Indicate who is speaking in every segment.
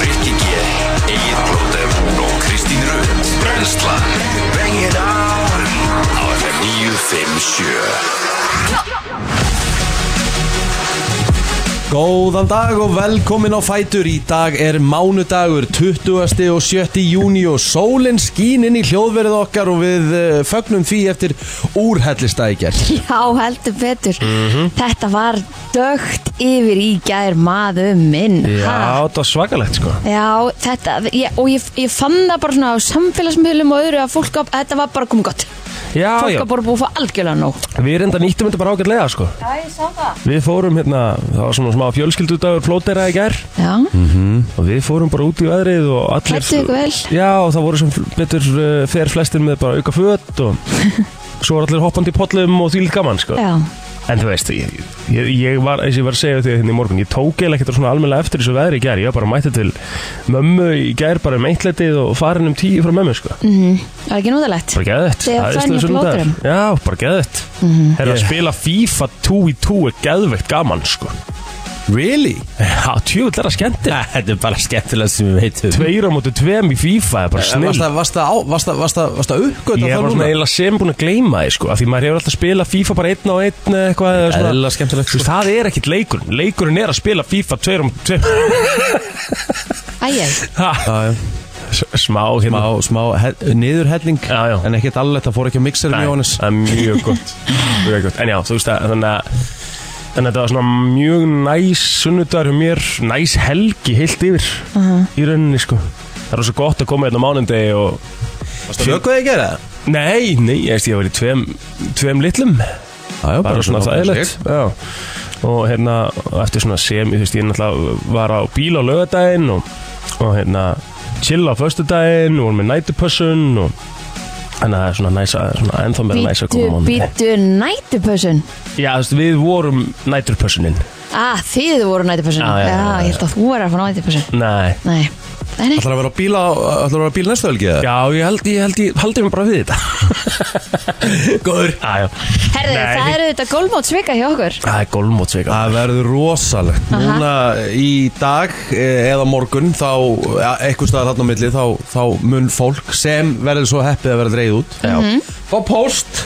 Speaker 1: Rikki G, Egil Blóter og Kristín Rund Brenslan Bring it on Á FM 957
Speaker 2: Góðan dag og velkomin á Fætur Í dag er mánudagur 20. og 7. júni og sólinn skín inn í hljóðverið okkar og við eh, fögnum því eftir úrhellistækjar
Speaker 3: Já, heldur betur
Speaker 4: Mhm.
Speaker 3: Þetta var dögt yfir í gær maður minn ha?
Speaker 4: Já, það var svakalegt sko
Speaker 3: Já, þetta, ég, og ég, ég fann það bara svona á samfélagsmiðlum og öðru að fólk, að, þetta var bara komið gott
Speaker 4: Já,
Speaker 3: Fólk
Speaker 4: já,
Speaker 3: var bara búið að fá algjörlega nóg
Speaker 4: við reynda nýttum þetta bara ágætlega sko
Speaker 3: Já, ég sá það
Speaker 4: Við fórum hérna, það var svona smá fjölskyldudagur flótera í gær
Speaker 3: Já,
Speaker 4: Mm, Og við fórum bara út í veðrið og allir sko.
Speaker 3: Klæddu ykkur vel.
Speaker 4: Já, og það voru sem betur uh, fer flestir með bara auka föt og Svo var allir hoppandi í pollum og þvílíkt gaman sko
Speaker 3: já,
Speaker 4: En þú veist, ég, ég, ég var, eins og ég var að segja því hérna í morgun Ég tók eða ekkert svona almennilega eftir þessu veðri í gær Ég var bara mætti til mömmu í gær bara um eitletið og farin um tíu frá mömmu sko
Speaker 3: það er ekki núðalegt
Speaker 4: bara geðvett
Speaker 3: Þegar
Speaker 4: Það er
Speaker 3: fænir
Speaker 4: Íslands sunnudagur.
Speaker 3: blóturum.
Speaker 4: já, bara geðvett mm -hmm. herra að spila FIFA 2 í 2 er geðvett gaman sko
Speaker 2: Really?
Speaker 4: já, tjóðvill er það skemmtir
Speaker 5: Þetta er bara skemmtilega sem við veitum
Speaker 4: tveir á móti tveim í FIFA er bara snill
Speaker 2: Varst það- varst það á- varst það- varst það- varst það uppgöta
Speaker 4: ég
Speaker 2: það
Speaker 4: var svona
Speaker 2: núna?
Speaker 4: eiginlega sem búin að gleyma því sko af því maður hefur alltaf spila FIFA bara einn á einn eða eitthvað eða svona
Speaker 5: Eðlilega skemmtilegt,
Speaker 4: Þú veist, það er ekkit leikurinn leikurinn er að spila FIFA tveir á móti tveim
Speaker 3: Æjæ,
Speaker 4: Ha,
Speaker 2: Já, já.
Speaker 4: s- smá hérna
Speaker 2: Smá, smá he- niðurhelling
Speaker 4: Já, já.
Speaker 2: En ekkert alveg, það fór ekki að mixer um
Speaker 4: Nei,
Speaker 2: mjög honnes
Speaker 4: það er mjög gott, mjög gott. En já, þú veist að þannig að Þannig að þetta var svona mjög næs sunnudagur hjá mér, næs helgi heilt yfir í rauninni sko. Það var svo gott að koma hérna á mánundegi og...
Speaker 2: Fjökkuði ekki það?
Speaker 4: Nei, nei, ég veist ég var í tveim, tveim litlum,
Speaker 2: Já, já,
Speaker 4: bara svona
Speaker 2: bara
Speaker 4: þægilegt. Já, og hérna og eftir svona sem, þú veist, ég náttúrulega var á bíl á lögadaginn og, og hérna chill á föstudaginn og vorum með nætupössun og þannig að það er svona næsa, svona ennþá meira næsa að
Speaker 3: býtu,
Speaker 4: koma á mánundegi.
Speaker 3: býtu nætupössun
Speaker 4: Já, þú veist, við vorum næturpössuninn
Speaker 3: Ah, þið voru nætupössun
Speaker 4: Já, já, já, já.
Speaker 3: ég held að þú er að fá nætupössun
Speaker 4: Nei
Speaker 3: Nei, nei, nei
Speaker 2: Ætlar að vera á bíla, ætlar að vera á bíl næstu helgi eða?
Speaker 4: Já, ég held, ég held, ég haldi mig bara við þetta Góður Já, já
Speaker 3: Herðu,
Speaker 4: Nei.
Speaker 3: það eru þetta gólmót svika hjá okkur
Speaker 4: Það er gólmótsveika
Speaker 2: Það verður rosalegt
Speaker 3: Aha.
Speaker 2: Núna í dag eh, eða morgun þá, eitthvað staðar hann á milli þá, þá mun fólk sem verður svo heppið að verða dreigð út Mhm.
Speaker 4: Já,
Speaker 2: Fá post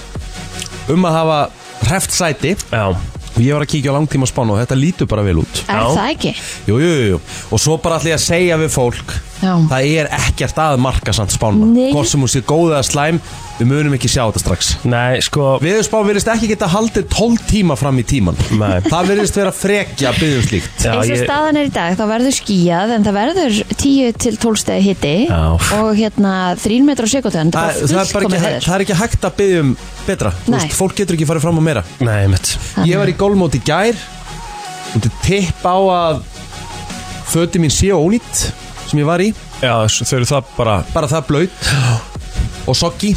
Speaker 2: um að hafa hreft sæti
Speaker 4: já
Speaker 2: og ég var að kíkja á langtíma spánu og þetta lítur bara vel út
Speaker 3: Er
Speaker 4: Já.
Speaker 3: það ekki?
Speaker 2: Jú, jú, jú, jú. og svo bara ætla ég að segja við fólk
Speaker 3: Já.
Speaker 2: það er ekkert að marka samt spánu
Speaker 3: Nei.
Speaker 2: hvort sem hún sé góð eða slæm við munum ekki sjá þetta strax
Speaker 4: Nei, sko
Speaker 2: Veðurspán virðist ekki geta haldið 12 tíma fram í tíman
Speaker 4: Nei.
Speaker 2: Það virðist vera frekja að byggja um slíkt
Speaker 4: já,
Speaker 3: eins og
Speaker 4: ég-
Speaker 3: staðan er í dag þá verður skíjað en það verður 10 til 12 stegi hitti
Speaker 4: Já.
Speaker 3: og hérna 3 metrar á sekundu en
Speaker 2: Það, það,
Speaker 3: það
Speaker 2: er bara ekki, hæ- það er ekki hægt að byggja um betra Þú
Speaker 3: Nei.
Speaker 2: veist, Fólk getur ekki farið fram á meira
Speaker 4: Nei, mitt
Speaker 2: Ég var í gólmóti í gær Myndi tipp á að Föti mín sé ónýtt Sem ég var í,
Speaker 4: Já, s- þau eru það bara
Speaker 2: bara það blöyt Og soggi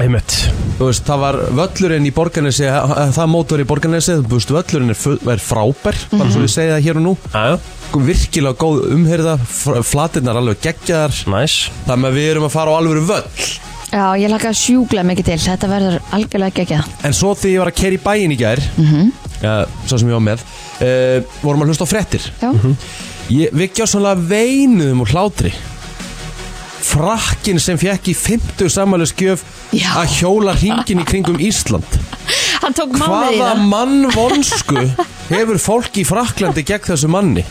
Speaker 4: Einmitt
Speaker 2: Þú veist, það var völlurinn í borgarnesi eh, Það mót var í borgarnesi Þú veist, völlurinn er, fu- er frábær Bara svo ég segi það hér og nú Sko,
Speaker 4: Já, já,
Speaker 2: Virkilega góð umherða Flatirnar alveg geggjaðar
Speaker 4: næs
Speaker 2: Þannig að við erum að fara á alvöru völl
Speaker 3: Já, ég laka sjúkla mikið til þetta verður algjörlega ekki ekki
Speaker 2: En svo því ég var að keri í bæin í gær mm Svo sem ég var með uh, Vorum að hlusta á frettir
Speaker 3: Já, mm
Speaker 4: Mhm.
Speaker 3: -hmm.
Speaker 2: ég, Við gjáðsvonlega veinuðum úr hlátri Frakkin sem fekk í 50 samanlöskjöf
Speaker 3: Já.
Speaker 2: Að hjóla hringin í kringum Ísland
Speaker 3: hann tók mánuð í
Speaker 2: Hvaða
Speaker 3: það
Speaker 2: mann vonsku Hefur fólk í Fraklandi gegn þessu manni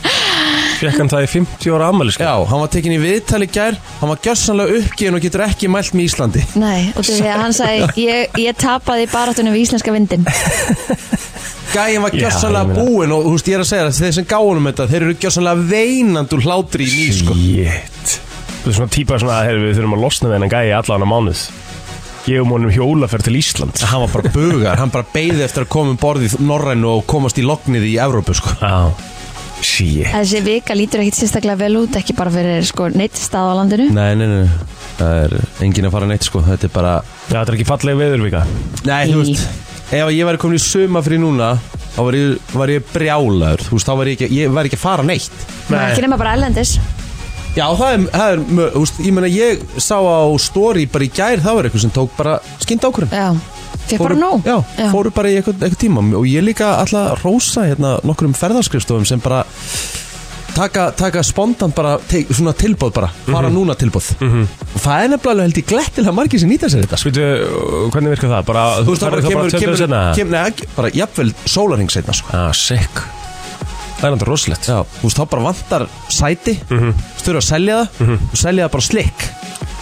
Speaker 4: Fekk hann það í 50 ára ammæli, sko
Speaker 2: Já, hann var tekin í viðtali í gær Hann var gjössanlega uppgefin og getur ekki mælt með Íslandi
Speaker 3: Nei, og því að hann sagði ég, ég tapaði barátunum við íslenska vindin
Speaker 2: Gæin var
Speaker 4: Já,
Speaker 2: gjössanlega
Speaker 4: ég meina-
Speaker 2: búinn Og þú veist, ég er að segja það, þeir sem gáðunum þetta Þeir eru gjössanlega veinandi úr hlátri í ný sko.
Speaker 4: Shit Þú veist svona típa svona, herri, við þurfum að losna við hennan gæi allan á mánuð Gefum honum hjólaferð til Ísland
Speaker 2: Hann var bara bugar, hann bara beigði eftir að koma um borðið Norrænu og komast í lognið í Evrópu sko.
Speaker 4: Já Shit
Speaker 3: Þessi vika lítur ekkit sérstaklega vel út ekki bara fyrir sko, neitt stað á landinu
Speaker 2: Nei, nei, nei, það er engin að fara neitt sko. Þetta er bara,
Speaker 4: Já, þetta er ekki falleg veðurvika
Speaker 2: nei,
Speaker 3: Í.
Speaker 2: þú veist Ef ég væri komin í suma fyrir núna Þá var ég, var ég brjálaður Þú veist, þá var ég ekki, ég var ekki að fara neitt
Speaker 3: Nei. ekki nema bara ellendis
Speaker 2: Já, það er, það er mö- þú veist, ég meina ég sá á story bara í gær Það var eitthvað sem tók bara skynda ákvörðum
Speaker 3: Já, Fékk bara nóg.
Speaker 2: já,
Speaker 3: Já.
Speaker 2: fóru bara í eitthvað, eitthvað tíma og ég líka alltaf að rósa hérna nokkrum ferðarskrifstofum sem bara taka, taka spontan bara te, svona tilbóð bara, fara núna tilbóð og það er nefnilega alveg held ég glettilega margir sem nýta sér þetta sko.
Speaker 4: Svítu, hvernig virkar það? Bara,
Speaker 2: þú veist það bara
Speaker 4: ferðu þá
Speaker 2: kemur,
Speaker 4: tveim
Speaker 2: kemur,
Speaker 4: dögum seinna?
Speaker 2: kemur neða, bara jafnvel sólarhing setna sko.
Speaker 4: Ah, sick Það er náttúrulega rosalegt
Speaker 2: já, þú veist þá bara vantar sæti mm -hmm. störu að selja það og selja það bara slikk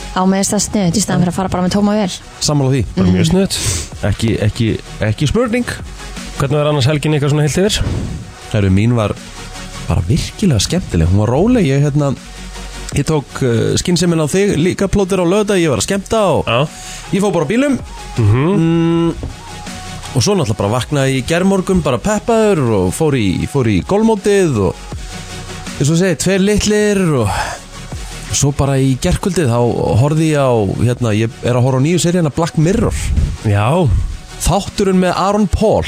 Speaker 3: Á með þess að sniðut í staðan fyrir að fara bara með tóma vel
Speaker 2: sammála því,
Speaker 4: Bara mjög snuðt
Speaker 2: ekki, ekki, ekki spurning
Speaker 4: Hvernig var annars helgin ykkar svona heilt yfir?
Speaker 2: Herru, mín var bara virkilega skemmtileg Hún var róleg, ég hérna Ég tók uh, skinsemin á þig, líka plótir á löða Ég var að skemmta og
Speaker 4: Já
Speaker 2: ég fór bara á bílum mm Og svo náttúrulega bara vaknaði í germorgum Bara peppaður og fór í, fór í golmótið Og eins og segi, tveir litlir Og svo bara í gerkvöldið Þá horfði ég á, hérna Ég er að horfa á nýju seríana Black Mirror
Speaker 4: Já
Speaker 2: Þátturinn með Aaron Paul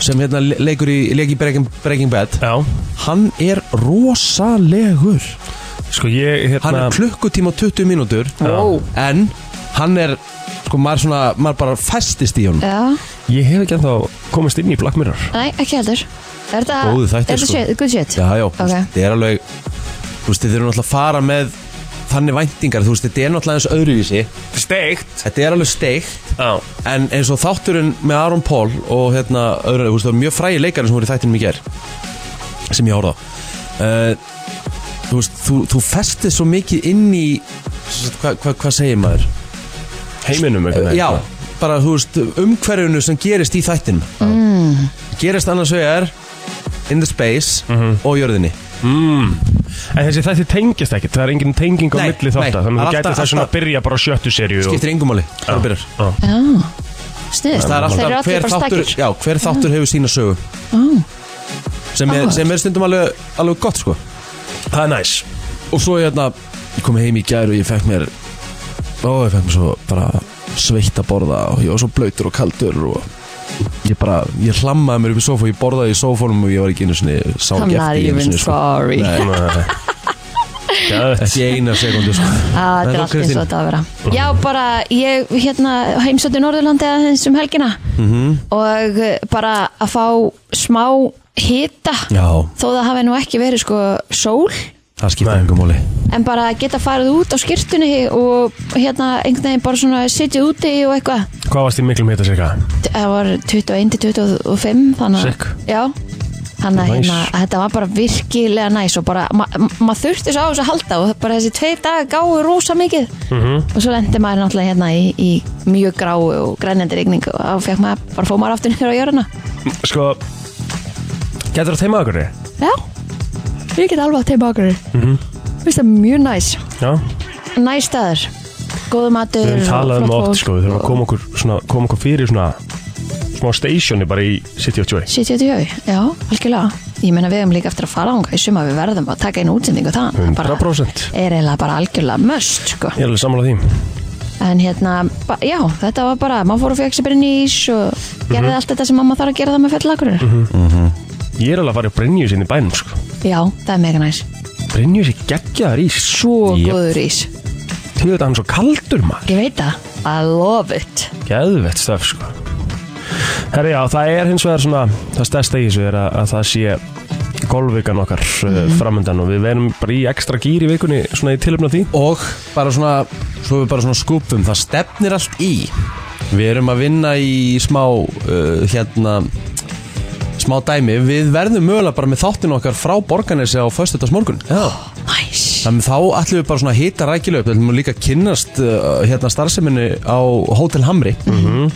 Speaker 2: Sem hérna le- leikur í, leik í Breaking, Breaking Bad
Speaker 4: Já
Speaker 2: Hann er rosalegur
Speaker 4: Sko ég hérna
Speaker 2: Hann er klukkutíma og 20 mínútur
Speaker 4: Wow.
Speaker 2: En hann er Sko maður svona, maður bara festist í honum
Speaker 3: Já,
Speaker 4: Ég hef ekki ennþá komist inn í Black Mirror
Speaker 3: nei, ekki heldur Er þetta
Speaker 2: Góðu þættir,
Speaker 3: er þetta
Speaker 2: sko.
Speaker 3: shit, good shit?
Speaker 2: Já, já, okay.
Speaker 3: Ok.
Speaker 2: þetta er alveg Þú veist, þið eru náttúrulega að fara með Þannig væntingar, þú veist, þetta er náttúrulega eins öðruvísi
Speaker 4: Steikt
Speaker 2: Þetta er alveg steikt
Speaker 4: Já
Speaker 2: En eins og þátturinn með Aron Paul Og hérna, öðru, þú veist, það var mjög frægi leikari Sem voru í þættinum í ger Sem ég horfði á uh, Þú veist, þú, þú festist svo mikið inn í sem sagt, Hvað hva, hva segir maður?
Speaker 4: Heiminum einhvern veginn
Speaker 2: Já, bara þú veist umhverfinu sem gerist í þættinum mm. Gerist annars vegar In the space og jörðinni
Speaker 4: En þessi þætti tengist ekkert, það er engin tenging á
Speaker 2: Nei,
Speaker 4: milli
Speaker 2: nei.
Speaker 4: þáttar Þannig að
Speaker 2: Það er
Speaker 4: þú gæti
Speaker 2: alltaf-
Speaker 4: þess vegna að
Speaker 2: alltaf-
Speaker 4: byrja bara á sjöttu serju og-
Speaker 2: Skiptir engum máli Það byrjar
Speaker 3: Já, sniðut
Speaker 2: Það er
Speaker 3: Þeir eru
Speaker 2: alltaf
Speaker 3: allir
Speaker 2: hver
Speaker 3: bara
Speaker 2: þáttur,
Speaker 3: stakir Mm.
Speaker 2: já, hver þáttur hefur sína sögu sem er,
Speaker 3: Áhugavert.
Speaker 2: sem er stundum alveg, alveg gott sko
Speaker 4: Það er næs
Speaker 2: Og svo hérna, ég kom heim í gær og ég fekk mér Ó, ég fekk mér svo bara sveitt að borða og ég var svo blöytur og kaldur og ég bara, ég hlammaði mér upp í sófa og ég borðaði í sófónum og ég var ekki einu sinni sá
Speaker 3: I'm
Speaker 2: ekki
Speaker 3: not
Speaker 2: eftir í einu
Speaker 3: even
Speaker 2: sinni, sko.
Speaker 3: sorry.
Speaker 2: Nei.
Speaker 4: Gæðvett
Speaker 2: Ekki eina sekundu sko
Speaker 3: Ah,
Speaker 2: En
Speaker 3: Þetta er
Speaker 2: þú,
Speaker 3: allt eins og
Speaker 2: Kristín?
Speaker 3: þetta á að vera Já, bara ég hérna heimsótti Norðurlandi aðeins um helgina
Speaker 2: Mhm.
Speaker 3: og eh, bara að fá smá hita
Speaker 2: Já,
Speaker 3: þó það hafi nú ekki verið sko sól
Speaker 2: það skiptir engum máli
Speaker 3: en bara að geta farið út á skýrtunni og hérna einhvern veginn bara svona sitja úti og eitthvað
Speaker 4: Hvað varst í miklum hita sér
Speaker 3: það var 21 til 25 þannig
Speaker 4: Sick.
Speaker 3: að já Þannig að
Speaker 4: Nice.
Speaker 3: hérna, að þetta var bara virkilega næs og bara, ma- ma- maður þurfti svo á þessu að halda og bara þessi tvei dag gáðu rosa mikið
Speaker 4: Mhm.
Speaker 3: og svo lendi maður náttúrulega hérna í, í mjög gráu og grænjandi rigningu og þá fekk maður bara fóð maður aftur nýra á jöruna
Speaker 4: Sko Gætur það teima okkur þið?
Speaker 3: Já, ég get alveg að teipa okkur mm
Speaker 4: Mhm.
Speaker 3: Vist það er mjög næs
Speaker 4: Já
Speaker 3: Næs staður, góðu matur
Speaker 4: Við
Speaker 3: og
Speaker 4: höfum talað um
Speaker 3: Mm. flott
Speaker 4: það oft
Speaker 3: fólk
Speaker 4: sko, við þurfum að
Speaker 3: og-
Speaker 4: koma okkur, svona, koma okkur fyrir svona smá stationi bara í City of Joy
Speaker 3: 70 já, algjörlega ég meina við hefum líka eftir að fara ánga í suma við verðum að taka einu útsendingu það
Speaker 4: 100%.
Speaker 3: er eiginlega bara algjörlega möst sko.
Speaker 4: Ég er alveg sammála því
Speaker 3: en hérna, ba- já, þetta var bara maður fór og fekk sér bara nýs og gerði allt þetta sem mamma þarf að gera það með fellakur
Speaker 4: Ég er alveg að fara í Brynjus inn í bænum sko
Speaker 3: já, það er mega næs
Speaker 4: Brynjus er geggjaðar ís
Speaker 3: svo
Speaker 4: Jep.
Speaker 3: góður ís,
Speaker 4: Þú veit að hann er svo kaldur maður
Speaker 3: ég veit það I love it
Speaker 4: Geðvett stöf sko Herri já, það er hins vegar svona það stærsta í þessu er að, að það sé golfvikan okkar mm
Speaker 3: Mhm.
Speaker 4: framöndan og við verum bara í ekstra gýr í vikunni svona í tilöfna því
Speaker 2: Og bara svona, svo við bara svona skúpum Það stefnir allt í Við erum að vinna í smá uh, Hérna Smá dæmi, við verðum mögulega bara með þáttin okkar Frá borgarnesi á föstudags morgun Já
Speaker 3: næs,
Speaker 2: Þannig þá ætlum við bara svona að hita rækilega upp Við ætlum líka að kynnast uh, hérna starfseminni á Hotel Hamri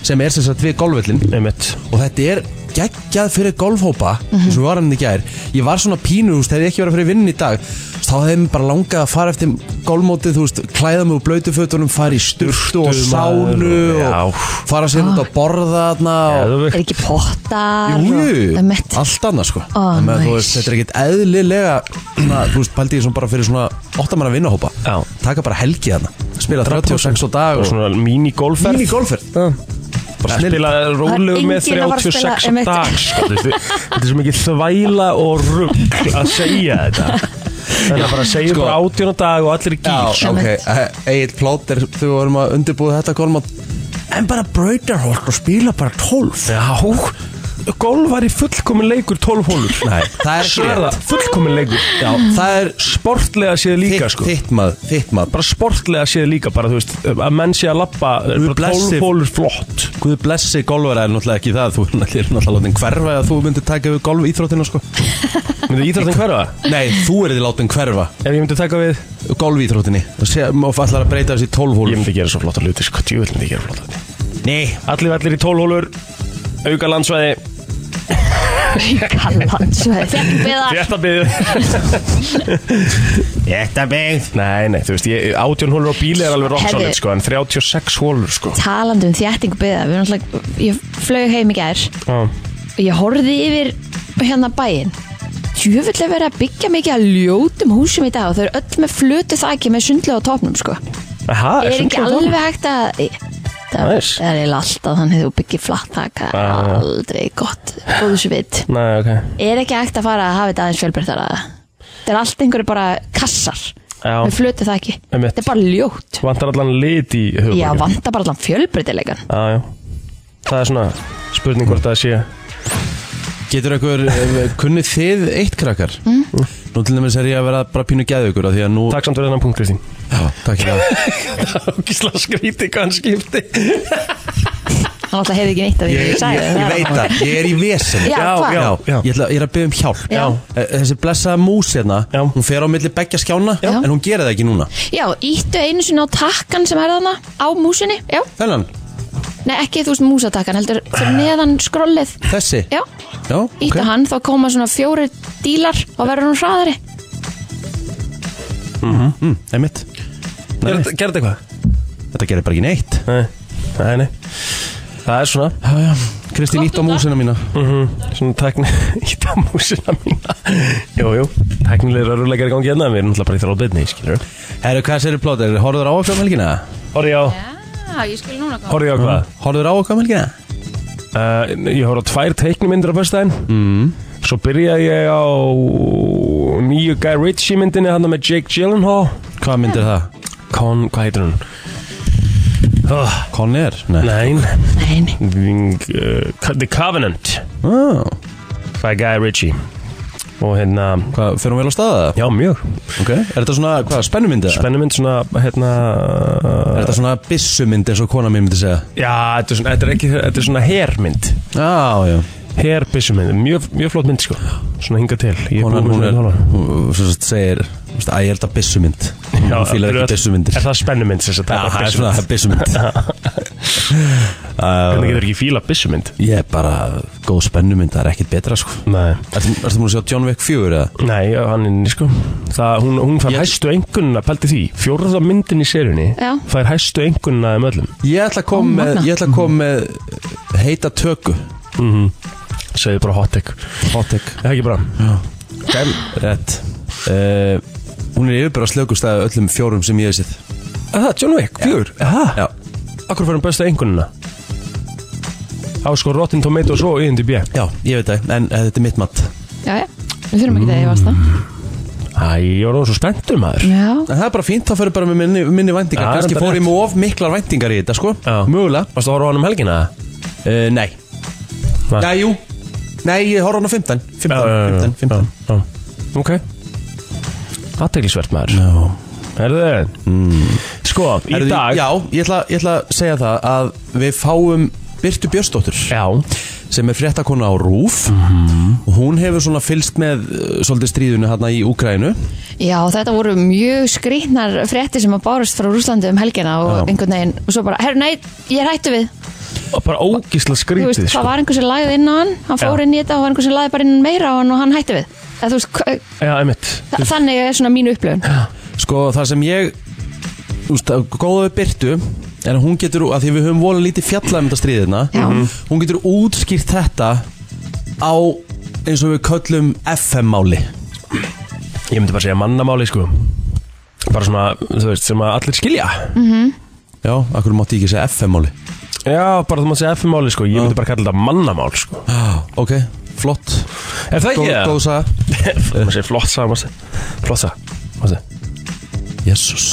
Speaker 2: Sem er sem sagt við golfvillin
Speaker 4: Einmitt
Speaker 2: og þetta er geggjað fyrir golfhópa eins og við varum í gær ég var svona pínu, þú veist, hefði ég ekki verið fyrir vinn í dag þá hefði mér bara langað að fara eftir golfmótið, þú veist, klæða mig úr blöytufötunum fara í sturtu og
Speaker 4: Sturtu,
Speaker 2: sánu
Speaker 4: maður, já.
Speaker 2: og fara sér út að borða þarna og
Speaker 4: Geðveikt.
Speaker 3: er ekki potta
Speaker 2: Jújú,
Speaker 3: emitt
Speaker 2: allt annað sko
Speaker 3: Ó,
Speaker 2: Þannig að þú
Speaker 3: nice.
Speaker 2: veist, Þetta er ekkit eðlilega svona, Þú veist, pældi ég svona bara fyrir svona Óttamanna vinnahópa
Speaker 4: Já.
Speaker 2: Taka bara helgi þarna Spila 36 og dag
Speaker 4: og
Speaker 2: og
Speaker 4: svona mini-golferð
Speaker 2: Mín í golfer
Speaker 4: bara spila rólegur með
Speaker 3: enginn að fara að
Speaker 4: 36
Speaker 3: spila,
Speaker 4: á dag sko, þú veist, við- þetta er svo mikið þvæla og rugg að segja þetta þannig að bara segja
Speaker 2: Sko.
Speaker 4: bara átjón á dag og allir í
Speaker 2: Já,
Speaker 4: gýr
Speaker 2: ok,
Speaker 3: Einmitt.
Speaker 2: Egil Plóter, þú vorum að undirbúið þetta kolmátt En bara brautarholt og spila bara 12
Speaker 4: Já, golf var í fullkomin leikur 12 hólur
Speaker 2: Nei, það er ekki
Speaker 4: Sverða,
Speaker 2: rétt
Speaker 4: fullkomin leikur
Speaker 2: Já, það er
Speaker 4: Sportlega séð líka
Speaker 2: þitt,
Speaker 4: sko
Speaker 2: þitt maður, þitt maður
Speaker 4: Bara sportlega séð líka bara, þú veist Að menn sé að lappa
Speaker 2: Guð blessi.
Speaker 4: 12 hólur flott
Speaker 2: Guð blessi golfara er náttúrulega ekki það Þú er náttúrulega látin hverfa að þú myndir taka við golf íþróttina sko
Speaker 4: Myndi íþróttin hverfa?
Speaker 2: Nei, þú er þið látin hverfa
Speaker 4: Ef ég myndi taka við
Speaker 2: golf íþróttinni Og sé, má allar að breyta þessi 12
Speaker 4: Ég
Speaker 2: hólf
Speaker 4: myndi gera svo flotta hluti sko Ég myndi gera flotta hluti
Speaker 2: Nei,
Speaker 4: Allir vellir í 12 hólur Auka landsvæði
Speaker 3: Kallandsveið Beða
Speaker 4: Þetta byggð
Speaker 5: Þetta byggð
Speaker 4: Nei, nei, þú veist, ég, 18 hólur á bíli er alveg rock
Speaker 3: Herðu.
Speaker 4: solid sko En 36 hólur sko
Speaker 3: talandi um þjættingu beða Við erum alltaf, ég flög heim í gær
Speaker 4: Já
Speaker 3: og ég horfði yfir hérna bæinn Jöfull er verið að byggja mikið að ljótum húsum í dag og þau eru öll með flötu þaki með sundlega á topnum sko.
Speaker 4: Aha,
Speaker 3: er ekki
Speaker 4: sundlaug þarna?
Speaker 3: alveg hægt að það
Speaker 4: Nice.
Speaker 3: er eiginlega alltaf þannig þú byggir flatt þak það
Speaker 4: Já,
Speaker 3: er
Speaker 4: já.
Speaker 3: aldrei gott góðsvitt
Speaker 4: Nei, ok
Speaker 3: er ekki hægt að fara að hafa þetta aðeins fjölbreyttara það er allt einhverju bara kassar
Speaker 4: Já.
Speaker 3: með flötu þaki
Speaker 4: Einmitt.
Speaker 3: þetta er bara ljótt
Speaker 4: Vantar allan lit í hugum
Speaker 3: já, vantar bara allan fjölbreytilegan
Speaker 4: Já, já Það er svona spurning hvort það sé
Speaker 2: Getur einhver, eh, kunnið þið eitt krakkar?
Speaker 3: Hm?
Speaker 2: Mm. Nú til dæmis er ég að vera bara pínu geðu ykkur Því að nú,
Speaker 4: Takk samt fyrir þennan punkt, Kristín
Speaker 2: já, takk ég að
Speaker 4: Gísla skríti hvað hann skipti
Speaker 3: hann alltaf hefði ekki neitt af því sem
Speaker 2: ég,
Speaker 3: ég
Speaker 2: ég,
Speaker 3: sagði
Speaker 2: ég
Speaker 3: það er
Speaker 2: veit
Speaker 3: bara-
Speaker 2: það, ég er í vesen
Speaker 3: Já,
Speaker 4: Já,
Speaker 3: hvað?
Speaker 4: já.
Speaker 2: Ég, ætla, ég er að byggja um hjálp
Speaker 3: Já.
Speaker 2: Eh, Þessi blessaða mús hérna
Speaker 4: Já.
Speaker 2: Hún fer á milli beggja skjána
Speaker 3: Já.
Speaker 2: En hún gerir það ekki núna
Speaker 3: Já, íttu einu sinni á takkan sem er þarna á músinni, já,
Speaker 2: Þennan,
Speaker 3: nei ekki þú veist músatakkan heldur fyrir neðan skrollið
Speaker 2: þessi
Speaker 3: já,
Speaker 2: Já,
Speaker 3: íttu
Speaker 2: ok.
Speaker 3: hann þá koma svona fjóri dílar og verður hún hraðari
Speaker 2: mm, einmitt. Nei,
Speaker 4: Gerði þetta eitthvað?
Speaker 2: Þetta gerir bara ekki neitt
Speaker 4: Nei, nei, nei Það er svona,
Speaker 2: Já, já. Kristín, ítt á músina mína
Speaker 4: Mm, svona tækni í damúsina mína Jú, jú, tæknilegur að rúlega er í gangi hérna en Við erum náttúrulega bara í þráðbyrni, skilur
Speaker 2: Herru, hvað sér er plóter? Horður á okkur á melgina?
Speaker 4: Horfði ég á,
Speaker 3: Já, ég skil núna koma
Speaker 4: horfði ég á hvað?
Speaker 2: Horður á okkur á melgina?
Speaker 4: Uh, Mm. ég horfði á tvær teiknumyndir á föstudaginn mm. Svo byrjaði ég á nýju Guy Ritchie myndinni hann með Jake Gyllenhaal
Speaker 2: Hvað myndir það?
Speaker 4: Con, hvað heitir hún? Oh,
Speaker 2: Conner? Nei
Speaker 4: nein
Speaker 3: Nei, nei,
Speaker 4: Ving, uh, The Covenant
Speaker 2: oh.
Speaker 4: by Guy Ritchie Og hérna,
Speaker 2: Hvað, fer hún vel á staða?
Speaker 4: já mjög
Speaker 2: Ok, er þetta svona, hvað, spennumyndi?
Speaker 4: Spennumynd svona, hérna
Speaker 2: Er þetta svona byssumynd eins og kona mín myndi segja?
Speaker 4: Já, þetta er svona, þetta er ekki, þetta er svona hermynd
Speaker 2: Já, já
Speaker 4: Herbissumynd, mjög, mjög flott mynd sko Svona hinga til Ég er
Speaker 2: Konan,
Speaker 4: búinn
Speaker 2: hún
Speaker 4: með
Speaker 2: er,
Speaker 4: svona-
Speaker 2: hún svo sagt segir, þú veist, að ég held að byssumynd Hún
Speaker 4: Já,
Speaker 2: fýlar
Speaker 4: er-
Speaker 2: ekki byssumyndir
Speaker 4: Er það spennumynd sem sagt,
Speaker 2: Já,
Speaker 4: bara
Speaker 2: það er
Speaker 4: byssumynd?
Speaker 2: svona, það er byssumynd
Speaker 4: Hvernig getur ekki fíla byssumynd?
Speaker 2: Ég er bara, góð spennumynd, það er ekkert betra, sko
Speaker 4: Nei
Speaker 2: Ertu ertu búin að sjá John Wick 4 eða?
Speaker 4: Nei, já, hann er ný sko Það, hún, hún fær
Speaker 2: Ég-
Speaker 4: hæstu engunna, pælti því Fjórða myndin í seriunni
Speaker 3: Já.
Speaker 4: Fær hæstu engunna um öllum
Speaker 2: Ég ætla að koma með, ég ætla að koma með heita töku
Speaker 4: Segðu bara hot take
Speaker 2: Hot take
Speaker 4: Það er ekki bara
Speaker 2: Gæm Rett uh, Hún er yfirbara slökustæði öllum fjórum sem ég hef séð
Speaker 4: Það, John Wick, fjör
Speaker 2: Já
Speaker 4: Akkur fær hann bestu engunna Á sko Rotten Tomatoes og IMDb
Speaker 2: Já, ég veit það, en eh, þetta er mitt mat
Speaker 3: já, já, við þurfum ekki það, ég varst það
Speaker 4: Æ, ég var nú svo spenntur maður
Speaker 3: Já,
Speaker 2: En það er bara fínt, þá fyrir bara með minni, minni væntingar
Speaker 4: Já,
Speaker 2: ja, Kanski
Speaker 4: reyndar
Speaker 2: fór
Speaker 4: rétt.
Speaker 2: ég með of miklar væntingar í þetta, sko
Speaker 4: Já.
Speaker 2: Mögulega
Speaker 4: Varstu að horfa á hann um helgina?
Speaker 2: uh, Nei
Speaker 4: Nei.
Speaker 2: Já, jú Nei, ég horf hann á 15 15, 15, 15
Speaker 4: já. Ok Aðteglisvert maður
Speaker 2: Já,
Speaker 4: Herðu Sko, í
Speaker 2: Herðu,
Speaker 4: dag
Speaker 2: Já, ég ætla, ég ætla að segja það að við fáum Birtu Björnsdóttur
Speaker 4: já.
Speaker 2: sem er fréttakona á RÚF
Speaker 4: Mhm.
Speaker 2: og hún hefur svona fylst með uh, svolítið stríðunu hérna í Úkrænu
Speaker 3: já, þetta voru mjög skrýtnar frétti sem að bárust frá Rúslandi um helgina
Speaker 2: Já.
Speaker 3: og einhvern veginn, og svo bara, herru, nei, ég er hættu við
Speaker 4: Og bara ógísla
Speaker 3: þú veist,
Speaker 4: skrítið
Speaker 3: það
Speaker 4: sko.
Speaker 3: var einhver sem lagði inn á hann hann fór
Speaker 4: Já.
Speaker 3: inn í þetta og var einhver sem lagði bara inn meira á hann og hann hætti við Eða, þú veist, hva-
Speaker 4: Já, einmitt
Speaker 3: þa- þannig er svona mín upplöfun
Speaker 2: sko það sem ég úst, góða við Birtu er að hún getur, að því við höfum volið lítið fjallað um þetta stríðina,
Speaker 3: Já.
Speaker 4: Mhm.
Speaker 2: hún getur útskýrt þetta á eins og við köllum FM-máli
Speaker 4: Ég myndi bara segja mannamáli sko Bara svona, þú veist, sem að allir skilja
Speaker 2: já, akkur mátti ég ekki segja FM-máli
Speaker 4: Já, bara þú maður segja FM-máli sko Ég myndi bara kalla þetta mannamál sko
Speaker 2: ah, ok, flott
Speaker 4: Er það ekki
Speaker 2: góð,
Speaker 4: það?
Speaker 2: góð saga
Speaker 4: Þú maður segja flott sá, maður segja Flott sá, maður segja
Speaker 2: Jésús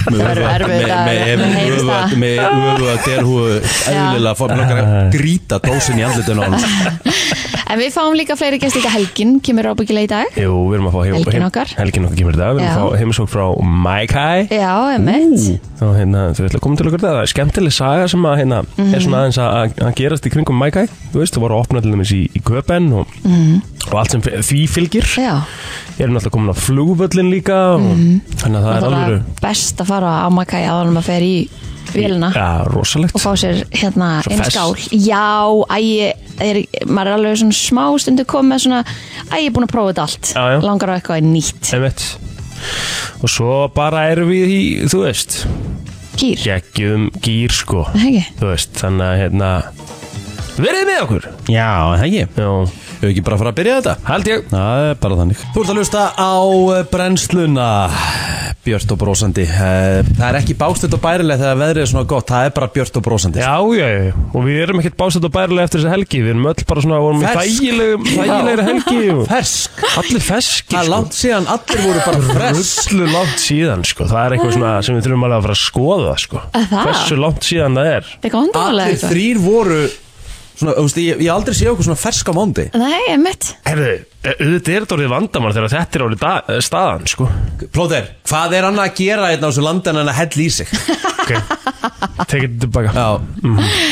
Speaker 3: Það verður erfið dagar,
Speaker 2: Með
Speaker 3: mér heyrist
Speaker 2: öfuga-
Speaker 3: það.
Speaker 2: með öfuga derhúu Eðlilega fór Mér langar að grýta dósin í andlutinu á hann
Speaker 3: En við fáum líka fleiri gæst líka helgin, kemur ábyggilega í dag
Speaker 4: Jú, við erum að fá heim-
Speaker 3: Helgin
Speaker 4: heim-
Speaker 3: okkar.
Speaker 4: Helgin okkar kemur í dag Við erum að
Speaker 3: Já.
Speaker 4: fá heimisók frá Maikai
Speaker 3: Já, emitt
Speaker 4: og hérna, þau ætla að koma til okkur það það er skemmtileg saga sem að hérna,
Speaker 3: Mhm.
Speaker 4: er svona aðeins að, að- að gerast í kringum Maikai þú veist, þú voru að opna til dæmis í, í Köpen og, og allt sem f- því fylgir
Speaker 3: Mhm. Já, Mhm.
Speaker 4: erum náttúrulega komin á flugvöllin líka og, þannig að það er
Speaker 3: náttúrulega
Speaker 4: alveg
Speaker 3: best að fara á Makai áður en maður fer í vélina
Speaker 4: ja, rosalegt
Speaker 3: og fá sér hérna
Speaker 4: Svo
Speaker 3: einn
Speaker 4: fest.
Speaker 3: skál Já, æ, er, maður er alveg svona smá stundu komið með svona æ, ég er búin að prófa þetta allt
Speaker 4: Já, já.
Speaker 3: langar á eitthvað nýtt
Speaker 4: Einmitt. og svo bara erum við í, þú veist
Speaker 3: Kýr,
Speaker 4: geggjum gýr sko
Speaker 3: hegi
Speaker 4: þú veist, þannig að hérna verið með okkur
Speaker 2: Já, það ekki
Speaker 4: Já,
Speaker 2: Hefur ekki bara að fara að byrja þetta?
Speaker 4: held ég
Speaker 2: Það er bara þannig Þú ert að lusta á eh, brennsluna Björt og brósandi Eh, Það er ekki bástilt og bærileg þegar veðrið er svona gott Það er bara björt og brósandi
Speaker 4: Já, já, já, og við erum ekkert básett og bærilega eftir þessa helgi, við erum öll bara svona, vorum í
Speaker 2: Fersk.
Speaker 4: þægilegum, þægilegri helgi og
Speaker 2: Fersk
Speaker 4: allir feskir,
Speaker 2: Það er
Speaker 4: sko.
Speaker 2: langt síðan, allir voru bara fresk
Speaker 4: Öllu langt síðan, sko, það er eitthvað svona sem við þurfum alveg að fara að skoða, sko,
Speaker 3: Að það?
Speaker 4: hversu langt síðan það er.
Speaker 3: Það er ekki vandamálega
Speaker 2: Allir
Speaker 3: eitthvað
Speaker 2: þrýr voru svona, þú veist, ég, ég aldrei sé okkur svona fersk á mándi
Speaker 3: Nei, emitt
Speaker 4: Herðu, e, auðvitað er þetta orðið vandamann þegar þetta er orðið da- staðan, sko.
Speaker 2: Plóðir, hvað er annað að gera hérna á þessu landin en að hella í sig?
Speaker 4: Ok, Ah. tekið þetta tilbaka.
Speaker 2: Já,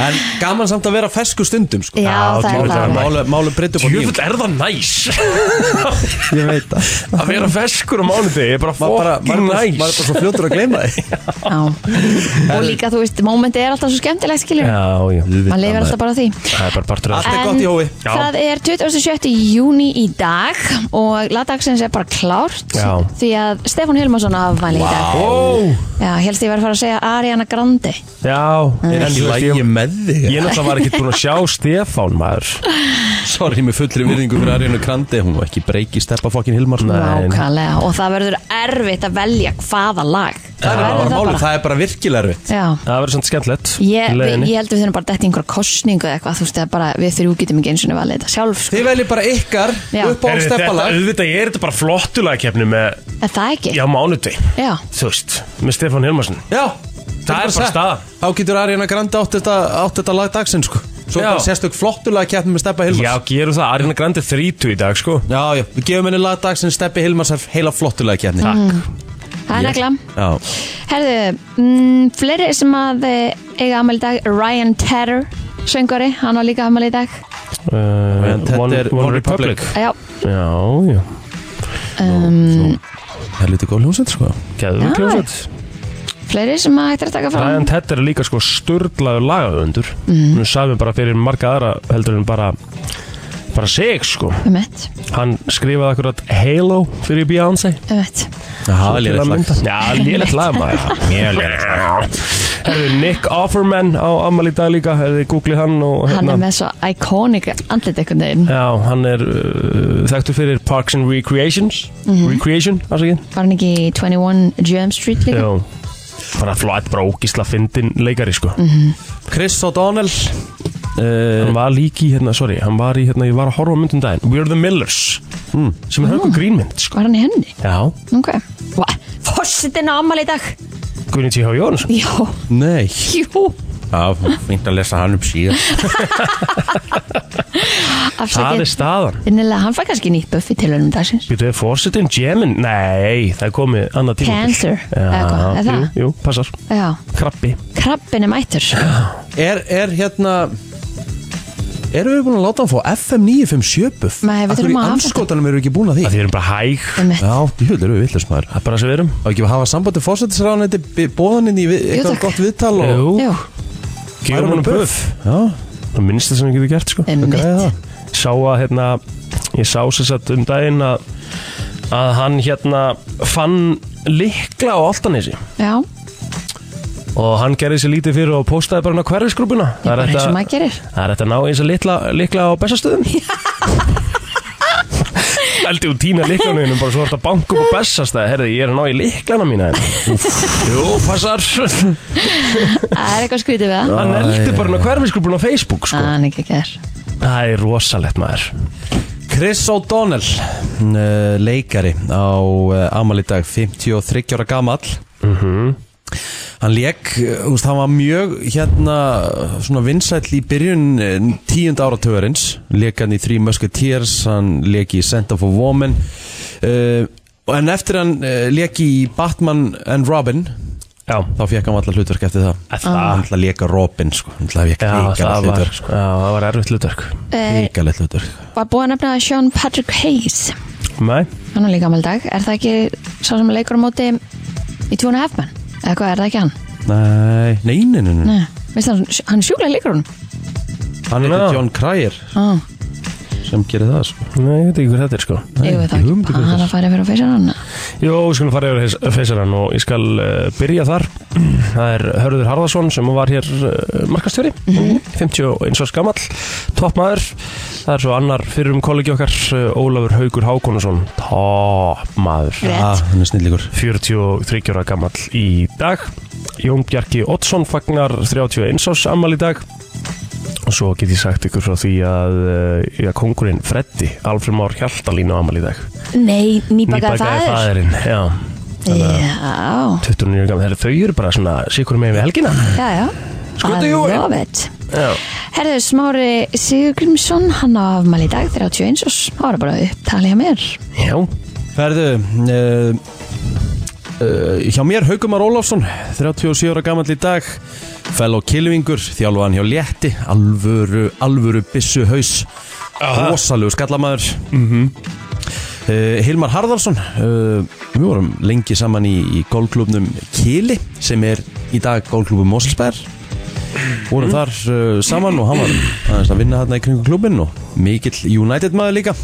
Speaker 2: en gaman samt að vera fersku stundum sko.
Speaker 3: Já,
Speaker 4: Já,
Speaker 3: það
Speaker 4: djúvill
Speaker 3: er
Speaker 4: er
Speaker 3: það
Speaker 4: hann-
Speaker 2: Málum málu breytt upp á nýjum
Speaker 4: Jöfull er það næs
Speaker 2: Ég veit það
Speaker 4: að vera feskur á mánudegi, er bara
Speaker 2: Maður bara, maður
Speaker 4: fokkin
Speaker 2: bara, maður bara
Speaker 4: næs.
Speaker 2: svo fljótur að gleyma því
Speaker 3: Já. Og líka, þú veist, mómenti er alltaf svo skemmtilegt, skiljum
Speaker 4: Já, já,
Speaker 3: Maður lifir alltaf bara á því
Speaker 4: það er bara partur af
Speaker 2: Allt er gott í hófi
Speaker 4: Já.
Speaker 3: það er 27. júni í dag og lagdagsins er bara klárt
Speaker 4: Já.
Speaker 3: því að Stefán Hilmarsson afmæli í dag
Speaker 4: Ó,
Speaker 3: Já, helst ég var að fara að segja Ariana Grande
Speaker 4: já,
Speaker 2: Er
Speaker 4: en
Speaker 2: ekki
Speaker 4: þú veist,
Speaker 2: lægi
Speaker 4: ég,
Speaker 2: með þig
Speaker 4: ég náttúrulega var ekkert búin að sjá Stefán maður
Speaker 2: Sorry, með fullri virðingu fyrir Arjónu Krandi Hún var ekki breyki steppa fokkin Hilmar sko.
Speaker 4: Nei.
Speaker 3: Vákalega, og það verður erfitt að velja hvaða lag
Speaker 2: Það er
Speaker 3: verður
Speaker 2: bara málið, það er bara virkilega erfitt
Speaker 3: Já,
Speaker 4: Það verður svona skemmtilegt
Speaker 3: ég,
Speaker 4: í
Speaker 3: við,
Speaker 4: leiðinni.
Speaker 3: ég held við þurfum bara að detta í einhverja kostningu eða eitthvað, þú veist, það er bara við þrjú getum ekki eins og valið þetta sjálf sko.
Speaker 2: Þið veljið bara ykkar
Speaker 3: Já.
Speaker 2: upp á
Speaker 4: Heyrðu, þetta,
Speaker 2: steppalag
Speaker 4: auðvitað er þetta bara flottulagkeppni með,
Speaker 3: Er það ekki?
Speaker 4: já, mánudvei
Speaker 3: Já.
Speaker 4: þú veist, með Stefán Hilmarsson
Speaker 2: Já,
Speaker 4: Það er bara
Speaker 2: sett.
Speaker 4: staðan.
Speaker 2: Þá getur Arjónu Krandi átt þetta, átt þetta lag dagsinn sko Svo
Speaker 4: Já.
Speaker 2: er bara sérstök flottulega keppni með steppa Hilmars
Speaker 4: Já, gerum það, Arina Grandi 30 í dag, sko
Speaker 2: já, já, við gefum henni lag dagsinn steppi Hilmars er heila flottulega keppni Takk
Speaker 3: það er neglam
Speaker 2: Já,
Speaker 3: Herðu, mm, fleiri sem að eh, eiga afmæli í dag, Ryan Tedder söngari, hann var líka afmæli í dag
Speaker 4: uh,
Speaker 2: En þetta
Speaker 4: One,
Speaker 2: er
Speaker 4: One
Speaker 2: One
Speaker 4: Republic.
Speaker 3: Já,
Speaker 4: Já, já,
Speaker 2: helviti góð hljómsveit sko
Speaker 4: geðum
Speaker 3: Já.
Speaker 4: við kljóðsett
Speaker 3: fleiri sem að hægt er að taka fram
Speaker 4: Brian Tett er líka sko sturglaður lagavöndur Nú sagði bara fyrir marga aðra heldur en bara bara sig, sko
Speaker 3: Umhett,
Speaker 4: Hann skrifaði akkurat Halo fyrir Beyoncé
Speaker 3: umhett
Speaker 2: Það er
Speaker 4: Til að
Speaker 2: lélegt
Speaker 4: mynda.
Speaker 2: lag
Speaker 4: Já, lélegt lag maður Mjög lélegt lag Herðu, Nick Offerman á Amal í dag líka Herðu, googlið hann og hérna.
Speaker 3: Hann er með svo iconic andlit einhvern veginn
Speaker 4: Já, hann er uh, þekktur fyrir Parks and Recreations
Speaker 3: Mhm.
Speaker 4: Recreation, afsakið
Speaker 3: Var hann ekki í 21 Jump Street líka?
Speaker 4: Já bara flott, bara ógisla fyndin leikari sko
Speaker 3: Mhm.
Speaker 4: Eh,
Speaker 2: Chris O'Donnell
Speaker 4: hann
Speaker 2: uh,
Speaker 4: var líki í hérna, sorry, hann var í hérna ég var að horfa á myndum daginn, We're the Millers sem
Speaker 3: Ah.
Speaker 4: er hörku grínmynd sko
Speaker 3: Var hann í henni?
Speaker 4: Hmm. Já,
Speaker 3: Ok Fossitin á ammali í dag
Speaker 4: Gunni T.H. Jónsson
Speaker 3: Já,
Speaker 2: Nei
Speaker 3: jú
Speaker 2: Já, fínt að lesa hann upp síðan
Speaker 4: Það er
Speaker 3: Afsækið
Speaker 4: staðan
Speaker 3: Innilega, hann fær kannski nýtt buffi til önum dagsins
Speaker 4: Býtu, er fórsetin Jemin? Nei, það er komið annað tíma
Speaker 3: Cancer, eða
Speaker 4: Já,
Speaker 3: eitthvað, er það?
Speaker 4: jú, jú, passar
Speaker 3: Já,
Speaker 4: Krabbi
Speaker 3: krabbin er mættur
Speaker 2: Er, er hérna Erum við búin að láta hann fá FM 957 buff?
Speaker 3: Nei, við þurfum
Speaker 2: að
Speaker 3: að afhenda.
Speaker 2: anskotanum eru við ekki búin að
Speaker 4: Það
Speaker 2: því
Speaker 4: því erum bara hæg
Speaker 3: Umhett
Speaker 2: Já, djúvel eru við villast maður
Speaker 4: Það er bara sem við erum
Speaker 2: Á ekki að hafa sambandi fórsættisráðanætti Bóðaninn í við- eitthvað
Speaker 3: takk.
Speaker 2: gott viðtal og
Speaker 4: Jú,
Speaker 3: Jú,
Speaker 4: gefum honum buff
Speaker 2: Já,
Speaker 4: Það minnst það sem við getum gert sko
Speaker 2: græði
Speaker 3: umhett
Speaker 2: það
Speaker 4: Sá að hérna Ég sá sér satt um daginn að Að hann hérna fann likla á Altanesi
Speaker 3: Já,
Speaker 4: Og hann gerði sér lítið fyrir og postaði bara hann á hverfisgrúpuna
Speaker 3: ég bara eins og
Speaker 4: þetta
Speaker 3: maður gerir
Speaker 4: Það er þetta að ná eins að litla, likla á bestastöðumÆldi úr tína liklanuðinum bara svo er þetta bankum á bestastöð Herði, ég er að ná í liklana mína hérna. Jú, passar Hann
Speaker 3: Það er eitthvað skrítið við það
Speaker 4: eldi bara hverfisgrúpun á Facebook sko.
Speaker 3: Það er ekki að gera
Speaker 4: Það er rosalegt maður
Speaker 2: Chris O'Donnell uh, leikari á uh, amali dag 53 ára gamall
Speaker 4: Mhm.
Speaker 2: hann leik, úst, hann var mjög hérna svona vinsæll í byrjun eh, tíunda áratöverins leik hann í Three Musketeers hann leik í Send of a Woman uh, en eftir hann uh, leik í Batman and Robin
Speaker 4: Já,
Speaker 2: þá fekk hann alltaf hlutverk eftir það
Speaker 4: það,
Speaker 2: hann alltaf leika Robin sko, hann alltaf fekk
Speaker 4: já, það,
Speaker 2: hrikalegt
Speaker 4: var,
Speaker 2: hlutverk sko.
Speaker 4: já, það var erfitt hlutverk
Speaker 3: Eh,
Speaker 2: hrikalegt hlutverk
Speaker 3: Var búið að nefna Sean Patrick Hayes
Speaker 4: Nei,
Speaker 3: Hann er líka gammal dag Er það ekki sá sem leikur á móti í Two and a Half Men? Eða hvað, er það ekki hann?
Speaker 2: nei, nei, nei, nei, nei.
Speaker 3: Nei, veist hann, hann sjúklega leikur hún
Speaker 2: hann heitir
Speaker 4: Já.
Speaker 2: John Cryer
Speaker 3: ah,
Speaker 2: sem gerir það sko.
Speaker 4: nei, ég veit ekki hver þetta er sko
Speaker 3: Ég veit
Speaker 4: ég
Speaker 3: það
Speaker 4: hugmynd
Speaker 3: ekki
Speaker 4: ekki hvað
Speaker 3: Hann að fara fyrir á feysan hann
Speaker 4: Jó, við skulum fara yfir feysarann og ég skal uh, byrja þar Það er Hörður Harðarsson sem var hér uh, markastjóri, 51 árs gamall toppmaður Það er svo annar fyrrum kollegi okkar uh, Ólafur Haugur Hákonusson toppmaður
Speaker 3: Rétt.
Speaker 2: ah, hann er snillíkur
Speaker 4: 43 ára gamall í dag Jón Bjarki Oddsson fagnar 31 árs ammal í dag og svo get ég sagt ykkur frá því að, uh, að kongurinn Freddi Alfred Már Hjaltalín á ammal í dag
Speaker 3: Nei, nýbakaði
Speaker 4: Nýbakaði
Speaker 3: það
Speaker 4: faðirinn, já
Speaker 3: Já,
Speaker 4: 29 gammal, þeir þau eru bara svona sikur megin við helgina
Speaker 3: já, já
Speaker 4: Skutu
Speaker 3: I
Speaker 4: júi.
Speaker 3: love it
Speaker 4: Já,
Speaker 3: Herðu, Smári Sigurgrímsson Hann á afmæli í dag, 31 og Smári bara upptalið hjá mér
Speaker 4: já,
Speaker 2: Ferðu uh, uh, Hjá mér Haugumar Ólafsson 37 ára gamall í dag Fellow Kilvingur, þjálfaðan hjá Létti Alvöru, alvöru byssu haus Rosalegu skallamæður mm Hilmar Harðarsson uh, Við vorum lengi saman í, í golfklubnum Kili sem er í dag golfklubum Moselsberg vorum þar uh, saman og hann var aðeins að vinna þarna í kringu klubin og mikill United maður líka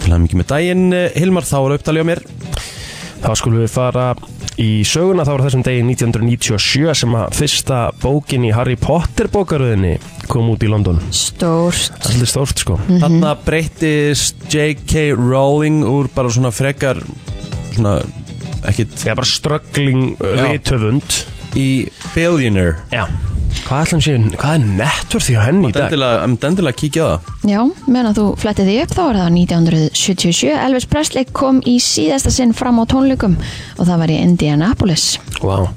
Speaker 2: til að mikið með daginn eh, Hilmar þá er upptalið á mér
Speaker 4: þá skulum við fara í söguna, þá var þessum degi 1997 sem að fyrsta bókin í Harry Potter bókaröðinni kom út í London
Speaker 3: Stórt
Speaker 4: Allir stórt sko
Speaker 2: Þarna breyttist J.K. Rowling úr bara svona frekar svona ekkit
Speaker 4: Það er bara ströggling
Speaker 2: Já.
Speaker 4: rithöfund
Speaker 2: í billionaire
Speaker 4: Já Hvað ætlum sé, hvað er nettur því á henni í dag?
Speaker 2: Dendilega, um, dendilega kíkja á það
Speaker 3: Já, meðan að þú flettið því upp þá er það 1977 Elvis Presley kom í síðasta sinn fram á tónleikum og það var í Indianapolis
Speaker 4: Vá wow.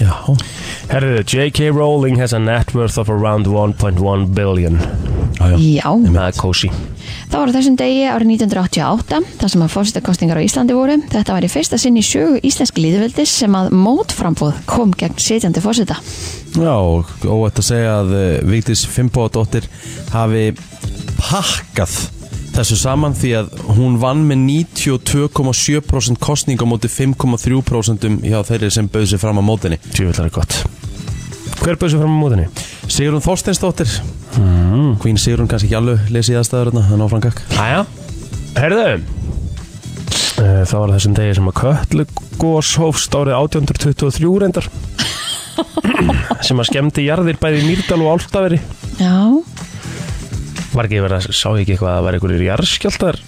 Speaker 2: Já
Speaker 4: Herðu, J.K. Rowling has a net worth of around 1.1 billion
Speaker 2: Já, já.
Speaker 3: Já,
Speaker 4: Það er kósi
Speaker 3: þá var á þessum degi árið 1988 þar sem að fórsetakostingar á Íslandi voru þetta var í fyrsta sinn í sjögu íslensk líðveldis sem að mótframbúð kom gegn sitjandi fórseta
Speaker 2: Já, og óætt að segja að uh, Vigdís Fimboðadóttir hafi pakkað þessu saman því að hún vann með 92,7% kostning á móti 5,3% hjá þeirri sem bauð sér fram á mótinni
Speaker 4: Tjúvillar er gott Hver bauð sér fram á móðinni?
Speaker 2: Sigrun Þorsteinsdóttir mm. Queen Sigrun kannski ekki alveg lesið aðstæður hérna, en áfram kakk
Speaker 4: Æja Herðu Eh, Það var á þessum degi sem að Kötlugós hófst árið 1823 reyndar sem að skemmti jarðir bæði í Mýrdal og Álftaveri
Speaker 3: Já,
Speaker 4: Var ekki verið að sá ég ekki eitthvað að það var einhverjir jarðskjáltar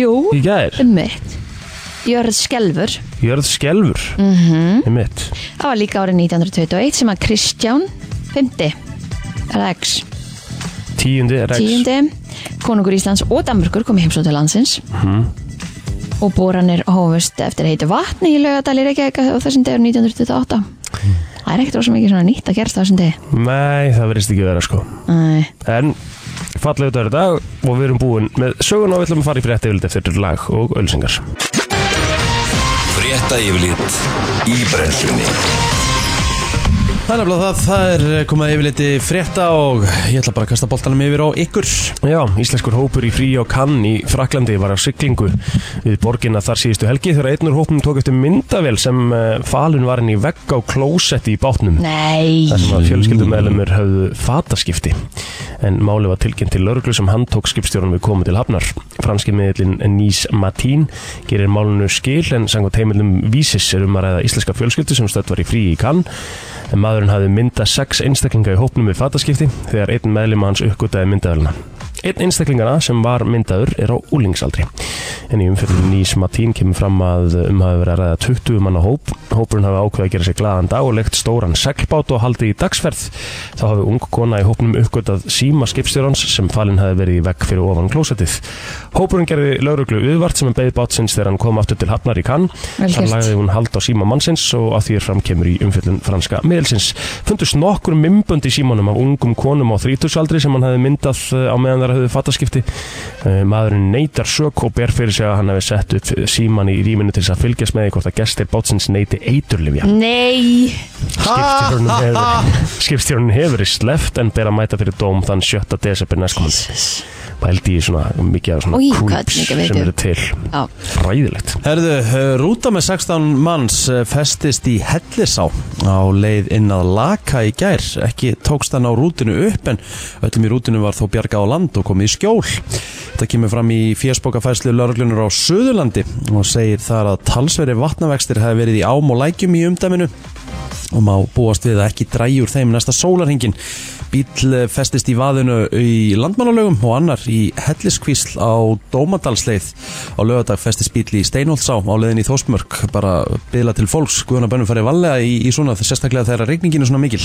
Speaker 3: jú,
Speaker 4: í gæðir?
Speaker 3: ummitt um Jörð Skelfur
Speaker 4: Jörð skelfur mm -hmm. í mitt.
Speaker 3: það var líka árið 1921 sem að Kristján 5. Rex
Speaker 4: Tíundi rex.
Speaker 3: tíundi konungur Íslands og Danmörkur kom í heimsótt til landsins og boranir hófust eftir heitu vatni í laugadal í Reykjavík á þessum degur 1928 það er ekkert rosa mikið svona nýtt að gerast á þessum degi
Speaker 4: Nei, það verðist ekki vera sko.
Speaker 3: Æ,
Speaker 4: En fallegu dagur í dag og við erum búin með söguna og við ætlum að fara í frétti yfirlit eftir lag og ölsingar.
Speaker 1: Frétta yfirlit í brennslunni
Speaker 2: Það er nefnilega það, það er komið að yfirleiti frétta og ég ætla bara að kasta boltanum yfir á ykkur
Speaker 4: Já, íslenskur hópur í frí og kann í Fraklandi var á siglingu við borginna þar síðustu helgi þegar einnur hópum tók eftir myndavél sem eh, falun var inn í vegg á klósetti í bátnum.
Speaker 3: nei
Speaker 4: þar sem að fjölskyldumæðlumur höfðu fataskipti en máli var tilkynnt til lauruglu sem hann tók skipstjórnum við komu til hafnar franski miðlinn Nís Matín gerir málunu skil en sangot heimilum vísis er um að ræða íslenska fjölskyldu sem stödd var í frí í kann en maðurinn hafði myndað sex einstaklinga í hópnum við fataskipti þegar einn meðlum hans uppgötaði myndavelina Einn einstaklingana sem var myndaður er á úlingsaldri. En í umfjöldunni í Smatín kemur fram að um hafi verið að ræða 20 manna hóp. Hópurinn hafi ákveðið að gera sér glaðan dag og legt stóran seglbát og haldið í dagsferð. Þá hafi ung kona í hópnum uppgötað síma skipstjórans sem falinn hafi verið í vegg fyrir ofan klósettið. Hópurinn gerði lauruglu viðvart sem beði bátsins þegar hann kom aftur til Hafnar í Kann.
Speaker 3: Vel
Speaker 4: Þar
Speaker 3: gert.
Speaker 4: lagði hún hald á síma mannsins og að því er fram kemur í umfjöldun franska miðelsins. Fundust nokkur mymbönd í símanum af ungum konum á þrítugsaldri sem hann hefði myndað eh, á meðan þar hefði fattaskipti. Eh, Maðurinn neytar sök og ber fyrir sig að hann hefði sett upp síman í rýminu til þess að fylgjast með því hvort að gestir bátsins neyti eiturlifja.
Speaker 3: Nei,
Speaker 4: Skipstjórnum hefur, skipstjórnum hefur verið sleppt en ber að mæta fyrir dóm þann 7. desember næstkomandi. Bældi í svona mikið af svona
Speaker 3: Oj, hvað
Speaker 4: creeps
Speaker 3: mikið veit
Speaker 4: sem
Speaker 3: ég.
Speaker 4: eru til.
Speaker 3: Já.
Speaker 4: Ræðilegt.
Speaker 2: Herðu, eh, rúta með 16 manns eh, festist í Hellisá á leið inn að laka í gær. Ekki tókst hann á rútinu upp en öllum í rútinu var þó bjargað á land og komið í skjól. Þetta kemur fram í fjöspókafæslu lauruglunar á Suðurlandi og segir þar að talsveri vatnavextir hefði verið í ám og lækjum í umdæminu og má búast við að ekki drægi úr þeim næsta sólarhingin. Bíl eh, festist í vaðinu í landmannalögum og annar í helliskvísl á Dómadalsleið. Á lögadag festist bíl í Steinholtsá á leiðin í Þósmörk, bara byðla til fólks, guðan að bönnum farið valega í, í svona, sérstaklega þegar regningin er svona mikil.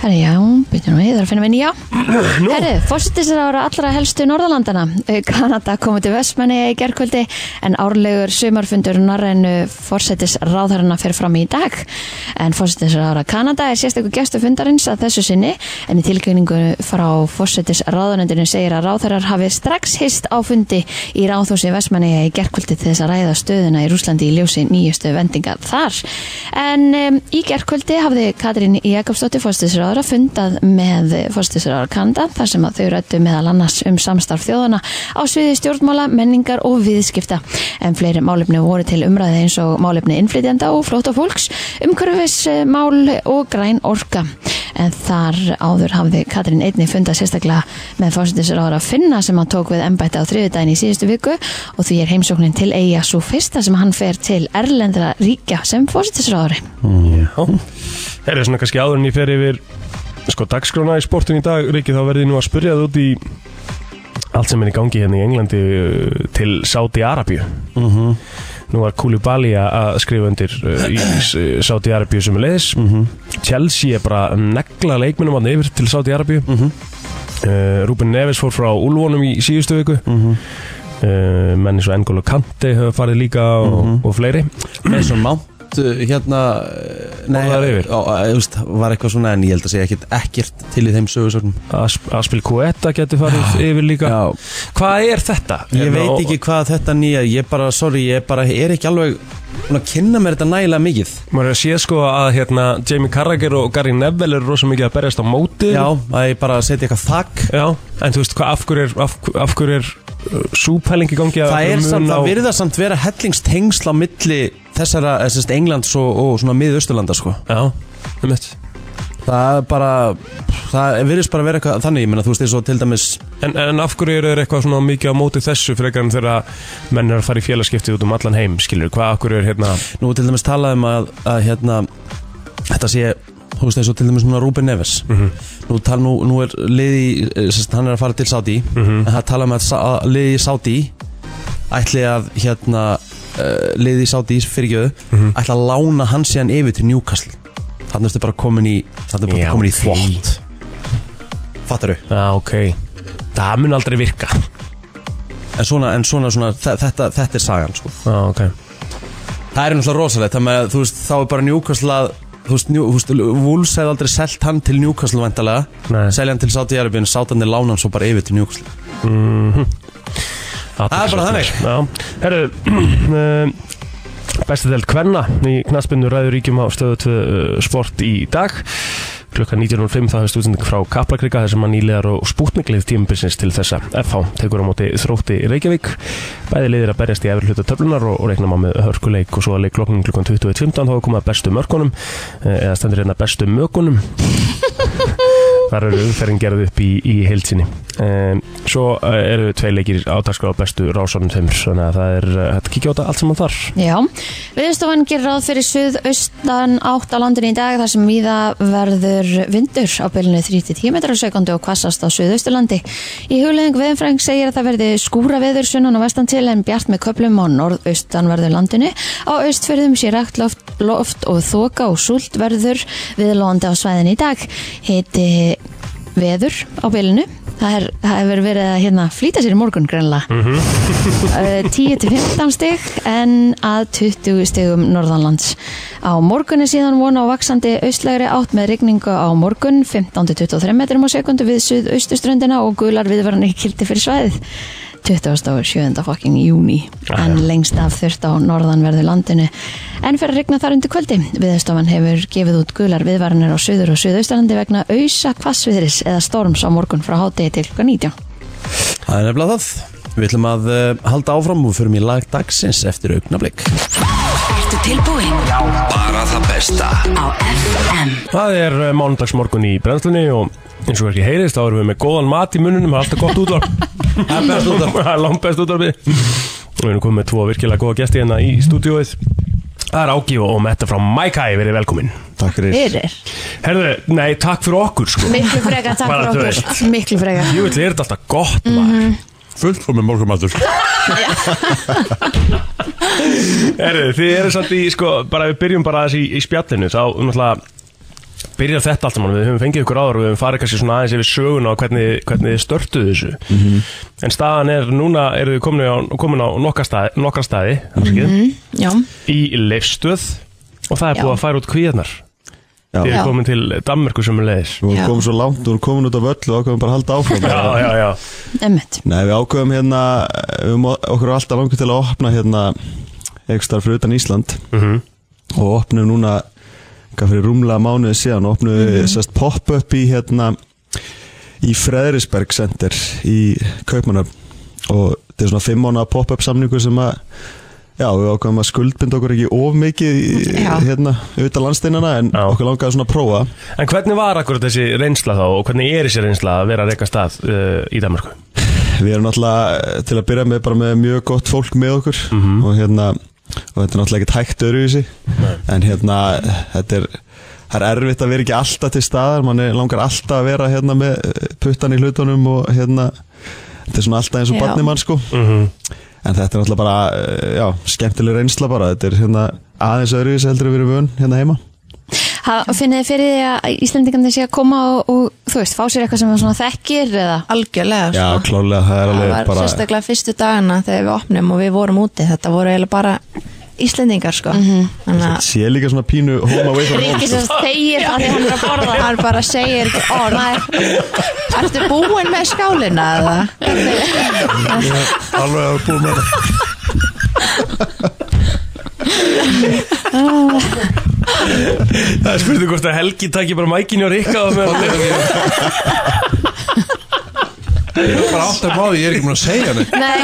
Speaker 3: herri já, byrjum við, þarf að finna minni já Herri, fórsetisrára allra helstu Norðalandana Auk Kanada komið til Vestmanni í gerkvöldi en árlegur sumarfundur narrænu fórsetisráðarana fer fram í dag en fórsetisrára Kanada er sérstakur gestu fundarins að þessu sinni en í tilkynningu frá fórsetisráðanendinu segir að ráðherrar hafi strax hist á fundi í ráðhúsi Vestmanni í gerkvöldi til þess að ræða stöðuna í Rúslandi í ljósi nýjustu vendinga þar en um, í gerkvöldi hafði Katrín Jakobsdóttir fórsetisráðara fundað með fórstisraður Kanda þar sem að þau rættu meðal annars um samstarf þjóðana á sviði stjórnmála, menningar og viðskipta. En fleiri málefni voru til umræði eins og málefni innflytjanda og flóttafólks, umhverfismál og græn orka. En þar áður hafði Katrín einni fundað sérstaklega með fórstisraður Finna sem hann tók við embætti á þriðudaginn í síðustu viku og því er heimsóknin til eiga svo fyrsta sem hann fer til erlendra ríkja sem fórstisraðari.
Speaker 4: Það er svona kannski áður en ég fer yfir sko dagskrána í sportin í dag Riki, þá verði ég nú að spurja það út í allt sem er í gangi hérna í Englandi uh, til Saudi-Arabíu
Speaker 2: Mhm.
Speaker 4: Nú var Koulibaly að- að skrifa undir uh, í uh, Saudi-Arabíu sem er leiðis
Speaker 2: Mhm.
Speaker 4: Chelsea er bara að negla leikmennum hann yfir til Saudi-Arabíu
Speaker 2: Mhm.
Speaker 4: uh, Ruben Neves fór frá Ulvonum í síðustu viku
Speaker 2: Mhm.
Speaker 4: uh, menn eins og N'Golo Kante hefur farið líka og, og fleiri
Speaker 2: Mhm. Mason Mount uh, hérna eh, nei,
Speaker 4: Fór þar yfir?
Speaker 2: á, á, þú veist, var eitthvað svona en ég held að segja ekkert, ekkert til í þeim sögursögnum
Speaker 4: Asp Aspil Kueta getur farið yfir líka
Speaker 2: Já, Hérna,
Speaker 4: Hvað er þetta? Hérna,
Speaker 2: ég veit ekki hvað þetta nýja ég bara, sorry, ég bara er ekki alveg búin að kynna mér þetta nægilega mikið
Speaker 4: Maður er að sé sko að hérna, Jamie Carragher og Gary Neville eru rosa mikið að berjast á móti
Speaker 2: Já, að ég bara setja eitthvað þakk
Speaker 4: Já, En þú veist, hvað, af hverju er, af, af hverju er uh, súpæling í gangi að
Speaker 2: Það er
Speaker 4: mun
Speaker 2: samt,
Speaker 4: á-
Speaker 2: það virða samt vera hellingstengsl á milli þessara, þessist Englands og, og svona miðausturlanda sko
Speaker 4: Já, um eitt
Speaker 2: Það er bara, það virðist bara vera eitthvað þannig, ég meina þú veist eins og til dæmis
Speaker 4: En, en af hverju eru þeir eitthvað svona mikið á móti þessu frekar en þegar menn er að fara í félagskipti út um allan heim, skilur, hvað af hverju er hérna
Speaker 2: Nú til dæmis talað um að, að hérna, þetta sé, þú veist eins og til dæmis núna Rúben Neves
Speaker 4: Mhm.
Speaker 2: nú, tal, nú, nú er liði, sérst, hann er að fara til Saudi
Speaker 4: Mhm.
Speaker 2: en það tala um að, Sa- að liði í Saudi ætli að hérna, uh, liði í Saudi fyrirgjöðu,
Speaker 4: Mhm.
Speaker 2: ætli að lána hann síðan yfir til Newcastle þannig ertu bara komin í, þannig ertu
Speaker 4: Já,
Speaker 2: bara komin í
Speaker 4: ok.
Speaker 2: þvott Fattaru?
Speaker 4: Já, ok Það mun aldrei virka
Speaker 2: En svona, en svona, svona þe- þetta, þetta er sagan sko.
Speaker 4: Já, ok
Speaker 2: Það er náttúrulega rosalegt Þannig að þú veist, þá er bara Newcastle að Þú veist, Njú- þú veist, Wolves hefði aldrei selt hann til Newcastle væntalega
Speaker 4: Nei.
Speaker 2: Selja hann til Saudi Arabíun, sátan er lána hann svo bara yfir til Newcastle Það er bara þannig.
Speaker 4: Já, herru um, Besti delt kvenna í knaspinu ræður ríkjum á stöðu 2 uh, sport í dag klukkan 19.05 það hefst útsending frá Kaplakrika þar sem að nýlegar og spútninglið tímabilsins til þessa FH tekur á móti þrótti Reykjavík bæði liðir að berjast í efri hluta töflunar og, og reikna má með hörkuleik og svo að leik klokkan klukkan 21.15 þá er komað bestu mörkunum eh, eða stendur hérna bestu mökunum Þar eru umferðin gerð upp í, í heilsinni um, Svo eh, eru tvei leikir átakskrá bestu rásunum þeim Svona að það er eh, hægt að kíkja á þetta allt saman þar
Speaker 3: Já, viðstofan gerir ráð fyrir suðaustan átt á landinu í dag þar sem viða verður vindur á bylunu 3-10 metrar á sekundu og hvassast á suðausturlandi. Í hugleðing veðinfræng segir að það verði skúra veður sunnan og vestan til en bjart með köplum á norðaustan verður landinu. Á austfyrðum sé rakt loft, loft og þoka og súlt verður viðlóðandi á svæðinu í dag. Heiti veður á bylunu. Það, er, það hefur verið að hérna, flýta sér í morgun greinlega. Eh, 10-15 stig en að 20 stigum norðanlands. Á morgun er síðan vona á vaksandi austlægri átt með rigningu á morgun 15-23 metrum á sekundu við suðaustuströndina og gular viðvarnir kildi fyrir svæðið. 27. fucking júni en lengst af þurft á norðanverðu landinu en fyrir að rigna þar undir kvöldi viðstofan hefur gefið út gular viðvarnir á suður og suðaustalandi vegna ausa hvassviðris eða storms á morgun frá hátegi til klukkan 19
Speaker 2: Það er nefnilega það Við ætlum að uh, halda áfram og förum í lag dagsins eftir augnablík
Speaker 6: Ertu tilbúin?
Speaker 1: Bara það besta
Speaker 6: Á FM
Speaker 4: Það er uh, mánudagsmorgun í brennslunni og eins og kannski heyrist þá erum við með góðan mat í mununum, það er alltaf gott útvarp Það er best útvarp Það er langt best útvarpið Og við erum komið með tvo virkilega góða gesti hérna í stúdíóið Það er Áki og Metta frá Mækæ, verið velkomin
Speaker 2: Takk fyrir
Speaker 3: Fyrir
Speaker 4: Herðu, nei, takk fyrir okkur sko
Speaker 3: Miklu freka, takk
Speaker 4: Bara þú
Speaker 3: fyrir
Speaker 4: veist.
Speaker 3: okkur Miklu freka
Speaker 4: Jú, þetta er þetta alltaf gott maður mm
Speaker 5: Fullt komið morgumatur
Speaker 4: Herðu, þið eru samt í, sko, bara við byrjum bara aðeins í, í spjallinu Þá, náttúrulega, byrjar þetta allt saman Við höfum fengið ykkur áður og við höfum farið kannski svona aðeins yfir söguna og hvernig, hvernig þið störtuðu þessu En staðan er, núna eru þið komin á, komin á nokkra staði, nokkra staði mm
Speaker 3: Já,
Speaker 4: Í leifstöð Og það er
Speaker 3: Já.
Speaker 4: búið að færa út kvíðarnar Þið
Speaker 7: Já.
Speaker 3: Já.
Speaker 4: eru komin til Danmerku sem er leiðis
Speaker 7: Við
Speaker 3: Já.
Speaker 7: vorum komin svo langt, við vorum komin út af öllu og ákveðum bara að halda áfram
Speaker 4: Já, já, já
Speaker 3: emmitt
Speaker 7: Nei, við ákveðum hérna, við höfum okkur alltaf langur til að opna hérna eitthvað starf fyrir utan Ísland
Speaker 4: Mhm.
Speaker 7: og opnum núna, hvað fyrir rúmlega mánuði síðan, opnum við
Speaker 3: Mhm.
Speaker 7: sérst pop-up í hérna í Freðrisberg Center í Kaupmannöfn og þetta er svona fimm mánuða pop-up samningu sem að Já, við ákveðum að skuldbinda okkur ekki of mikið í-
Speaker 3: Já.
Speaker 7: hérna, auðvitað landsteinana en
Speaker 4: Já.
Speaker 7: okkur langaði svona að prófa
Speaker 4: En hvernig var akkur þessi reynsla þá og hvernig er þessi reynsla að vera að reyka stað uh, í Danmerku?
Speaker 7: Við erum náttúrulega eh, til að byrja með bara með mjög gott fólk með okkur og hérna og þetta er náttúrulega ekkert hægt öruvísi en hérna þetta er það er erfitt að vera ekki alltaf til staðar mann langar alltaf að vera hérna með eh, puttan í hlutunum og hérna þetta er svona alltaf eins og
Speaker 3: Já.
Speaker 7: barnimann sko en þetta er náttúrulega bara eh, já, skemmtileg reynsla bara þetta er hérna aðeins öruvísi heldur en við erum vön hérna heima
Speaker 3: Finnið þið fyrir því að Íslendingandi sé að koma og, og þú veist, fá sér eitthvað sem það svona þekkir eða
Speaker 8: algjörlega
Speaker 7: Já,
Speaker 8: sko.
Speaker 7: klálega, það er
Speaker 8: það
Speaker 7: alveg
Speaker 8: var
Speaker 7: bara
Speaker 8: sérstaklega fyrstu dagana þegar við opnum og við vorum úti þetta voru eiginlega bara Íslendingar sko þannig að
Speaker 7: sé líka svona pínu home away from home sko.
Speaker 3: Ríkir sem þegir að því hann er að borða
Speaker 8: hann bara segir ekki orð Ertu búinn með skálina eða?
Speaker 5: Alveg að búið með það
Speaker 4: Það er spurning hvort að Helgi takki bara mækinni og rikka og með
Speaker 5: Ég er bara átt að máði, ég er ekki mér að segja neitt
Speaker 3: Nei,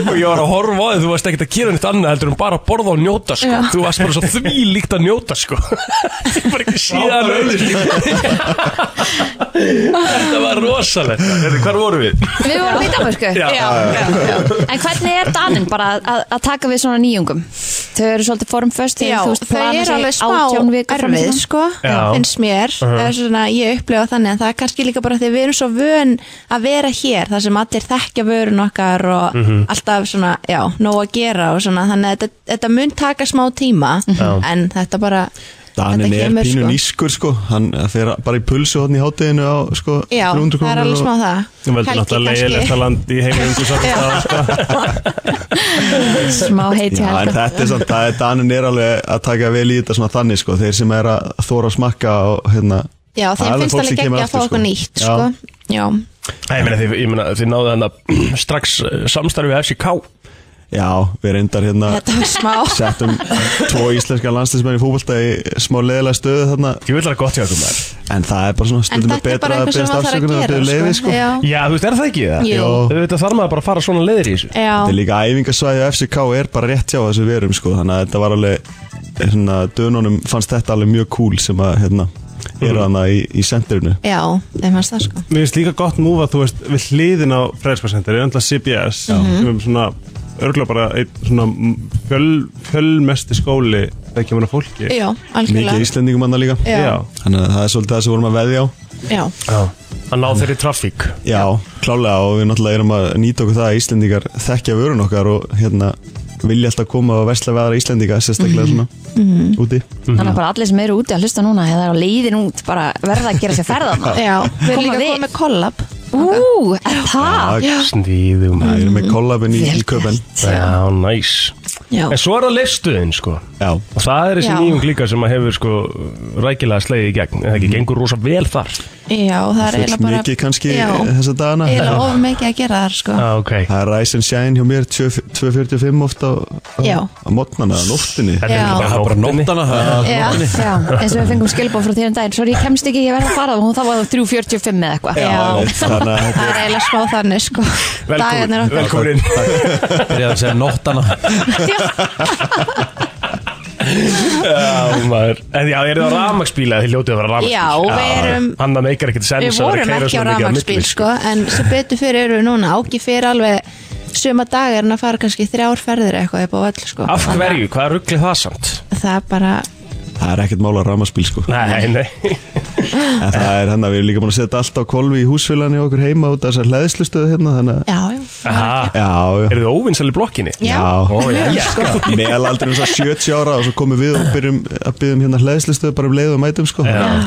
Speaker 4: og ég var að horfa á þig, þú varst ekkert að gera nýtt annað heldur en bara að borða og njóta sko þú varst bara svo því líkt að njóta sko ég var ekki síðan auðvist þetta var rosalegt Þetta, hvar vorum við?
Speaker 3: við vorum í Danmarku
Speaker 4: Já.
Speaker 3: En hvernig er Danin bara að, að taka við svona nýjungum? Þau eru svolítið formföst í
Speaker 8: Já,
Speaker 3: þú veist,
Speaker 8: þau
Speaker 3: plana
Speaker 8: eru
Speaker 3: sig
Speaker 8: alveg
Speaker 3: 18
Speaker 8: smá
Speaker 3: vikur fram í
Speaker 8: erfið
Speaker 3: tímann.
Speaker 8: sko,
Speaker 4: Já.
Speaker 8: finnst mér
Speaker 7: Uh-huh.
Speaker 8: uh -huh. svona, ég upplifa þannig en það er kannski líka bara því við erum svo vön að vera hér þar sem allir þekkja vörun okkar og
Speaker 7: Mhm.
Speaker 8: alltaf svona, já, nóg að gera og svona, þannig að þetta, þetta mun taka smá tíma en þetta bara
Speaker 7: Danin er
Speaker 8: þetta kemur,
Speaker 7: pínu
Speaker 8: sko.
Speaker 7: nískur sko, hann fer bara í pulsu hodn í hátíðinu á sko
Speaker 8: Já,
Speaker 7: 300
Speaker 8: það er
Speaker 7: krónur
Speaker 8: alveg smá það
Speaker 4: Þú veldur
Speaker 8: Helgi
Speaker 4: náttúrulega
Speaker 8: kannski.
Speaker 4: leiðilegt að landa í heimum þú satt það sko
Speaker 3: Smá heiti
Speaker 7: Já, en
Speaker 8: sko.
Speaker 3: helga
Speaker 7: þetta er samt, það er Danin er alveg að taka vel í þetta svona þannig sko, þeir sem er að þóra að smakka og hérna
Speaker 8: Já,
Speaker 7: það er
Speaker 8: þeim finnst
Speaker 7: fólk sem
Speaker 8: alveg
Speaker 7: kemur
Speaker 8: geggja að fá
Speaker 7: aftur,
Speaker 8: okkur nýtt
Speaker 7: Já.
Speaker 8: sko. Já,
Speaker 4: Nei, ég meina, þið, ég meina, þið náðu þannig strax eh, samstarfi við FCK
Speaker 7: Já, við reyndar hérna
Speaker 8: þetta var smá
Speaker 7: settum tvo íslenska landslæsmenn í fótbolta í smá leðilega stöðu þarna
Speaker 4: ég vil það gott hjá okkur maður
Speaker 7: en það er bara svona
Speaker 8: En
Speaker 7: stundum er
Speaker 8: þetta er bara
Speaker 7: betra að
Speaker 8: eitthvað sem
Speaker 7: beðast
Speaker 8: maður þarf
Speaker 7: afsökunar
Speaker 8: að
Speaker 7: að
Speaker 8: gera
Speaker 7: þau leiði sko
Speaker 8: Já,
Speaker 4: já, þú veist, er það ekki það?
Speaker 8: Jú.
Speaker 7: Jó.
Speaker 4: Þú veit þarf maður bara að fara svona leiðir í þessu
Speaker 8: já
Speaker 7: Þetta er líka æfingasvæði á FCK er bara rétt hjá þessu verum sko, þannig að þetta var alveg svona, dönunum fannst þetta alveg mjög cool sem að hérna, eru hana í, í sendirinu
Speaker 8: já, þeim fannst það sko
Speaker 9: Mér finnst líka gott múfa, þú veist, við hliðin á fræðskvarsendir, er endla CBS
Speaker 4: Mhm.
Speaker 9: sem er svona, örgulega bara einn svona fjöl, fjölmesti skóli þegar manna fólki
Speaker 8: já,
Speaker 7: Mikið
Speaker 8: algjörlega
Speaker 7: íslendingum hana líka
Speaker 8: Já.
Speaker 7: Þannig að það er svolítið það sem vorum að veðja á
Speaker 8: já,
Speaker 4: að ná þeirri trafík
Speaker 7: Já, klálega og við náttúrulega erum að nýta okkur það að Íslendingar þekkja vörun okkar og hérna vilja alltaf koma og versla við aðra Íslendinga
Speaker 8: Mhm.
Speaker 7: sérstaklega svona úti
Speaker 3: Þannig
Speaker 7: Mm.
Speaker 3: að bara allir sem eru úti að hlusta núna eða eru á leiðin út bara verða að gera sér
Speaker 7: Ah.
Speaker 3: ferðarnar
Speaker 8: já, við erum
Speaker 3: Koma
Speaker 8: líka
Speaker 3: við.
Speaker 8: komið með kollab
Speaker 3: Ú, er það?
Speaker 4: sníðum
Speaker 7: Það erum með
Speaker 8: Mhm.
Speaker 7: kollabin í, í
Speaker 3: Vel
Speaker 7: köpen
Speaker 3: gert.
Speaker 4: um já, næs
Speaker 8: já,
Speaker 4: en svo er það leifstuðin sko
Speaker 7: Já,
Speaker 4: og það er þessi
Speaker 8: Já.
Speaker 4: nýjung líka sem að hefur sko rækilega slegið í gegn eða ekki, gengur rosa vel þar
Speaker 8: já, það er
Speaker 7: full
Speaker 8: eiginlega bara
Speaker 7: mikið kannski
Speaker 8: já,
Speaker 7: þessa dagana
Speaker 8: eiginlega of mikið að gera þar sko
Speaker 4: ah, ok
Speaker 7: Það er Rise and Shine hjá mér 2.45 oft á,
Speaker 8: Já.
Speaker 7: á, á mótnana, á nóttinni
Speaker 4: Þetta er
Speaker 8: Já.
Speaker 4: náttúrulega bara nóttinni.
Speaker 8: já,
Speaker 3: Já, eins og við fengum skilbóð frá þér um daginn Sorry, ég kemst ekki, ég verða að fara og hún þá var það 3.45 eða eitthvað
Speaker 8: já,
Speaker 7: Þannig að þetta
Speaker 8: það er eiginlega smá þannig sko dagarnir
Speaker 4: Velkomin,
Speaker 8: okkar
Speaker 4: velkomin inn
Speaker 2: Byrjaði að segja nóttana
Speaker 4: Já, maður En já, er það á rafmagsbíla? Þið hljótið að vera
Speaker 8: Já,
Speaker 4: rafmagsbíla
Speaker 8: við erum-
Speaker 4: Hann það meikar ekkert sens
Speaker 8: við
Speaker 4: að vera að
Speaker 8: vorum
Speaker 4: keyra
Speaker 8: ekki á
Speaker 4: svona mikið milli,
Speaker 8: rafmagsbíl sko, en sem betur fyrir eru við núna áki fyrir alveg suma dagar en að fara kannski þrjár ferðir eitthvað upp á völl sko.
Speaker 4: Af hverju? Hvað ruggli það samt?
Speaker 8: það er bara,
Speaker 7: Það er ekkert mála ramaspíl sko
Speaker 4: Nei, nei
Speaker 7: En það er hann að við erum líka búin að setja allt á kolvi í húsfélaginu hjá okkur heima út af þessar hlæðislustöðu hérna þannig að
Speaker 8: já, já
Speaker 4: Aha,
Speaker 7: Já, já,
Speaker 4: eru þið óvinnsal í blokkinni?
Speaker 7: já.
Speaker 8: Já.
Speaker 4: já sko.
Speaker 7: Meðal aldrei um þess 70 ára og svo komum við og byrjum að byrjum hérna hlæðislustöðu bara um leið og mætum sko
Speaker 4: Já.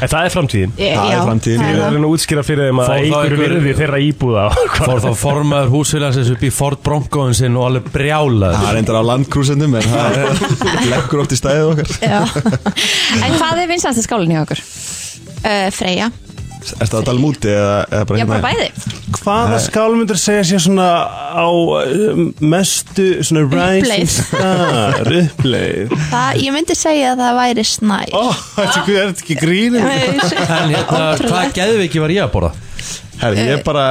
Speaker 4: En það er framtíðin
Speaker 8: Já,
Speaker 7: Það er framtíðin.
Speaker 8: það
Speaker 4: Ég er
Speaker 8: það.
Speaker 4: að reyna að útskýra fyrir þeim að
Speaker 2: Fór þá
Speaker 4: einhverju
Speaker 2: einhver-
Speaker 4: virði þeirra íbúða
Speaker 2: Fór þá formaður húsfélagsins upp í Ford Broncoin sinn og alveg brjálaður
Speaker 7: Það er endur á landkrúsendum en það er- leggur oft í stæðið okkar
Speaker 3: En hvað er vinsanasta skálinn hjá okkur?
Speaker 8: Eh, Freyja,
Speaker 7: Ertu að tala um úti eða, eða bara hérna?
Speaker 3: Já, bara bæði
Speaker 9: Hvaða skálmyndur segja sér svona á um, mestu svona rising
Speaker 8: Uppleið.
Speaker 9: star uppleið
Speaker 8: það, ég myndi segja að það væri snæ
Speaker 9: Ó, þetta er þetta ekki grínin
Speaker 2: En hérna, hvað geðviki var ég að borða?
Speaker 7: Herri, ég bara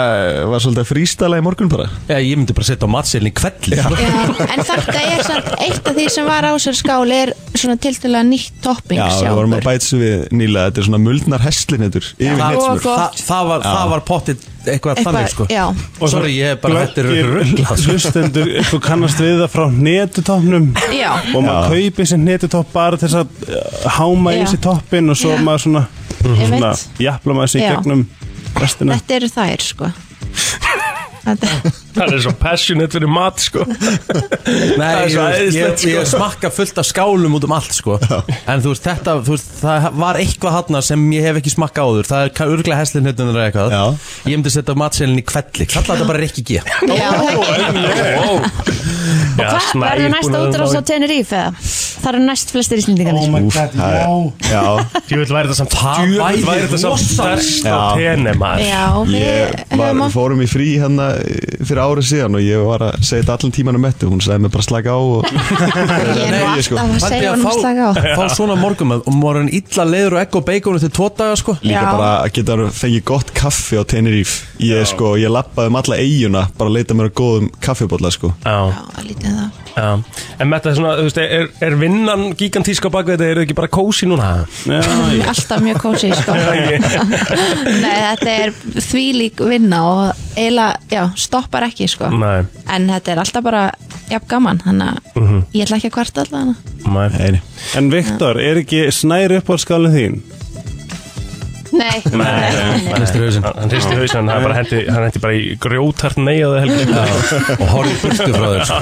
Speaker 7: var svolítið að frístala í morgun bara
Speaker 2: Já, ég myndi bara setja á matselin í kvelli
Speaker 8: en þetta er samt eitt af því sem var á sér skáli er svona tiltölulega nýtt topping
Speaker 7: Já, við vorum að bæta svo við nýlega Þetta er svona muldnar heslinendur yfir
Speaker 2: Það,
Speaker 8: Og
Speaker 7: hnedsmjör
Speaker 8: gott.
Speaker 2: það, það var, það var pottið eitthvað þannig sko
Speaker 8: já,
Speaker 2: Sorry, ég er bara um þetta er ruggla
Speaker 9: Hlustendur, þú kannast við það frá netutoppnum
Speaker 8: já,
Speaker 9: og maður kaupir sér netutopp bara til þess að uh, háma í
Speaker 8: Já.
Speaker 9: sér toppin og svo
Speaker 8: Já.
Speaker 9: maður svona, svona
Speaker 8: Einmitt.
Speaker 9: jafla maður sér í
Speaker 8: Já.
Speaker 9: gegnum restina
Speaker 8: þetta eru þær sko þetta,
Speaker 4: Það er svo passionate fyrir mat sko
Speaker 2: Nei,
Speaker 4: Það er
Speaker 2: ég,
Speaker 4: svo
Speaker 2: ég,
Speaker 4: æðislegt,
Speaker 2: ég,
Speaker 4: sko.
Speaker 2: smakka fullt af skálum út um allt sko. En þú veist, þetta, þú veist, það var eitthvað hann sem ég hef ekki smakka áður Það er örglega hæslinn hérna eða eitthvað
Speaker 7: Já.
Speaker 2: Ég myndi setja á matselin í kvelli Kalla þetta bara Rikki G
Speaker 8: já,
Speaker 4: Já,
Speaker 3: Hvað
Speaker 4: Snær
Speaker 3: verður
Speaker 4: búin
Speaker 3: næsta
Speaker 4: að-
Speaker 3: útrás á Tenerife? eða? Það eru næst flestir íslendingarnir
Speaker 7: Úff, það er- Já,
Speaker 4: Ég vil væri þetta samt
Speaker 2: Það
Speaker 4: Djöfull
Speaker 2: væri
Speaker 4: væri þetta samt
Speaker 2: rosalegt.
Speaker 4: stærst
Speaker 7: Já.
Speaker 4: á tenni maður
Speaker 8: já
Speaker 7: ég
Speaker 8: við
Speaker 7: var,
Speaker 8: höfum oft
Speaker 7: fórum í frí hérna eh, fyrir árið síðan og ég var að segja þetta allan tíman um ettu Hún sagði mig bara slaka á og
Speaker 8: ég er
Speaker 2: Nei,
Speaker 8: nú
Speaker 7: ég sko.
Speaker 8: alltaf að
Speaker 2: Pældi
Speaker 8: segja
Speaker 2: að
Speaker 8: honum að slaka á
Speaker 2: fá, fá svona morgum og morgun illa leiður og egg og bacon til tvo daga sko
Speaker 7: Líka
Speaker 8: Já.
Speaker 7: bara að geta að fengið gott kaffi á Tenerife Ég sko, ég lappaði um alla eiguna bara að leita mér að góðum kaffibólla sko
Speaker 4: Já,
Speaker 8: já, lítið um það
Speaker 4: já En með þetta svona, þú veist, er, er vinnan gigantíska bak við þetta, eru þið ekki bara kósi núna?
Speaker 9: Já,
Speaker 8: Ég er alltaf mjög kósi sko. Nei, þetta er þvílík vinna og eiginlega, já, stoppar ekki sko.
Speaker 4: Nei,
Speaker 8: en þetta er alltaf bara jafn gaman, þannig að ég ætla ekki að kvarta alltaf hana
Speaker 4: nei
Speaker 7: Nei, nei.
Speaker 9: En Viktor, er ekki snæri upp á skálinn þín?
Speaker 3: Nei,
Speaker 4: Hann hristi hausinn Hann hristi hausinn, hann bara hendi, hann hendi bara í grjótart neyjaði helgi
Speaker 2: og horfði burtu frá þér sko.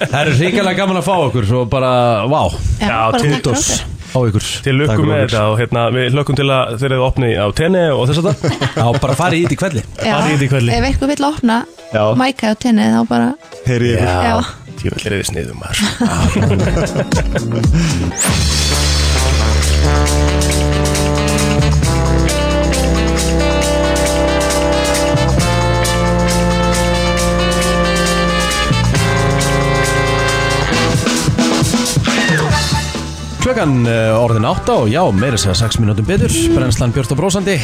Speaker 2: Það eru hrikalega gaman að fá okkur og bara, vá,
Speaker 8: Já,
Speaker 4: Já,
Speaker 8: bara takk
Speaker 4: Tindors.
Speaker 8: fyrir okkur.
Speaker 2: á ykkur
Speaker 4: Til
Speaker 7: Takk
Speaker 4: lukkum
Speaker 7: fyrir
Speaker 4: með
Speaker 7: okkur.
Speaker 4: þetta og hérna, við lukkum til að þeir eru opni á tenni og þess að það
Speaker 2: Já, bara farið í þetta í kvelli
Speaker 8: Já,
Speaker 4: Farið í þetta í kvöldi.
Speaker 8: Ef eitthvað vill opna
Speaker 7: Já.
Speaker 8: mæka á tenni þá bara
Speaker 7: Heyri ég
Speaker 8: Já.
Speaker 4: Tjóðvill er þið sniðum maður
Speaker 2: Klukkan uh, orðin átta og já, meira segja 6 minútum betur Brennslan Björn og Brósandi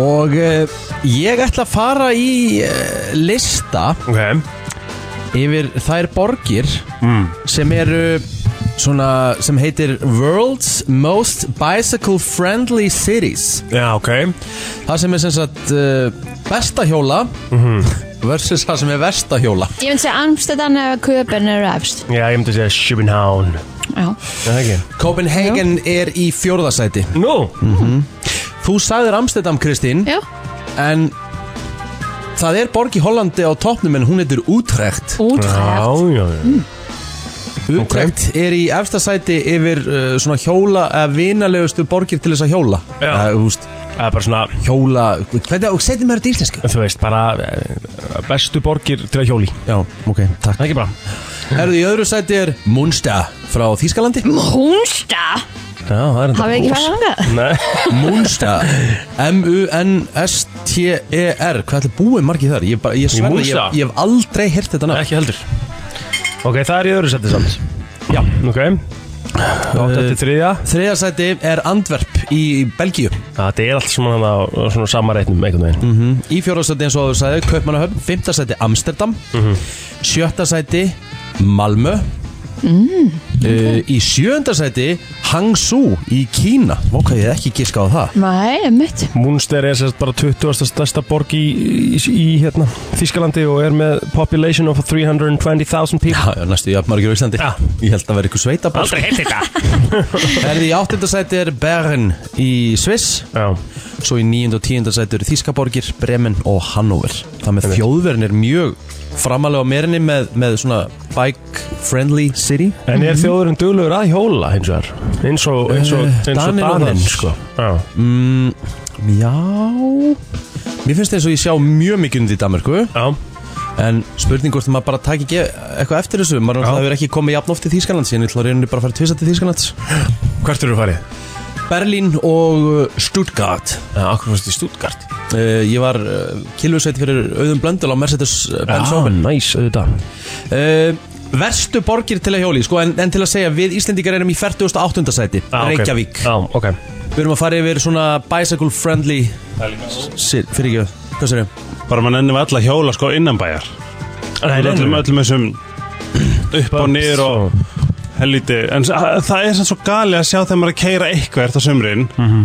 Speaker 2: Og uh, ég ætla að fara í uh, lista
Speaker 4: Ok,
Speaker 2: yfir þær borgir sem eru svona sem heitir World's Most Bicycle Friendly Cities
Speaker 4: Já, ok
Speaker 2: Það sem er sem sagt uh, besta hjóla versus það sem er versta hjóla
Speaker 3: Ég myndi segja Amstedan eða Köpen eru efst
Speaker 4: Já, ég myndi að segja Schubenhaun
Speaker 3: Já,
Speaker 4: Það ekki
Speaker 2: Copenhagen er í fjórðasæti
Speaker 4: Nú,
Speaker 2: Þú sagðir Amsterdam Kristín
Speaker 3: já
Speaker 2: en það er borg í Hollandi á toppnum en hún heitir Utrecht
Speaker 4: já,
Speaker 3: útreft
Speaker 4: já, já
Speaker 2: Utrecht er í efstasæti yfir uh, svona hjóla eða vinalegustu borgir til þess að hjóla
Speaker 4: Já.
Speaker 2: Það er, þú veist,
Speaker 4: Það er bara svona,
Speaker 2: hjóla hvernig, og setjum maður þetta í íslensku
Speaker 4: þú veist, bara eh, bestu borgir til að hjóli
Speaker 2: Já, ok, takk
Speaker 4: Það ekki bara
Speaker 2: Herðu í öðru sæti er Munsta frá Þýskalandi
Speaker 3: Húnsta
Speaker 4: Já, það er enda
Speaker 3: Hafið ekki farið þangað?
Speaker 4: Nei
Speaker 2: Munsta M-U-N-S-T-E-R Hvað ætli búið margið þar? Ég, bara, ég, sverða, ég,
Speaker 4: Munster?
Speaker 2: ég hef aldrei hirt þetta nafn
Speaker 4: Ekki heldur Ok, það er í öðru seti samt Já Ok Átt eftir þriðja
Speaker 2: Þriða sæti er Andverp í Belgíu
Speaker 4: Það er allt svona hana á á svona sama reitnum einhvern veginn mm.
Speaker 2: Í fjóra sæti eins og áður sæði Kaupmannahöfn Fymta sæti Amsterdam Sjötta sæti Malmö uh, Í sjönda sæti Hangzhou í Kína Vá, hvað ég hef ekki giska á það
Speaker 3: Nei, mitt
Speaker 4: Mhm. Munster er sérst bara 20. stærsta borg í, í, í hérna Þískalandi og er með population of 320.000 people
Speaker 2: Já, já, næstu í margir á Íslandi
Speaker 4: Já.
Speaker 2: Ég held að vera ykkur sveitabór
Speaker 4: Aldrei heilt þetta
Speaker 2: Erði í áttunda sæti er Bern í Sviss
Speaker 4: Já
Speaker 2: Svo í níunda og tíunda sæti eru Þískaborgir, Bremen og Hannover Það með þjóðverin er mjög framalega á merinni með, með svona bike-friendly city
Speaker 4: En er þjóðurinn duglegur að hjóla hins vegar? Eins og, eins og,
Speaker 2: Eh,
Speaker 4: eins og
Speaker 2: Danir og
Speaker 4: Danin
Speaker 2: Dans.
Speaker 4: sko Já
Speaker 2: mm, Já Mér finnst eins og ég sjá mjög mikið um því í Danmarku
Speaker 4: Já
Speaker 2: En spurning hvort maður bara taki ekki eitthvað eftir þessu Maður
Speaker 4: Já.
Speaker 2: náttúrulega hefur ekki komið jafn oft til Þýskalands Ég ætla að reyna bara að fara tvisa til Þýskalands
Speaker 4: Hvert eru þú farið?
Speaker 2: Berlín og uh, Stuttgart
Speaker 4: Já, okkur fórst Eh, í Stuttgart
Speaker 2: uh, Ég var uh, kilvusveit fyrir auðum blöndul á eh, Mercedes-Benz Open
Speaker 4: næs auðvitað
Speaker 2: uh, Verstu borgir til að hjóli sko, en, en til að segja, við Íslendingar erum í 48. sæti
Speaker 4: Já, Ah, ok.
Speaker 2: Reykjavík
Speaker 4: Já, ok
Speaker 2: Við erum að fara yfir svona bicycle friendly Sir, Fyrir ekki, hvað sér ég?
Speaker 9: bara mann ennum alla hjóla sko innanbæjar
Speaker 4: Nei,
Speaker 9: öllum, öllum þessum upp og niður og
Speaker 4: og
Speaker 9: helviti en s- að- það er sann svo gali að sjá þegar maður er að keira eitthvað á sömurinn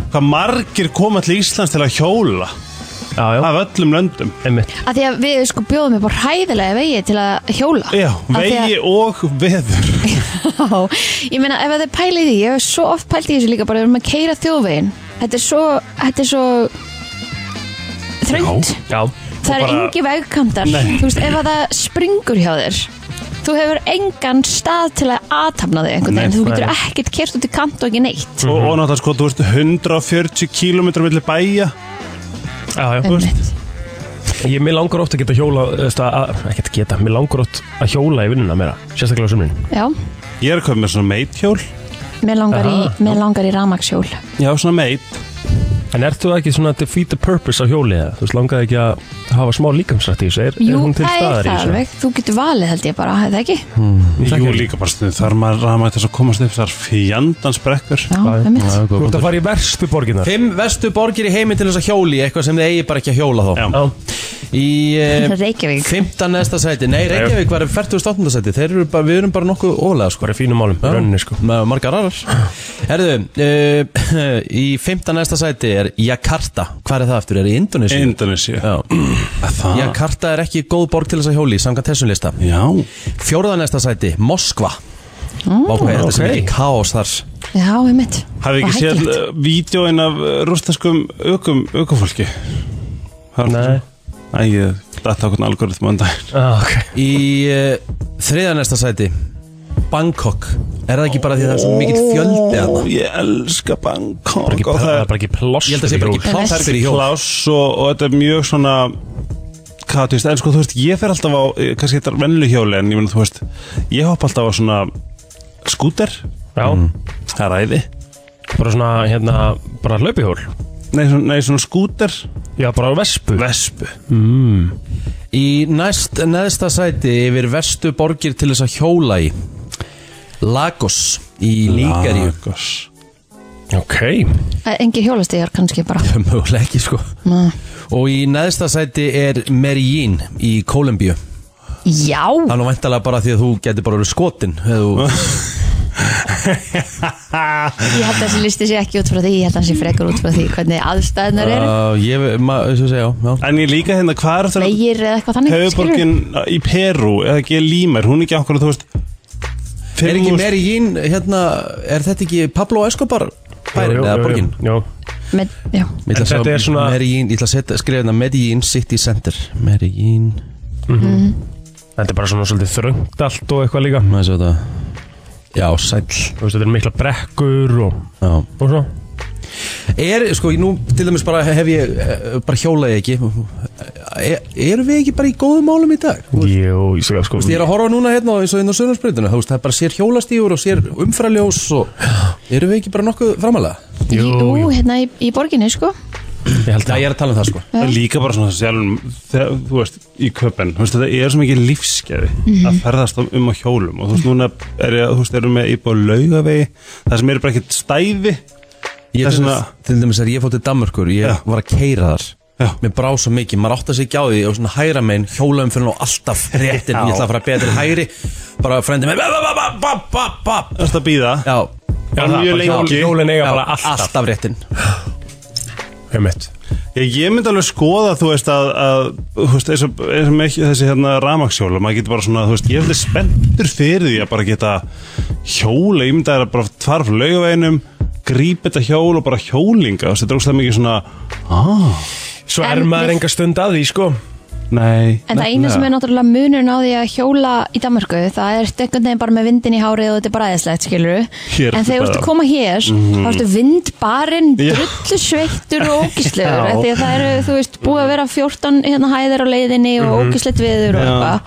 Speaker 9: hvað margir koma til Íslands til að hjóla
Speaker 4: Já, já,
Speaker 9: af öllum löndum
Speaker 4: einmitt
Speaker 3: Af því að við sko bjóðum upp á hræðilega vegi til að hjóla
Speaker 9: Já,
Speaker 3: Af því að-
Speaker 9: vegi og veður
Speaker 3: Já, ég meina ef að þið pælið í því, ég hef svo oft pælt í þessu líka bara við erum að keira þjóðvegin þetta er svo, þetta er svo þröngt,
Speaker 4: Já,
Speaker 3: það er bara... engi vegkantar þú veist, ef að það springur hjá þér þú hefur engan stað til að aðtapna þig einhvern veginn,
Speaker 4: Nei,
Speaker 3: þú getur
Speaker 4: nei.
Speaker 3: ekkert kert út í kant og ekki neitt
Speaker 9: og, og náttúrulega sko, þú veist, 140 km millir
Speaker 4: já,
Speaker 9: bæja
Speaker 4: já
Speaker 3: Einmitt.
Speaker 4: Ég, mér langar oft að geta hjóla veist, að, að, Ekki að geta, mér langar oft að hjóla í vinnuna meira Sérstaklega á sumrin
Speaker 3: Já,
Speaker 9: Ég er að köpa með svona meithjól
Speaker 3: mér langar
Speaker 4: Aha.
Speaker 3: í, mér langar í ramaksjól
Speaker 9: Já, svona meit
Speaker 4: En ert þú ekki svona defeat the purpose á hjóli eða? Þú veist, langar þig ekki að hafa smá líkamsrætt í þessu Er, er
Speaker 3: Jú,
Speaker 4: hún til
Speaker 3: það er
Speaker 4: staðar
Speaker 3: það
Speaker 4: í þessu?
Speaker 3: alveg, þú getur valið held ég bara, hefði ekki?
Speaker 9: Jú, líka bara stundum, þar maður rama þess að komast upp þar fjandans brekkur
Speaker 3: Já, það mitt
Speaker 4: Þú ert að fara í verstu borginar
Speaker 2: Fimm verstu borgir í heiminn til þess að hjóli Eitthvað sem þið eigi bara ekki að hjóla þá
Speaker 9: Já.
Speaker 4: Já,
Speaker 2: Í uh,
Speaker 3: Reykjavík,
Speaker 2: 15. næsta sæti Nei, Reykjavík var í 48. sæti Þeir eru bara, Við erum bara nokkuð ólega sko.
Speaker 4: bara í fínum málum, í rauninni sko
Speaker 2: Með margar arar Herðu, uh, í 15. næsta sæti er Jakarta Hvað er það eftir? Er í Indonesia?
Speaker 9: Indonesia
Speaker 2: Já.
Speaker 9: Það
Speaker 2: Jakarta er ekki góð borg til þess að hjóli samkvæmt þessum lista
Speaker 9: Já,
Speaker 2: Fjórða næsta sæti, Moskva mm, Vákvæði, þetta sem
Speaker 4: ok.
Speaker 2: er kaos þar
Speaker 3: já, ég mitt
Speaker 9: hafið ekki séð uh, vídjóin af uh, rústaskum ökum, ökufólki
Speaker 4: Nei.
Speaker 9: Æ, ég datta okkur algoritma en daginn
Speaker 4: ah, okay.
Speaker 2: Í uh, þriða næsta sæti Bangkok Er það ekki bara því að það er svo mikill fjöldi að það?
Speaker 9: Ég elska Bangkok
Speaker 4: Ekki-
Speaker 9: og
Speaker 4: Það
Speaker 9: það
Speaker 4: er bara ekki pláss
Speaker 2: Ég held að það sé bara
Speaker 4: fyrir
Speaker 2: ekki
Speaker 3: Það er
Speaker 2: pláss
Speaker 3: ekki
Speaker 2: fyrir hjól
Speaker 9: pláss og, og þetta er mjög svona hvað þú veist, en sko þú veist, ég fer alltaf á eh, kannski þetta er venlu hjóli, en ég meina þú veist ég hopp alltaf á svona skúter,
Speaker 4: hjól. Já,
Speaker 2: Mm.
Speaker 9: það er æði
Speaker 4: bara svona, hérna, bara hlaupihjól
Speaker 9: nei, svona, nei, svona skúter,
Speaker 4: Já, bara á vespu
Speaker 9: vespu
Speaker 4: Mm.
Speaker 2: Í næst neðsta sæti yfir vestu borgir til þess að hjóla í Lagos í Nígeríu
Speaker 9: Lagos.
Speaker 4: Ok,
Speaker 3: Engi hjólastíðar kannski bara
Speaker 2: Mögulega ekki sko
Speaker 3: Nei.
Speaker 2: Og í neðsta sæti er Medellín í Kólumbíu
Speaker 3: Já,
Speaker 2: Það er nú væntalega bara því að þú getur bara verið skotin eða þú
Speaker 3: Ég held að þessi listi sé ekki út frá því Ég held að hann sé frekar út frá því hvernig aðstæðunar eru
Speaker 2: uh, Ég, maður, þess að segja, já
Speaker 9: En ég líka hérna, hvað er það
Speaker 3: Vegir eða eitthvað þannig skilurðu?
Speaker 9: höfuborgin í Peru eða ekki Líma, er hún ekki okkur þú veist
Speaker 2: Er ekki
Speaker 9: 5.000
Speaker 2: Mary Jean, hérna, er þetta ekki Pablo Escobar bærin eða borgin?
Speaker 4: Jú,
Speaker 3: Með, já,
Speaker 2: Ég ætla að
Speaker 4: En þetta
Speaker 2: sjá-
Speaker 4: er svona-
Speaker 2: Medellín, ég ætla að setja- skrifa hérna Medellín City Center Medellín,
Speaker 4: þetta er bara svona svolítið þröngt allt og eitthvað líka
Speaker 2: maður svo þetta Já, sæll
Speaker 4: Þú veist, þetta er mikla brekkur og,
Speaker 2: Já.
Speaker 4: og svo
Speaker 2: Er, sko, nú til dæmis bara hef ég eh, bara hjólaði ekki er, Erum við ekki bara í góðum málum í dag? Þú veist,
Speaker 4: Jú, ég segja sko
Speaker 2: Ég er að horfa núna hérna á- eins og inn á Sönnarsbreytuna Það er bara sér hjólastígur og sér umfraljós og erum við ekki bara nokkuð framalega?
Speaker 3: jú, hérna í, í borginni sko
Speaker 4: Ég held
Speaker 2: Já,
Speaker 4: að
Speaker 2: ég er að tala um það sko
Speaker 9: En líka bara svona sjálfum þegar, þú veist, í köpen, þú veist, þetta er svo mikið lífskefi að ferðast um á hjólum og þú veist, núna er ég, þú veist, erum við íbúið á laugavegi, það sem eru bara ekkert stæði
Speaker 2: Ég
Speaker 9: Það er
Speaker 2: til,
Speaker 9: svona-
Speaker 2: dæmis- til dæmis er ég fótt til Danmörkur Ég
Speaker 9: Já.
Speaker 2: var að keira þar
Speaker 9: Já.
Speaker 2: Mér brá svo mikið, maður átti að segja á því og svona hæra megin, hjólaum fyrir nú alltaf réttin, ég ætla að fara betri hægri bara frendi með
Speaker 9: þú veist, að býða,
Speaker 2: Já,
Speaker 4: Já,
Speaker 9: bara
Speaker 4: það,
Speaker 9: mjög
Speaker 4: bara hjól-
Speaker 9: lengi
Speaker 4: Hjólin eiga bara
Speaker 2: alltaf,
Speaker 4: alltaf
Speaker 2: alltaf réttin
Speaker 4: Einmitt.
Speaker 9: ég, ég myndi alveg skoða, þú veist, að, að þú veist, eins og, eins og ekki, þessi hérna ramaksjóla, maður getur bara svona, þú veist, ég er alveg spenntur fyrir því að bara geta hjóla, ég myndi að það er bara tvarf laugaveginum, grípa þetta hjól og bara hjólinga, þú veist, þetta er óslega mikið svona,
Speaker 4: Svo
Speaker 3: En
Speaker 4: er maður
Speaker 3: við-
Speaker 4: enga stund að því sko
Speaker 9: nei,
Speaker 3: En það eina sem er náttúrulega munurinn á því að hjóla í Danmarku, það er einhvern veginn bara með vindin í hárið og þetta er bara aðeinslegt, skilur
Speaker 9: Hér Mhm.
Speaker 3: En þegar þú ert að koma hér, þá ertu vindbarinn,
Speaker 9: Já.
Speaker 3: drullu sveittur og ógislegur, því að það eru, þú veist, búið að vera 14 hérna hæðir á leiðinni og
Speaker 9: Mhm.
Speaker 3: ógislegt viður og eitthvað.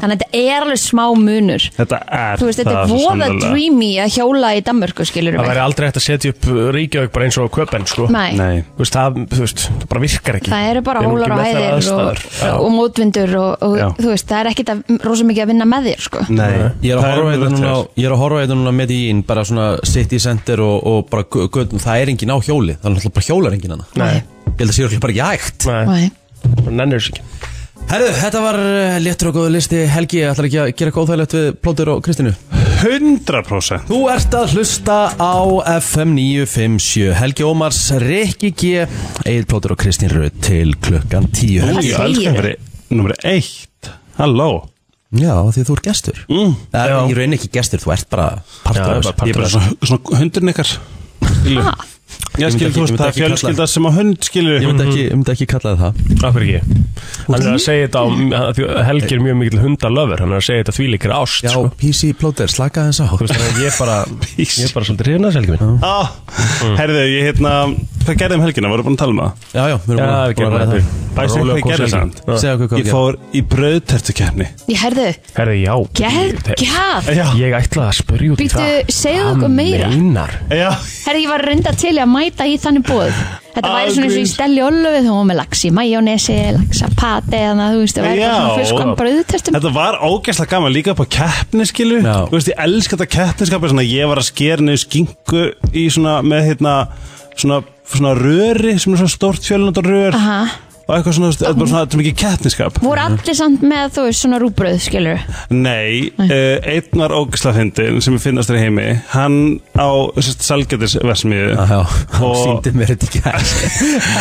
Speaker 3: Þannig að þetta er alveg smá munur.
Speaker 9: Þetta er
Speaker 3: Þú veist, þetta er
Speaker 9: það svo
Speaker 3: voða
Speaker 9: sannarlega.
Speaker 3: dreamy að hjóla í Danmarku, skilur
Speaker 4: Það væri aldrei hægt að setja upp Ríkjavík bara eins og köpen sko
Speaker 3: Nei.
Speaker 9: Nei.
Speaker 4: Þú veist, það, þú veist, það bara virkar ekki
Speaker 3: Það eru bara
Speaker 4: Við erum
Speaker 3: hólar
Speaker 4: ekki
Speaker 3: og
Speaker 4: með þær
Speaker 3: hæðir og,
Speaker 4: aðstæður. Já.
Speaker 3: og mótvindur og,
Speaker 9: Já.
Speaker 3: og þú veist, það er ekkit að, rosa mikið að vinna með þér, sko.
Speaker 9: Nei,
Speaker 2: Ég er að
Speaker 9: það
Speaker 2: horfa
Speaker 9: mjög
Speaker 2: þetta núna,
Speaker 9: til.
Speaker 2: ég er að horfa þetta núna með í ín, bara svona city center og, og bara gö- götum, það er engin á hjóli það er náttúrulega bara hjólar engin hana
Speaker 4: Nei.
Speaker 2: Ég held að sé örugglega bara ekki hægt
Speaker 4: Nei,
Speaker 3: Nei.
Speaker 4: bara nennir þess ekki
Speaker 2: Herðu, þetta var eh, léttur og góður listi Helgi, ég ætlar ekki að gera eitthvað óþægilegt við Plótur og Kristínu
Speaker 9: 100%
Speaker 2: Þú ert að hlusta á FM 957 Helgi Ómars, Rikki G Egil Plótur og Kristín Röð til klukkan 10
Speaker 9: Ú, ég
Speaker 3: segirðu?
Speaker 9: elskan fyrir Númer 1 Halló
Speaker 2: Já, því þú ert gestur mm, Það er í raun ekki gestur, þú ert bara
Speaker 4: Já,
Speaker 2: partur
Speaker 4: bara
Speaker 2: af þessu.
Speaker 4: partur
Speaker 9: Ég er bara svona, svona hundurinn ykkar Skilur Ég
Speaker 2: myndi
Speaker 9: skil,
Speaker 2: ekki-
Speaker 9: þú
Speaker 2: ég myndi
Speaker 9: veist, það er
Speaker 2: ekki kalla-
Speaker 9: fjölskylda sem á hund skilur
Speaker 2: Ég myndi ekki, ég myndi ekki kalla það það
Speaker 4: Akkur ekki Hann er að segja þetta á, því að Helgi er mjög mikil hundalöfur Hann er að segja þetta þvílíkir ást
Speaker 2: Já,
Speaker 4: sko.
Speaker 2: PC Plóter, slaka þess á
Speaker 4: Þú veist, þannig að ég er bara Ég er bara svolítið hrifnað Helgi minn
Speaker 9: ah, Herðu, ég hérna Hvað gerði um helgina? Varum við búin að tala um það?
Speaker 2: Já, já, við
Speaker 4: Já, við
Speaker 2: búin
Speaker 4: gerum
Speaker 2: að ræða
Speaker 4: það
Speaker 9: Bæst
Speaker 4: Rólega
Speaker 9: eitthvað ég
Speaker 4: kos helgi.
Speaker 9: gerði samt
Speaker 2: Já. Segðu okkur hvað
Speaker 9: Ég
Speaker 2: gerði.
Speaker 9: fór í brauðtertukefni
Speaker 3: Ég herðu,
Speaker 4: Herði, já
Speaker 3: geggjað!
Speaker 9: Já,
Speaker 4: Ég ætlaði að spyrja út í
Speaker 3: Bíddu,
Speaker 4: það
Speaker 3: segðu
Speaker 4: Hvað
Speaker 3: okkur meira.
Speaker 4: meinar
Speaker 9: já
Speaker 3: Herði, ég var reynda til í að mæta í þannig bóð. Þetta væri svona eins og í
Speaker 9: Ángríns.
Speaker 3: Stelli Ólöfið, hún var með lax í majónesi, lax að pati, þannig að þú veist, það væri bara svona friskum bröðutertum.
Speaker 9: þetta var ógæslega gaman líka upp á keppni skilu
Speaker 2: Já.
Speaker 9: Þú veist, ég elska þetta keppniskap svona, Ég var að skera niður skingu í svona, með hérna, svona, svona röri sem er svona stórt fjölnandar rör
Speaker 3: Aha.
Speaker 9: og eitthvað svona, þetta er bara svona, þetta er mikið keppniskap
Speaker 3: Voru allir samt með, þú veist, svona rúbröð, skilur.
Speaker 9: Nei, uh, einn var ógislafindin sem ég finnast þér í heimi hann á salgætisversmiðu
Speaker 2: Já, hann
Speaker 9: og,
Speaker 2: síndi mér þetta ekki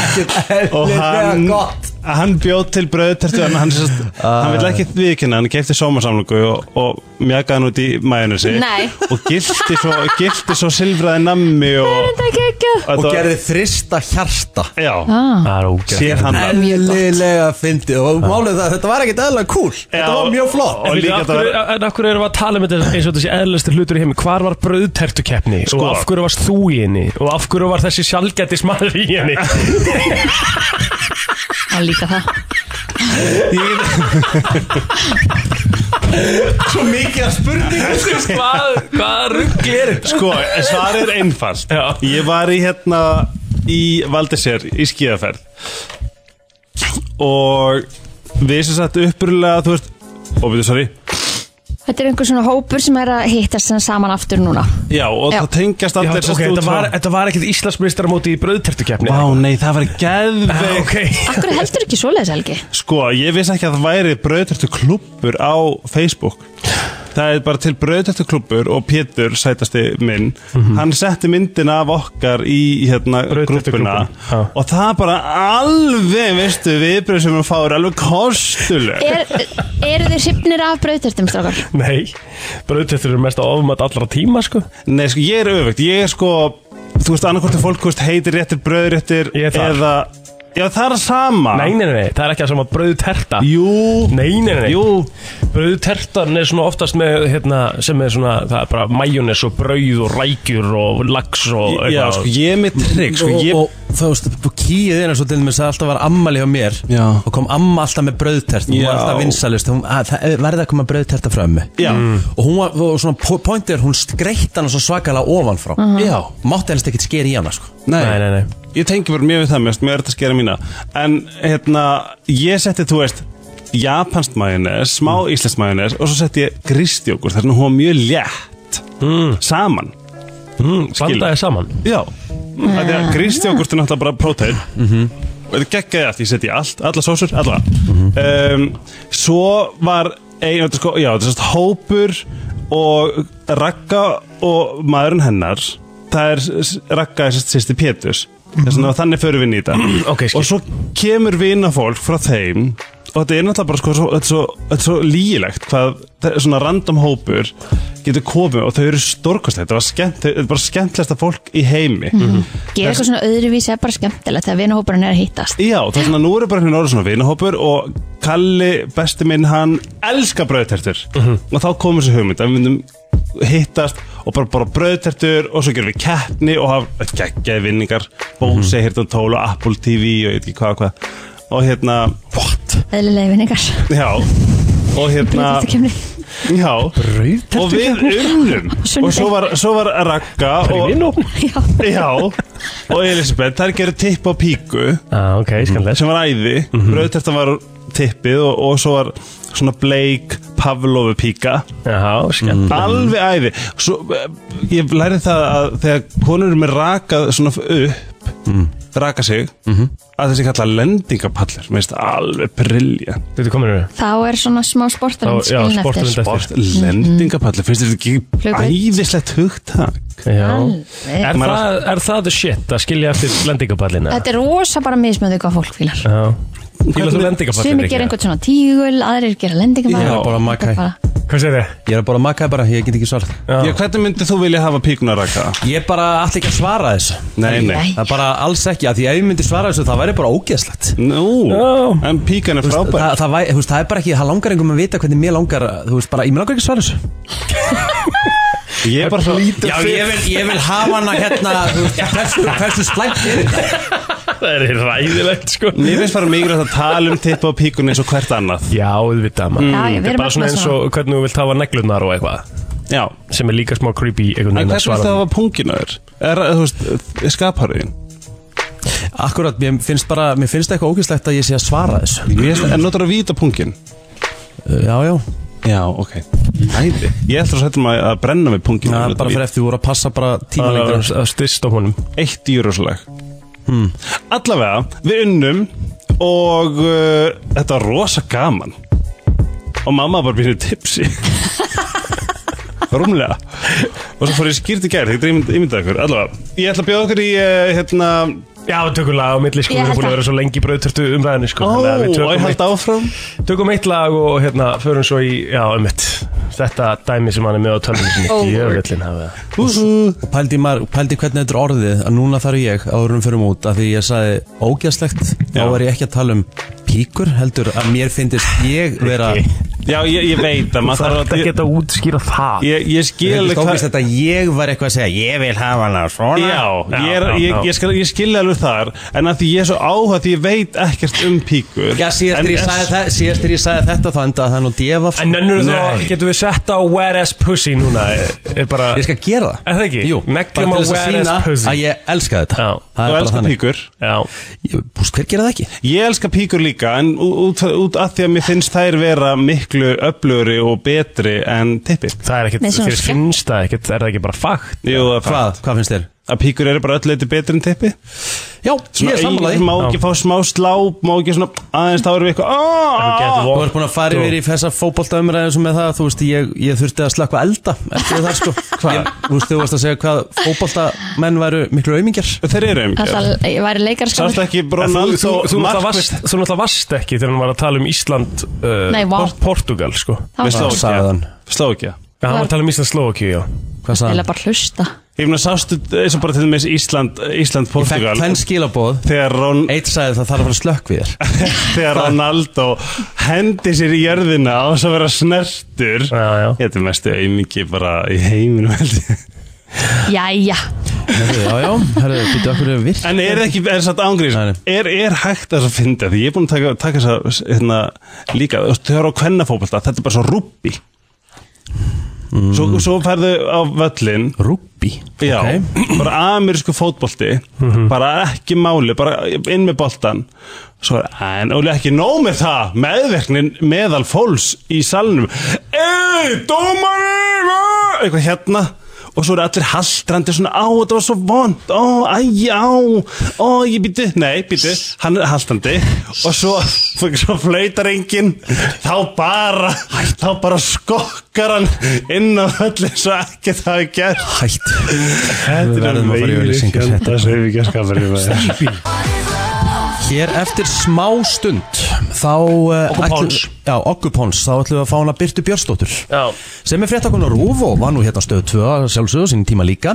Speaker 2: Ekkert
Speaker 9: og hann
Speaker 2: eðlilega gott
Speaker 9: hann bjóð til bröðtertu en hann, sérst,
Speaker 2: Ah.
Speaker 9: hann vill ekki viðkynna hann kefti sómasamlungu og, og mjakaði hann út í majónesi
Speaker 3: Nei.
Speaker 9: og gilti svo, gilti svo silfraði nammi og,
Speaker 3: Þetta er geggjað.
Speaker 2: Og
Speaker 9: þetta var-
Speaker 2: gerði þrista hjarta
Speaker 9: já,
Speaker 3: Ah.
Speaker 4: Það er ógæð
Speaker 9: sér hann það
Speaker 2: Eðlilega fyndi Og málið það, þetta var ekkert eðlilega cool Þetta var mjög flott
Speaker 9: og líka þetta var
Speaker 4: En af hverju erum við að tala um þetta eins og þetta sé eðlistir hlutur í heimi Hvar var bröðtertukeppni?
Speaker 9: Sko.
Speaker 4: Og af hverju varst þú í henni? Og af hverju var þessi sjálfgættis maður í henni?
Speaker 3: Það er líka það.
Speaker 2: Svo mikið að spurningu
Speaker 4: Þú veist, hvað, hvað ruggli er þetta?
Speaker 9: Sko, svarið er einfalt
Speaker 4: Já.
Speaker 9: Ég var í hérna í Valdesér í skíðaferð og við sem sagt upprulega þú veist, ó, byrju, sorry
Speaker 3: Þetta er einhver svona hópur sem er að hittast hérna saman aftur núna.
Speaker 9: Já, og
Speaker 3: Já.
Speaker 9: það tengjast
Speaker 4: Já,
Speaker 9: allir
Speaker 4: ok, þetta var, þetta var ekkert Íslandsmeistaramóti í bröðtertukeppni
Speaker 9: Vá, nei, það var geðveik
Speaker 4: ok
Speaker 3: Akkur heldur ekki svoleiðis, Helgi?
Speaker 9: Sko, ég vissi ekki að það væri brauðtertu klúppur á Facebook það er bara til brauðtöftaklubur og Pétur, sætasti minn
Speaker 4: Mhm.
Speaker 9: hann setti myndina af okkar í hérna grúppuna
Speaker 4: Brauðtertuklúbbinn, já.
Speaker 9: og það er bara alveg, veistu, viðbröð sem hann fáir alveg kostuleg
Speaker 3: Er, eru þið sýpnir af brauðtertum, strákar?
Speaker 4: Nei, brauðtestur eru mest að ofmat allra tíma sko
Speaker 9: Nei, sko, ég er öfugt, ég er sko Þú veist, annarkvort er fólk, þú veist, heitir réttir, bröður réttir
Speaker 4: Ég er þar.
Speaker 9: Eða, já, það er að sama
Speaker 4: Nei, nei, nei, nei, það er ekki að sama brauðterta
Speaker 9: Ah. Jú
Speaker 4: Nei, nei, nei,
Speaker 9: Jú
Speaker 4: brauðtertan er svona oftast með, hérna, sem er svona, það er bara majónes og brauð og rækjur og lax og
Speaker 9: Já, sko, ég er með trygg, sko, ég
Speaker 2: og, og þú veist, kýið er eins og til dæmis að alltaf var ammali hjá mér
Speaker 9: Já.
Speaker 2: og kom amma alltaf með brauðtert hún
Speaker 9: Já.
Speaker 2: var alltaf vinsalist, hún að- það eh, verði að koma brauðterta frá ömmu Mm.
Speaker 9: Já.
Speaker 2: og hún var, og svona po- pointið er hún skreitt hana svo svakalega ofanfrá Já. mátti helst ekkert skeri í hana sko.
Speaker 9: Nei,
Speaker 4: Nei, nei, nei.
Speaker 9: Ég tengi bara mjög við það mest, mér er þetta að skera mína En, hérna, ég setti, þú veist Japanst majónes, smá mm. íslensk majónes Og svo setti ég gristjókur, þess að hún var mjög létt mm. Saman
Speaker 4: mm,
Speaker 9: skil.
Speaker 4: Blandaði saman
Speaker 9: Já Það
Speaker 4: Mm.
Speaker 9: er að gristjókurt er náttúrulega bara prótein Og þetta geggjaði allt, ég seti í allt, alla sósur, alla um, Svo var ein, þetta er sko, já, þetta er svona hópur og Ragga og maðurinn hennar Það er s- Ragga er sýsti Péturs Þess vegna þannig förum við inn í þetta
Speaker 4: Mhm. Ok, skil.
Speaker 9: Og svo kemur vinafólk frá þeim Og þetta er náttúrulega bara sko, svo, þetta, er svo, þetta er svo lígilegt hvað það er svona random hópur getur komið og þau eru stórkostlega þetta var skemmt, þau- þetta er bara skemmtilegsta fólk í heimi
Speaker 4: Mhm.
Speaker 3: Gera eitthvað svona öðruvísi er bara skemmtilegt þegar vinahóparinn er að hittast.
Speaker 9: Já, það er svona, nú eru bara einhvern orðið svona vinahópur og Kalli, besti minn, hann elskar brauðtertur og þá komur þessi hugmynd að við myndum hittast og bara bara brauðtertur og svo gerum við keppni og hafa geggjaði vinningar Bóse, Hirtan Tól og Apple TV og ég veit ekki hvað og hvað og hérna, what?
Speaker 3: Eðlilegi vinningar.
Speaker 9: Já, og hérna
Speaker 3: Þetta kemni.
Speaker 9: Já, og við unnum
Speaker 3: sunnudegi.
Speaker 9: og svo var, svo var Ragga og,
Speaker 3: Já.
Speaker 9: já, og Elisabeth, þær gerir tipp á píku
Speaker 4: ah, Ok, skanlega
Speaker 9: sem var æði mm
Speaker 2: Mhm.
Speaker 9: var tippið og, og svo var svona bleik Pavlovu píka
Speaker 4: Já,
Speaker 2: Mhm.
Speaker 4: skanlega
Speaker 9: alveg æði svo, eh, ég lærið það að þegar konur eru með rakað svona upp
Speaker 2: Mhm.
Speaker 9: raka sig að þessi kalla lendingapallir mér finnst það alveg brilja
Speaker 4: Þetta komin eru
Speaker 3: Þá er svona smá sportarinn
Speaker 4: Þá- já,
Speaker 3: skilin
Speaker 4: sportarinn
Speaker 3: eftir.
Speaker 4: eftir.
Speaker 9: Bort lendingapallir, finnst þetta ekki
Speaker 3: Flugbraut.
Speaker 9: æðislegt hugtak
Speaker 4: Já
Speaker 3: Alveg.
Speaker 4: Er
Speaker 9: Maður-
Speaker 4: það, er það the shit að skilja eftir lendingapallina?
Speaker 3: Þetta er rosa bara mismöðu hvað fólk fílar.
Speaker 4: Já Fýlar þú lendingapallin?
Speaker 3: Sumi gera einhvern svona tígul, aðrir gera lendingabæð.
Speaker 2: Já, bara makai.
Speaker 4: Hvað segir þið?
Speaker 2: ég er að bara maka það bara, ég get ekki svarað
Speaker 9: Já, hvernig myndið þú vilja hafa píkuna raka?
Speaker 2: ég bara allir ekki að svara þessu
Speaker 9: Nei, nei
Speaker 2: það er bara alls ekki, af því ef ég myndi svara þessu það væri bara ógeðslegt
Speaker 9: Nú,
Speaker 4: Já.
Speaker 9: en píkan er
Speaker 2: Þa,
Speaker 9: frábær
Speaker 2: það, það, væ- þú veist, það er bara ekki, það langar engum að vita hvernig mér langar, þú veist bara, ég mér langar ekki að svara þessu
Speaker 9: Ég er bara svo
Speaker 2: Já, ég vil, ég vil hafa hana hérna þú veist, hversu, hversu slæmt er þetta
Speaker 4: Það er ræðilegt sko
Speaker 9: Mér finnst bara mikilvægt að tala um tippa á píkunni eins og hvert annað
Speaker 4: Já, auðvitað maður
Speaker 3: Já, ég
Speaker 4: Þetta
Speaker 3: verið
Speaker 4: er bara svona eins og hvernig þú vilt hafa neglunar og eitthvað
Speaker 9: Já
Speaker 4: sem er líka smá creepy einhvern
Speaker 9: En
Speaker 4: veginn að
Speaker 9: hvernig
Speaker 4: svara
Speaker 9: viltu
Speaker 4: því.
Speaker 9: hafa punginu þér? Er, þú veist, skapariðin?
Speaker 2: Akkurat, mér finnst bara, mér finnst eitthvað ógæslegt að ég sé að svara þessu Eh,
Speaker 9: En notur að víta pungin?
Speaker 2: Já, já,
Speaker 9: Já, ok Æði Ég ætla svo hættum að, að brenna við punginu
Speaker 2: það er bara fyrir eftir þú voru að passa bara tíma
Speaker 4: Það er
Speaker 2: lengur
Speaker 4: að- að styrst á honum
Speaker 9: eitt djúruslag hmm. Allavega, við unnum og uh, þetta var rosa gaman og mamma bara býrði tipsi Rúmlega og svo fór ég skýrt í gær, þetta er ímyndað ykkur Allavega, ég ætla að bjóða okkur í uh, hérna
Speaker 4: Já, við tökum lag á milli sko
Speaker 3: Ég
Speaker 4: Við
Speaker 3: held
Speaker 4: erum búin að
Speaker 3: að-
Speaker 4: vera svo lengi í brauðtörtu umræðinni sko
Speaker 9: Ó,
Speaker 4: þannig að við
Speaker 9: og ég
Speaker 4: tökum
Speaker 9: held áfram
Speaker 4: eitt- Tökum eitt lag og hérna förum svo í Já, um Þetta dæmi sem hann er með á tölvunni sem ekki jöfnvillin hafa
Speaker 2: Og pældi, í maður, pældi í hvernig þetta er orðið að núna þarf ég áðurum fyrir út af því ég sagði ógæslegt þá
Speaker 9: Já.
Speaker 2: var ég ekki að tala um píkur heldur að mér finnist ég vera
Speaker 4: Ekki.
Speaker 9: Já, ég, ég veit að maður
Speaker 4: Það er
Speaker 9: þarf
Speaker 4: þetta
Speaker 9: að
Speaker 4: að geta útskýra það
Speaker 9: Ég, ég skil
Speaker 2: Ég
Speaker 9: alveg
Speaker 2: finnst
Speaker 9: hvað-
Speaker 2: ógæslegt að ég var eitthvað að segja ég vil hafa hana svona
Speaker 9: Já,
Speaker 4: Já,
Speaker 9: ég, er,
Speaker 4: já,
Speaker 9: ég,
Speaker 4: já.
Speaker 9: ég, skal, ég skilja alveg þar En að því ég er svo áhuga því ég veit ekkert um píkur
Speaker 2: Já, síðast
Speaker 9: En
Speaker 2: þegar ég
Speaker 9: er-
Speaker 2: sagði þe- síðast þegar ég sagði þetta þá endaði það nú sko. djefa
Speaker 4: En nennur þá,
Speaker 9: Nei.
Speaker 4: getum við sett á Where as Pussy núna Er, er bara
Speaker 2: Ég skal gera það
Speaker 4: Er það ekki?
Speaker 2: Jú, bara
Speaker 4: Neglum á
Speaker 2: til þess að
Speaker 4: where is pussy.
Speaker 2: sína að ég elska þetta
Speaker 4: Já.
Speaker 2: Það er
Speaker 9: Þú
Speaker 2: bara
Speaker 9: elskar
Speaker 2: þannig.
Speaker 9: píkur
Speaker 4: Já,
Speaker 2: Ég- Búst, hver gera það ekki?
Speaker 9: Ég elska píkur líka en ú- út, út að því að mér finnst þær vera miklu öflugri og betri en tippi
Speaker 4: það er ekkert
Speaker 3: Nei, svona
Speaker 4: Þér
Speaker 3: skemmt-
Speaker 4: finnst það ekkert, er það ekki bara fakt?
Speaker 9: Jú,
Speaker 2: Hvað, hvað finnst þér?
Speaker 9: að píkur eru bara öll leiti betri en tippi
Speaker 2: Já, ég er sammálaði
Speaker 9: má ekki fá smá sláp, má ekki svona aðeins þá erum við eitthvað aaaah
Speaker 2: Þú ert búin að fara yfir í þessa fótboltaumræðin sem með það, þú veist, ég, ég þurfti að slakka elda eftir það, sko Ég- Þú veist, þú varst að segja hvað fótboltamenn væru miklu aumingjar
Speaker 9: Þeir eru einhver
Speaker 3: Alltaf, ég væri leikarskóð
Speaker 9: Sást ekki
Speaker 4: En þú, þú,
Speaker 9: Ronaldo
Speaker 4: þú, náttúrulega varst,
Speaker 9: markvist
Speaker 4: þú náttúrulega varst ekki þegar hann var að tala um Ísland uh,
Speaker 3: Nei, vá.
Speaker 4: Port- Portugal sko
Speaker 3: Það
Speaker 9: Við
Speaker 3: var
Speaker 9: slóum
Speaker 2: Sagði hann.
Speaker 9: ekki Við slóum ekki það.
Speaker 4: Já, hann var að tala um Ísland Slovakíu já.
Speaker 2: Hvað sagði
Speaker 3: Eða
Speaker 2: hann?
Speaker 3: bara hlusta
Speaker 9: Ég meina sástu eins og bara til dæmis Ísland, Ísland,
Speaker 2: Ég fekk
Speaker 9: Portugal
Speaker 2: fenn skilaboð,
Speaker 9: Þegar, Ron,
Speaker 2: eitt sagði það þarf að fara slökk við þér
Speaker 9: þegar Ronaldo hendi sér í jörðina á þess að vera snertur
Speaker 4: Já, já.
Speaker 9: Þetta er mestu aumingi bara í heiminum held ég
Speaker 3: Jæja,
Speaker 2: Herðu, Já, já, herðu, býttu okkur við virk
Speaker 9: En er það ekki, er það ángrís
Speaker 2: Nei, nei.
Speaker 9: er, er hægt þess að finna því ég er búin að taka, taka þess að hérna, líka, þú veist, þau eru á kvennafótbolta þetta er bara svo rúbbi Svo, svo færðu á völlin
Speaker 2: Rúbí
Speaker 9: Já, bara amerísku fótbolti bara ekki máli, bara inn með boltan svo er, en Óli ekki nóg með það meðverknin meðal fólks í salnum Ey, dómarir ah!" eitthvað hérna og svo eru allir haldrandi svona á, þetta var svo vond ó, æj, á, ó, ég býti nei, býti, hann er haldrandi og svo, svo flöytar enginn þá bara þá bara skokkar hann inn á öllin svo ekki það er gert
Speaker 2: Hætt Við
Speaker 9: Þetta er
Speaker 2: verðum að fara í auglýsingar. hérna.
Speaker 9: meiri sveifingjaskapur
Speaker 2: Hér eftir smá stund Þá uh,
Speaker 4: Okkupons.
Speaker 2: ætlum- Já, Okkupons Þá ætlum við að fá hana Byrtu Björnsdóttur
Speaker 4: Já.
Speaker 2: Sem er fréttakona Rúf og var nú hérna á stöð 2 Sjálfsögðu sinni tíma líka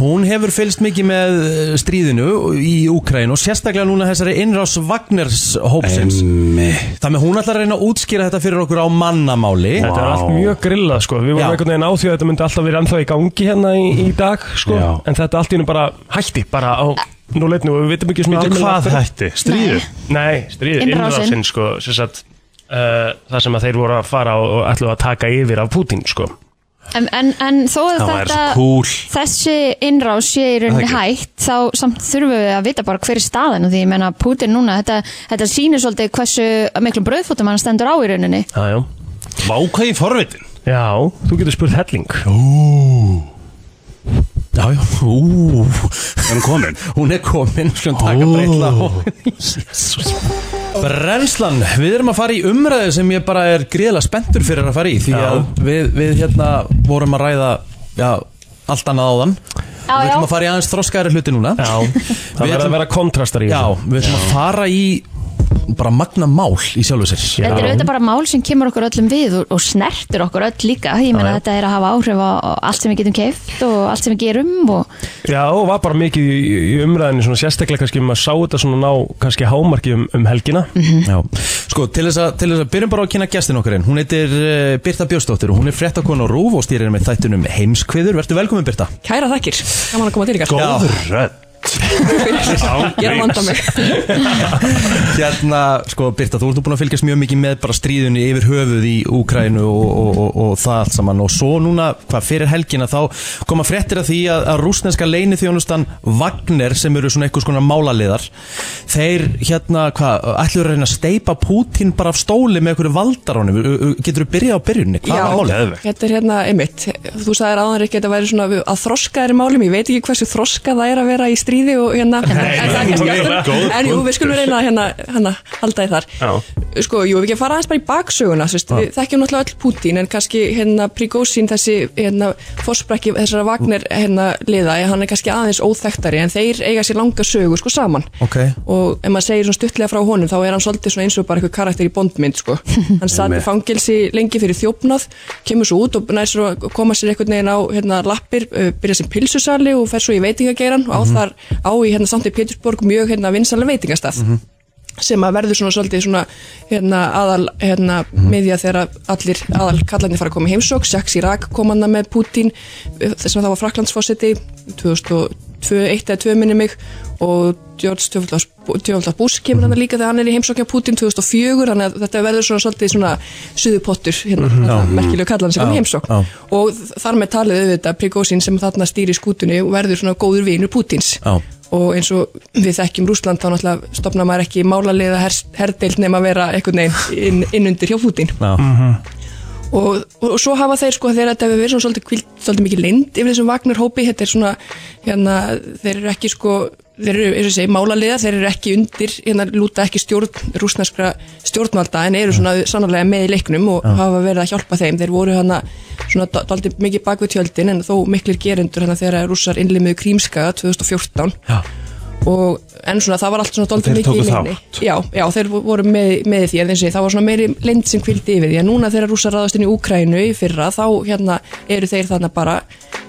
Speaker 2: Hún hefur fylgst mikið með eh, stríðinu Í Úkraín og sérstaklega núna Þessari innrás Vagners hópsins Þannig að hún ætlar að reyna að útskýra þetta fyrir okkur á mannamáli
Speaker 4: Þetta er allt mjög grillað sko Við
Speaker 2: Já.
Speaker 4: vorum einhvern veginn á því að þetta myndi alltaf verið ennþá í gangi hérna í, í dag sko
Speaker 9: Já.
Speaker 4: En þetta allt í hennu bara hætti bara á núleitinu og við vitum ekki svona almennilega
Speaker 9: Hvað
Speaker 4: af hverju.
Speaker 9: hætti? Stríðu?
Speaker 4: Nei, stríð,
Speaker 3: Innrásin.
Speaker 4: innrásin sko sem sagt, uh, Það sem að þeir voru að fara og, og ætlu að taka yfir af Putin sko
Speaker 3: En, en, en þó að
Speaker 9: Það væri
Speaker 3: þetta
Speaker 9: svo kúl
Speaker 3: þessi innrás sé í rauninni hægt þá samt þurfum við að vita bara hver er staðan og því ég menna Putin núna þetta, þetta sýnir svolítið hversu miklum brauðfótum hann stendur á í rauninni
Speaker 4: Já, já
Speaker 9: Vá hvað í forvitin
Speaker 4: Já, þú getur spurt helling
Speaker 2: Já, já, ú
Speaker 9: Hann komin
Speaker 2: Hún er komin, skulum taka breytla á Brennslan, við erum að fara í umræðu sem ég bara er gríðlega spenntur fyrir að fara í Því að við, við hérna vorum að ræða já, allt annað áðan
Speaker 3: Já,
Speaker 2: Við
Speaker 3: já.
Speaker 2: ætlum að fara í aðeins þroskaðari hluti núna
Speaker 4: Já, það
Speaker 2: Við
Speaker 4: verður
Speaker 2: ætlum-
Speaker 4: að vera kontrastar í
Speaker 2: Já,
Speaker 4: þessu.
Speaker 2: við ætlum að fara í bara magna mál í sjálfu sér
Speaker 4: Já.
Speaker 3: þetta er auðvitað bara mál sem kemur okkur öllum við og, og snertir okkur öll líka ég menna
Speaker 4: Já, já.
Speaker 3: þetta er að hafa áhrif á á allt sem við getum keift og allt sem við gerum og
Speaker 4: Já, og var bara mikið í, í umræðinu svona sérstaklega kannski um að sá þetta svona ná kannski hámarki um, um helgina
Speaker 2: Já, sko til þess, að, til þess að byrjum bara á að kynna gestin okkar inn Hún heitir uh, Birta Björnsdóttir og hún er fréttakona á Rúf og stýrir með þættunum heimskviður Vertu velkomin Birta
Speaker 10: Kæra þakkir, gaman að koma til ykkar
Speaker 9: Góður rödd
Speaker 10: Ég er að vanda mig
Speaker 2: Hérna, sko Birta, þú ert nú búin að fylgjast mjög mikið með bara stríðunni yfir höfuð í Úkrænu og, og, og, og það allt saman og svo núna, hvað fyrir helgina þá koma fréttir af því að, að rúsneska leinithjónustan Wagner sem eru svona einhvers konar málaliðar þeir hérna, hvað, ætlur að reyna að steipa Putin bara af stóli með einhverju valdarónum getur þú byrjað á byrjunni, hvað var málið?
Speaker 10: þetta er hérna einmitt Þú sagðir áðan ekki að þetta væri svona við- að þroska er málum, ég veit ekki hversu þroska það er að vera í stríði og hérna en það er kannski aftur, en jú, við skulum reyna að hérna, hérna halda í þar Sko, jú, við ekki að fara aðeins bara í baksöguna þú veist, við þekkjum náttúrulega öll Putin en kannski hérna Prigozhin þessi hérna fórsprakki þessara Wagner hérna liða, hann er kannski aðeins óþektari en þeir eiga sér langa sögu sko saman
Speaker 2: Ok.
Speaker 10: og ef maður segir svona stuttlega frá honum þá er hann svolítið svona eins og bara eitthvað karakter í bondmynd sko. hann satt í fangelsi lengi fyrir þjófnað kemur svo út og nær svo að koma sér einhvern veginn á hérna, lappir, uh, byrja sem pilsusali og fer svo í veitingageiran og á þar á í hérna, samt í Pétursborg mjög hérna, vinsalega veitingastað sem að verður svona svolítið svona hérna, aðal hérna,
Speaker 2: Mhm.
Speaker 10: miðja þegar allir aðal kallarnir fara að koma í heimsók Sjaks í rak kom hann með Putin eh, þess að það var Fraklandsfossetti 2002, 1 eða 2 minni mig og George Tjófaldar Bush
Speaker 2: Mhm.
Speaker 10: kemur hann líka þegar hann er í heimsókja Putin 2004, þannig að þetta verður svona svolítið svona suðupottur hérna, mm merkilegu kallan sem kom í heimsók
Speaker 2: Mhm. já.
Speaker 10: og þar með talið auðvitað Prigozhin sem þarna stýri skútunni verður svona góður vinur Putins
Speaker 2: Já.
Speaker 10: og eins og við þekkjum Rúsland þá náttúrulega stopna maður ekki málarlega herdeild nema að vera einhvern veginn inn, inn undir hjá Putin
Speaker 2: Já.
Speaker 9: og, og, og svo hafa þeir sko þeir þetta hefur verið svona svolítið, kvíld, svolítið mikið lind yfir þessum Vagner hópi, þetta er svona hérna, þeir eru ekki sko þeir eru, eins og ég segi, málaliða, þeir eru ekki undir hérna lúta ekki stjórn, rúsneskra stjórnvalda en eru svona sannarlega með í leiknum og hafa verið að hjálpa þeim þeir voru hana svona dal- daldið mikið bak við tjöldin en þó miklir gerendur hana þegar rússar innlimuðu Krímskaga 2014
Speaker 2: Já.
Speaker 9: og en svona það var allt svona
Speaker 11: Þeir
Speaker 9: daldið mikið
Speaker 11: tóku
Speaker 9: í minni já, já, þeir vo- voru með, með í því en þessi, það var svona meiri lind sem kvildi yfir því en núna þegar rússar ráðast inn í Úkrænu í fyrra þá hérna eru þeir þarna bara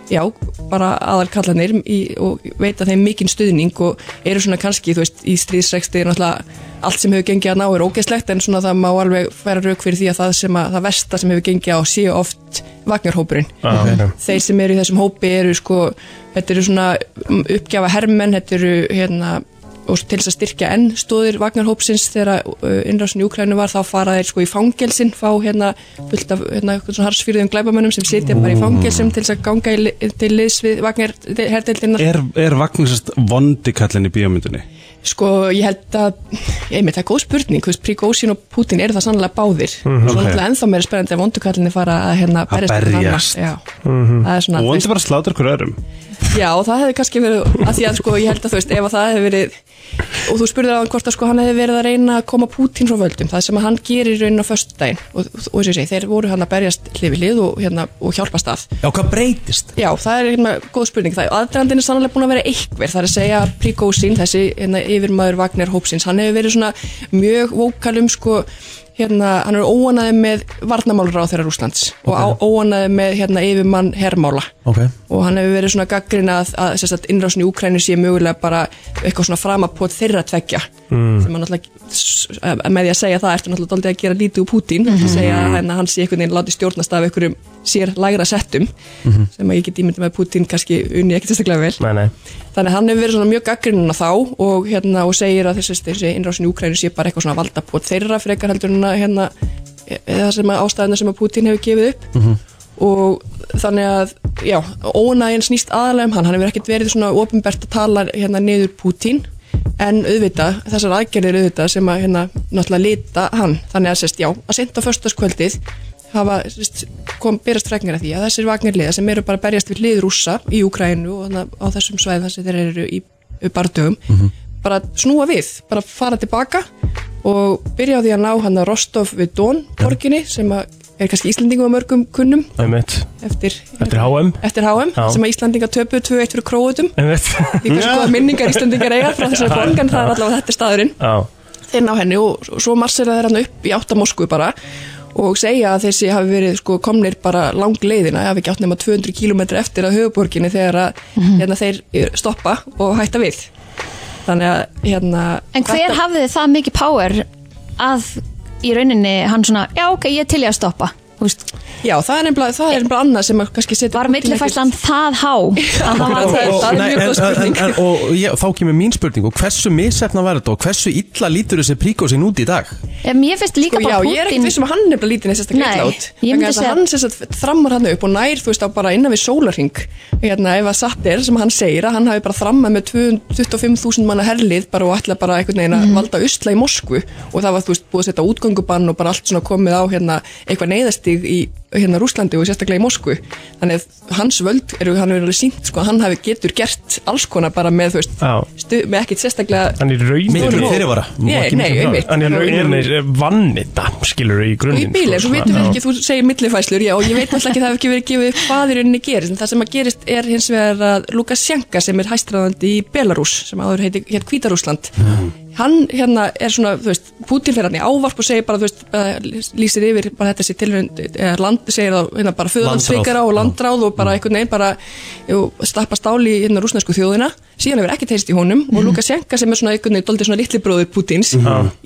Speaker 9: já, bara aðal kallanir í, og veita þeim mikinn stuðning og eru svona kannski, þú veist, í stríðsreksti er náttúrulega allt sem hefur gengið að ná er ógeðslegt en svona það má alveg færa rauk fyrir því að það sem að það versta sem hefur gengið á séu oft vagnarhópurinn
Speaker 4: Já, ok.
Speaker 9: þeir sem eru í þessum hópi eru sko, þetta eru svona mm, uppgjafa hermenn, þetta eru hérna og til þess að styrkja enn stóðir vagnarhópsins þegar uh, innrásin í Ukrænu var þá fara þeir sko í fangelsin fá hérna fullt af hérna einhvern svona harsfyrðum glæbamönnum sem sitja bara í fangelsum til þess að ganga í, li- til liðs við vagnarherdeildina
Speaker 11: Er, er vagnisast vondikallin í bíómyndinni?
Speaker 9: Sko, ég held að, einmitt, það er góð spurning, þú veist, Prigozhin og Putin eru það sannlega báðir. Mm
Speaker 11: Mhm.
Speaker 9: Svo
Speaker 11: Ok.
Speaker 9: náttúrulega ennþá meira spennandi að vondukallinni fara að hérna
Speaker 11: Að
Speaker 9: við hvort
Speaker 11: berjast. Mhm.
Speaker 9: annað, Já, það er svona,
Speaker 11: Og
Speaker 9: þú veist,
Speaker 11: vondi bara að sláta ykkur öðrum
Speaker 9: já, það hefði kannski verið, að því að sko, ég held að þú veist, ef að það hefði verið, og þú spurðir á hann hvort að sko hann hefði verið að reyna að koma Putin frá völdum, það sem að hann gerir raunin á föstudaginn og, og, og þessi, þeir voru hann að berjast hlið við hlið og, hérna, og hjálpast að.
Speaker 2: Já, hvað breytist?
Speaker 9: Já, það er hérna góð spurning það. Aðdragandinn er sannlega búin að vera einhver. Það er að segja að Prigozhin, þessi hérna, yfirmaður Wagner hópsins, hann hefur verið svona mjög vókalum sko hérna, hann er óanaði með varnamálur á þeirra Rúslands og óanaði með hérna yfirmann hermála
Speaker 2: Ok
Speaker 9: og hann hefur verið svona gaggrina að, að sem sagt, innrásin í Úkrænu sé mögulega bara eitthvað svona framapót þeirra tveggja mm. sem hann náttúrulega s- að- með því að segja það ertu náttúrulega daldið að gera lítið úr Pútín mm. segja að hann, hann sé einhvern veginn látið stjórnast af einhverjum sér lægra settum sem að ég get ímyndið með Pútín kannski unni ekki tilstaklega vel
Speaker 4: Nei, nei
Speaker 9: þannig að hann hefur verið svona mjög gaggrinin á þá og, hérna, og segir að þessi, þessi innrásin í Úkrænu sé bara eitthvað svona valdapót þeirra frekar heldur en að hérna, e- eða sem að ástæðina sem að Putin hefur gefið upp og þannig að já, ónægin snýst aðalega um hann hann hefur ekkert verið svona ofinbert að tala hérna niður Putin en auðvitað, þessar aðgerðir auðvitað sem að hérna náttúrulega lita hann þannig að sérst já, að senda föstaskvöldið hafa sérst, kom byrjast fregnir að því að þessir vagnirliða sem eru bara að berjast við hlið rússa í Úkrænu og þannig að á þessum svæðum þar sem þeir eru í bardögum bara snúa við, bara fara tilbaka og byrja á því að ná hann að Rostov við Dón, borginni sem að er kannski Íslendingum að mörgum kunnum
Speaker 4: Einmitt
Speaker 9: eftir,
Speaker 4: Eftir HM
Speaker 9: eftir HM
Speaker 4: Já.
Speaker 9: sem að Íslandinga töpu 2-1 fyrir króutum
Speaker 4: Einmitt
Speaker 9: líka sko að minningar Íslandingar eiga frá þessari borg en það er allavega þetta er staðurinn
Speaker 4: Já
Speaker 9: þeir ná henni og s- svo marsera þeir hann upp í áttamósku bara og segja að þessi hafi verið sko komnir bara lang leiðina, hafi ekki átt nema 200 km eftir að höfuborginni þegar að hérna, þeir stoppa og hætta við þannig að hérna
Speaker 3: En hver
Speaker 9: þetta-
Speaker 3: hafði það mikið power að í rauninni hann svona, já ok, ég er til ég að stoppa Þú veist,
Speaker 9: Já, það er nefnilega, það er nefnilega annað sem að kannski setja
Speaker 3: Var millifæslan það há að það var
Speaker 9: Það er- það er mjög góð spurning.
Speaker 2: en, og ég, þá kemur mín spurning og hversu misefna var þetta og hversu illa lítur þessi príkósin út í dag?
Speaker 3: Em, Ég finnst líka
Speaker 9: Sko, já,
Speaker 3: bara
Speaker 9: ég er ekkert
Speaker 3: Putin
Speaker 9: viss um að hann er nefnilega lítið neitt sérstaklega
Speaker 3: Nei,
Speaker 9: illa út
Speaker 3: ég myndi
Speaker 9: Vegna þess að
Speaker 3: segja-
Speaker 9: hann sérstaklega þrammar hann upp og nær, þú veist, á bara innan við sólarhing hérna, ef að satt er sem hann segir að hann hafi bara þrammað með 25.000 manna herlið bara og ætla bara einhvern veginn að
Speaker 3: Mhm.
Speaker 9: valda usla í Moskvu og það var, þú veist, búið að setja útgöngubann og bara allt svona komið á hérna eitthvað neyðastig í hérna Rúslandi og sérstaklega í Moskvu þannig að hans völd eru, hann er alveg sínt sko, að hann hafi getur gert alls konar bara með, þú veist,
Speaker 4: Já.
Speaker 9: stu, með ekkert sérstaklega
Speaker 4: Hann er
Speaker 2: Miklu
Speaker 4: raunir
Speaker 2: fyrirvara. Má
Speaker 9: Nei,
Speaker 2: ekki
Speaker 9: nei,
Speaker 2: miklu
Speaker 9: einmitt
Speaker 4: Hann er raunir vannita Skilur í
Speaker 9: og í
Speaker 4: grunninn
Speaker 9: bíli,
Speaker 4: sko,
Speaker 9: svo vitum við
Speaker 4: já.
Speaker 9: ekki, þú segir millifæslur, já, og ég veit alltaf ekki það hefur ekki verið gefið upp hvað í rauninni gerist, en það sem að gerist er hins vegar að Lukasjenka sem er hæstræðandi í Belarus, sem áður heiti hér Hvítarúsland, hann hérna er svona, þú veist, Putin fer hann í ávarp og segir bara, þú veist, bara lýsir yfir bara þetta sér tilhund, eða land, segir það hérna bara föðlandsvíkara og landráð og bara einhvern veginn bara jú, slappa stáli hérna rúsnesku þjóðina, síðan hefur ekkert heyrst í honum og Lukasjenka sem er svona einhvern veginn doldið svona litli bróður Putins,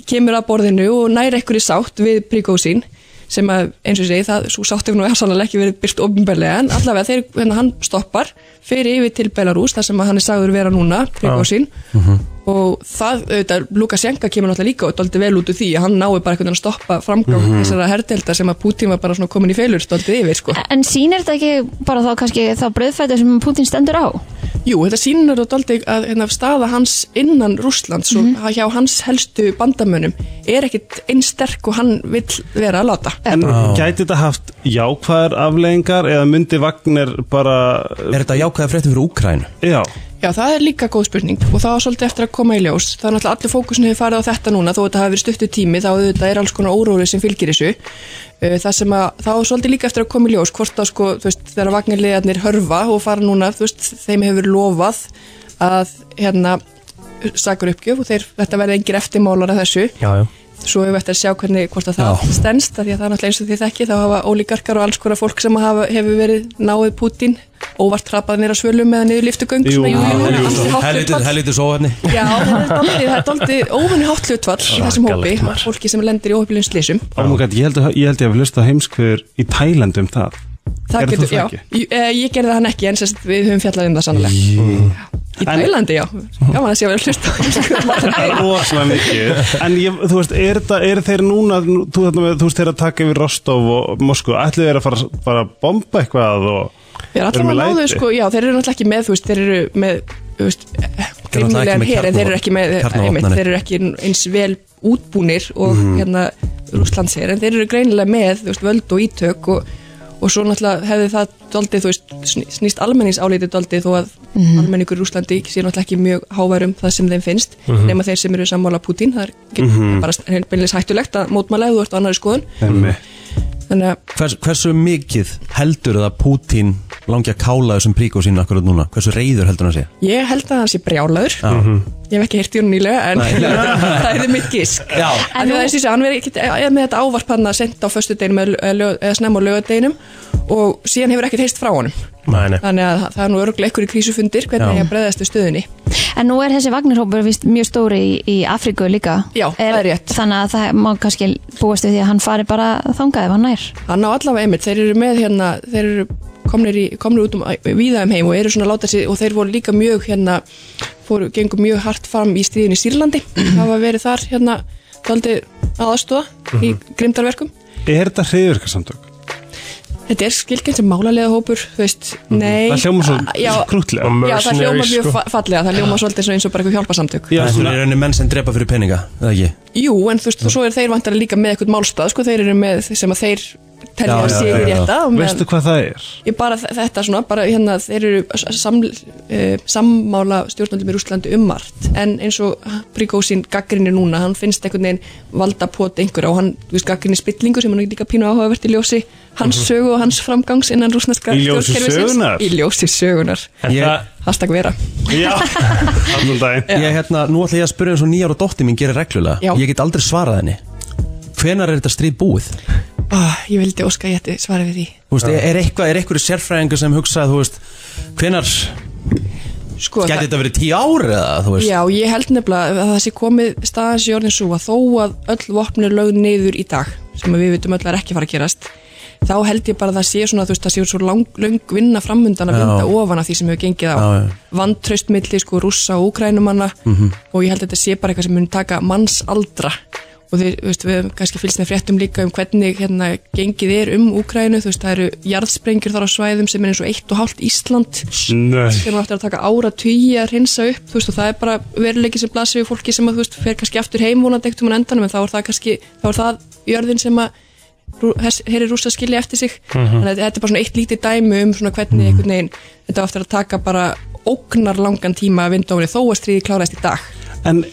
Speaker 9: kemur að borðinu og næri einhverju sátt við Prigozhin sem að eins og ég segi það svo sátt ef nú er sannlega ekki verið byrst ofnbærlega en allavega þeir, hérna, hann stoppar fyrir yfir til Belarus þar sem að hann er sagður vera núna Prigozhin og það, auðvitað, Lukasjenka kemur náttúrulega líka og dálítið vel út úr því að hann nái bara einhvern veginn að stoppa framgang
Speaker 3: Mhm.
Speaker 9: þessara herdelda sem að Putin var bara svona komin í feilur dálítið yfir, sko.
Speaker 3: En sýnir þetta ekki bara þá kannski þá bröðfættu sem Putin stendur á?
Speaker 9: Jú, þetta sýnir þetta aldrei að hérna, staða hans innan Rússlands mm og hjá hans helstu bandamönnum er ekkit einn sterk og hann vill vera að láta.
Speaker 8: En gæti þetta haft jákvæðar afleðingar eða myndi Vagner bara Er
Speaker 2: þetta jákvæðar fréttum fyrir Úkrænu?
Speaker 8: Já,
Speaker 9: Já, það er líka góð spurning og það var svolítið eftir að koma í ljós. Það er náttúrulega allir fókusin hefur farið á þetta núna þó þetta hafi verið stuttu tími þá þetta er alls konar óróri sem fylgir þessu. Uh, Það sem að, þá er svolítið líka eftir að koma í ljós hvort að sko, þú veist, þegar vagnarlegarnir hörfa og fara núna, þú veist, þeim hefur verið lofað að, hérna, sakur uppgjöf og þeir, þetta verði engir eftirmálar af þessu.
Speaker 4: Já, já
Speaker 9: svo hefur eftir að sjá hvernig hvort að það stendst af því að það er náttúrulega eins og því þekki þá hafa ólíkarkar og alls konar fólk sem hafa, hefur verið náið Pútín óvart trapað nýra svölum eða niður lyftugang
Speaker 2: Jú,
Speaker 9: jú, jú.
Speaker 2: Helvítið, helvítið sóhefni
Speaker 9: Já, þetta er dálítið- það er daldið óvinni hátt hlutvall í þessum hópi
Speaker 8: Svakalegt,
Speaker 9: af fólki sem lendir í óhefilegum slísum
Speaker 8: ámugað, ég held að ég held ég hafi hlustað heimskveður í Tælandi um það Gerðir þú
Speaker 9: já,
Speaker 8: ekki?
Speaker 9: ég, eh, ég gerði hann ekki en sérst við höfum fjallað um það sannlega Í Tælandi, já, gaman að sé að vera hlust
Speaker 8: rosalega mikið En ég, þú veist, er, það, er þeir núna nú- þú, þarna með- þú veist, þeir að taka yfir Rostov og Moskú, ætli þeir að fara bara að bomba eitthvað og
Speaker 9: Þeir
Speaker 8: eru
Speaker 9: allavega
Speaker 8: með
Speaker 9: náðu,
Speaker 8: læti?
Speaker 9: sko, já, þeir eru náttúrulega ekki með, þú veist, þeir eru með, þú veist,
Speaker 8: náttúrulega
Speaker 9: grínilegan
Speaker 8: ekki með
Speaker 9: hér, en þeir eru ekki með, eh,
Speaker 8: kjarnavopn-
Speaker 9: einmitt,
Speaker 8: kjarnavopnanir.
Speaker 9: þeir eru ekki eins vel útbúnir og
Speaker 8: Mhm.
Speaker 9: hérna Rússlands hér, en þeir eru greinilega með, þú veist, völd og ítök og, og svo náttúrulega hefði það doldið, þú veist, sný- snýst almenningsálítið doldið þó að almenningur í Rússlandi sé náttúrulega ekki mjög háværum um það sem þeim finnst,
Speaker 8: Mhm.
Speaker 9: nema þeir sem eru sammála Putin, það er mm
Speaker 2: Mhm.
Speaker 9: bara beinlega hættulegt að mótmála ef þú ert á annari skoðun, þannig að
Speaker 2: Hvers, Hversu mikið heldur það Pútín langi að kála þessum príkó sín akkurat núna? Hversu reyður heldur hann að sé?
Speaker 9: Ég held að hann sé brjálaður
Speaker 2: Já. Mhm.
Speaker 9: Ég hef ekki hirt í hún nýlega En
Speaker 2: Nei.
Speaker 9: það er mitt gísk
Speaker 2: Já.
Speaker 9: En það er síðan, hann verið ekki eða með þetta ávarp hann að senda á föstudeginum eða, eða, lög- eða snemma á lögadeginum og síðan hefur ekkert heist frá honum
Speaker 4: Nei, nei.
Speaker 9: Þannig að það- það er nú örglega einhverju krísufundir hvernig
Speaker 3: Já.
Speaker 9: ég breyðast við stöðunni
Speaker 3: En nú er þessi vagnarhópur vist mjög stóri í, í Afríku líka. Já, er, það er rétt. Þannig að það má kannski búast við því að hann fari bara þangað ef hann nær.
Speaker 9: Hann á allavega einmitt, þeir eru með hérna þeir eru komnir, í, komnir út um víða um heim og eru svona að láta sig og þeir voru líka mjög hérna, fóru, gengur mjög hart fram í stríðin í Sýrlandi hafa verið þar hérna, daldi aðastóða í grimdarverkum
Speaker 8: Mhm. Er þetta hriðurkarsamtök?
Speaker 9: Þetta er skilgjum sem málarlega hópur, þú veist, nei
Speaker 8: Mhm. Það hljómar svo
Speaker 9: já,
Speaker 8: krúttlega.
Speaker 9: Já, það hljóma
Speaker 2: Mercenaries,
Speaker 9: mjög
Speaker 2: sko.
Speaker 9: fa fallega, það hljóma svolítið svona eins og bara eitthvað hjálpasamtök
Speaker 2: Já, Þetta er rauninni menn sem drepa fyrir peninga, eða ekki?
Speaker 9: Jú, en þú veist, svo er þeir vantar líka með eitthvað málstað, sko, þeir eru með sem að þeir telja
Speaker 8: Já,
Speaker 9: að
Speaker 8: já,
Speaker 9: séu
Speaker 8: já, já.
Speaker 9: rétta og meðan-
Speaker 8: Veistu hvað það er?
Speaker 9: Ég bara þ- þetta svona, bara hérna þeir eru s- sam, uh, sammála stjórnaldum í Rúslandi um margt en eins og Príkósin gaggrinni núna hann finnst einhvern veginn valda pót einhverja og hann, þú veist, gaggrinni spillingu sem hann er líka pínu áhugavert í ljósi hans
Speaker 8: Mhm.
Speaker 9: sögu og hans framgangs innan rúsneska
Speaker 8: Í ljósi
Speaker 9: stjórnkerfisins.
Speaker 8: sögunnar?
Speaker 9: Í ljósi sögunar
Speaker 8: Ég-
Speaker 9: Hashtag vera
Speaker 8: Já, allan daginn
Speaker 2: Ég hérna, nú ætla ég að spyrja eins og nýjar og dótti mín gerir reglulega
Speaker 9: Já.
Speaker 2: Ég get aldrei svarað henni Hvenar er þetta stríð búið?
Speaker 9: ah, Ég vildi óska að ég ætti svara við því
Speaker 2: Þú veist, er, er eitthvað, er eitthvað sérfræðingur sem hugsaði, þú veist Hvenar,
Speaker 9: sko,
Speaker 2: geti þetta verið tíu ár eða, þú veist
Speaker 9: Já, ég held nefnilega að það sé komið staðans í orðin svo að þó að öll vopn er lögð niður í dag sem að við vitum öll að er ekki að fara að gerast þá held ég bara að það sé svona þú veist, það sé svo lang, lang vinna framundan að
Speaker 12: Já.
Speaker 9: vinda ofan af því sem hefur gengið á
Speaker 12: Já, já.
Speaker 9: vantraust milli sko rússa og úkrænumanna
Speaker 12: Mhm.
Speaker 9: og ég held að þetta sé bara eitthvað sem mun taka mannsaldra og þeir, veist, við hefum kannski fylgst með fréttum líka um hvernig hérna, gengið er um Úkrænu þú veist, það eru jarðsprengjur þar á svæðum sem er eins og eitt og hálft Ísland
Speaker 8: Nei.
Speaker 9: sem er eftir að taka ára tugi að hreinsa upp þú veist, og það er bara veruleiki sem blasir við fólki sem að, þú veist, fer kannski aftur heim vonandi ekkert um hann endanum en þá er það kannski, þá er það jörðin sem að herri rústa skilja eftir sig
Speaker 12: Mhm.
Speaker 9: þannig að þetta er bara svona eitt lítið dæmi um svona hvernig einhvern veginn þetta á eftir að taka bara ógnar langan tíma að vinda ofni þó að stríði kláraðist í dag
Speaker 8: En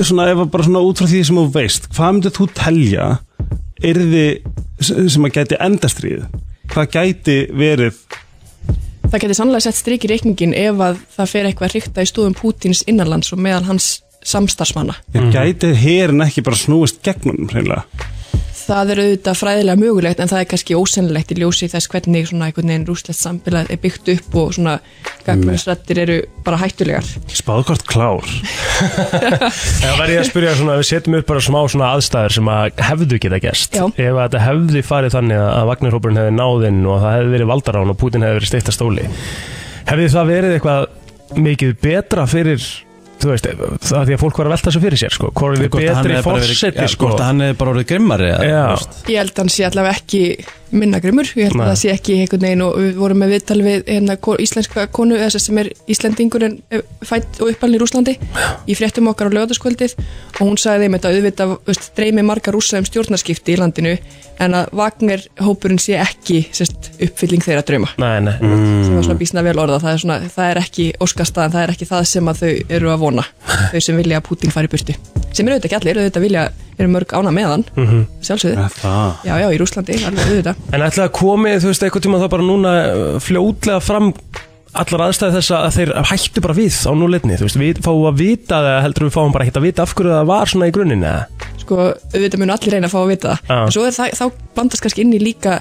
Speaker 8: svona, ef að bara svona út frá því sem þú veist Hvað myndið þú telja Yrði sem að gæti endastrið Hvað gæti verið
Speaker 9: Það getur sannlega sett strik í reikningin ef að það fer eitthvað að hrikta í stóðum Pútins innanlands og meðal hans samstarfsmanna.
Speaker 8: mm. Gæti herin ekki bara snúist gegnum hreinlega
Speaker 9: Það er auðvitað fræðilega mögulegt en það er kannski ósennilegt í ljósi þess hvernig svona einhvern veginn rúslegt samfélag er byggt upp og svona gagnusrættir eru bara hættulegar.
Speaker 8: Spáðkort klár
Speaker 4: Það verði ég að spyrja svona, við setjum upp bara smá svona aðstæður sem að hefðu geta gerst
Speaker 9: Já.
Speaker 4: Ef að þetta hefði farið þannig að Vagnarhópurinn hefði náðinn og það hefði verið valdarán og Putin hefði verið steytta stóli Hefði það verið eitthvað mikið betra fyrir þú veist, það er því að fólk var að velta þessu fyrir sér sko, hvort er
Speaker 2: Hvort að hann
Speaker 4: betri
Speaker 2: hefði bara verið-
Speaker 4: fórseti
Speaker 2: ja,
Speaker 4: sko
Speaker 2: hvort að hann hefði bara orðið grimmari eða,
Speaker 4: Já.
Speaker 2: þú veist.
Speaker 9: Ég held að hann sé allavega ekki minna grimmur, ég held
Speaker 4: Nei.
Speaker 9: að það sé ekki einhvern veginn og við vorum með viðtal við hérna, ko- íslenska konu, þess að sem er Íslendingur en eh, fædd og uppalinn í Rúslandi í fréttum okkar á lögataskvöldið og hún sagði þeim þetta auðvitað veist, dreymi marga rúsa um stjórnarskipti í landinu en að Wagner hópurinn sé ekki sérst, uppfylling þeirra drauma
Speaker 4: Nei, nei
Speaker 2: Mm.
Speaker 9: sem var
Speaker 4: Mm.
Speaker 9: svona bísna vel orða, það er, svona, það er ekki óskastaðan, það er ekki það sem að þau eru að vona þau sem vilja að Putin fari í burtu sem eru auðvitað ekki allir, auðvitað vilja eru mörg ána með hann,
Speaker 4: Mhm.
Speaker 9: sjálfsögðu
Speaker 4: það
Speaker 9: Já, já, í Rúslandi, alveg auðvitað
Speaker 4: En ætlaði að komi, þú veist, einhvern tíma þá bara núna uh, fljótlega fram allar aðstæði þess að þeir hættu bara við á núleitni, þú veist, við fáum að vita það heldur við fáum bara ekkert að vita af hverju það var svona í grunninn eða?
Speaker 9: Sko, auðvitað munu allir reyna að fá að vita það
Speaker 4: Já.
Speaker 9: En svo er það, þá blandast kannski inn í líka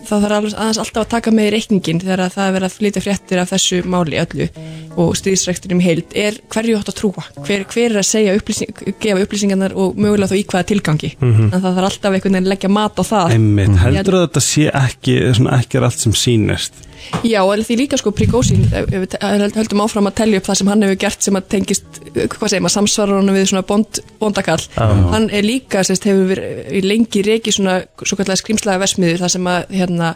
Speaker 9: þá þarf alveg aðeins alltaf að taka með í reikningin þegar að það er verið að flytja fréttir af þessu máli öllu og stríðsrekturum heild er hverju átt að trúa, hver, hver er að segja upplýsing, gefa upplýsingarnar og mögulega þá í hvaða tilgangi
Speaker 8: Mhm.
Speaker 9: en það þarf alltaf einhvern veginn að leggja mat á það
Speaker 8: Einmitt,
Speaker 9: Ég-
Speaker 8: heldur að þetta sé ekki, svona ekki er allt sem sýnist
Speaker 9: Já, og því líka sko Prigozhin, ef ef við te- ef við höldum áfram að telja upp það sem hann hefur gert sem að tengist, eh, hvað segir maður, samsvarar hann við svona bond, bondakall
Speaker 4: Já.
Speaker 9: hann er líka, sérst, hefur verið eh, í lengi reiki svona svo kallega skrimslaga versmiður þar sem að, hérna,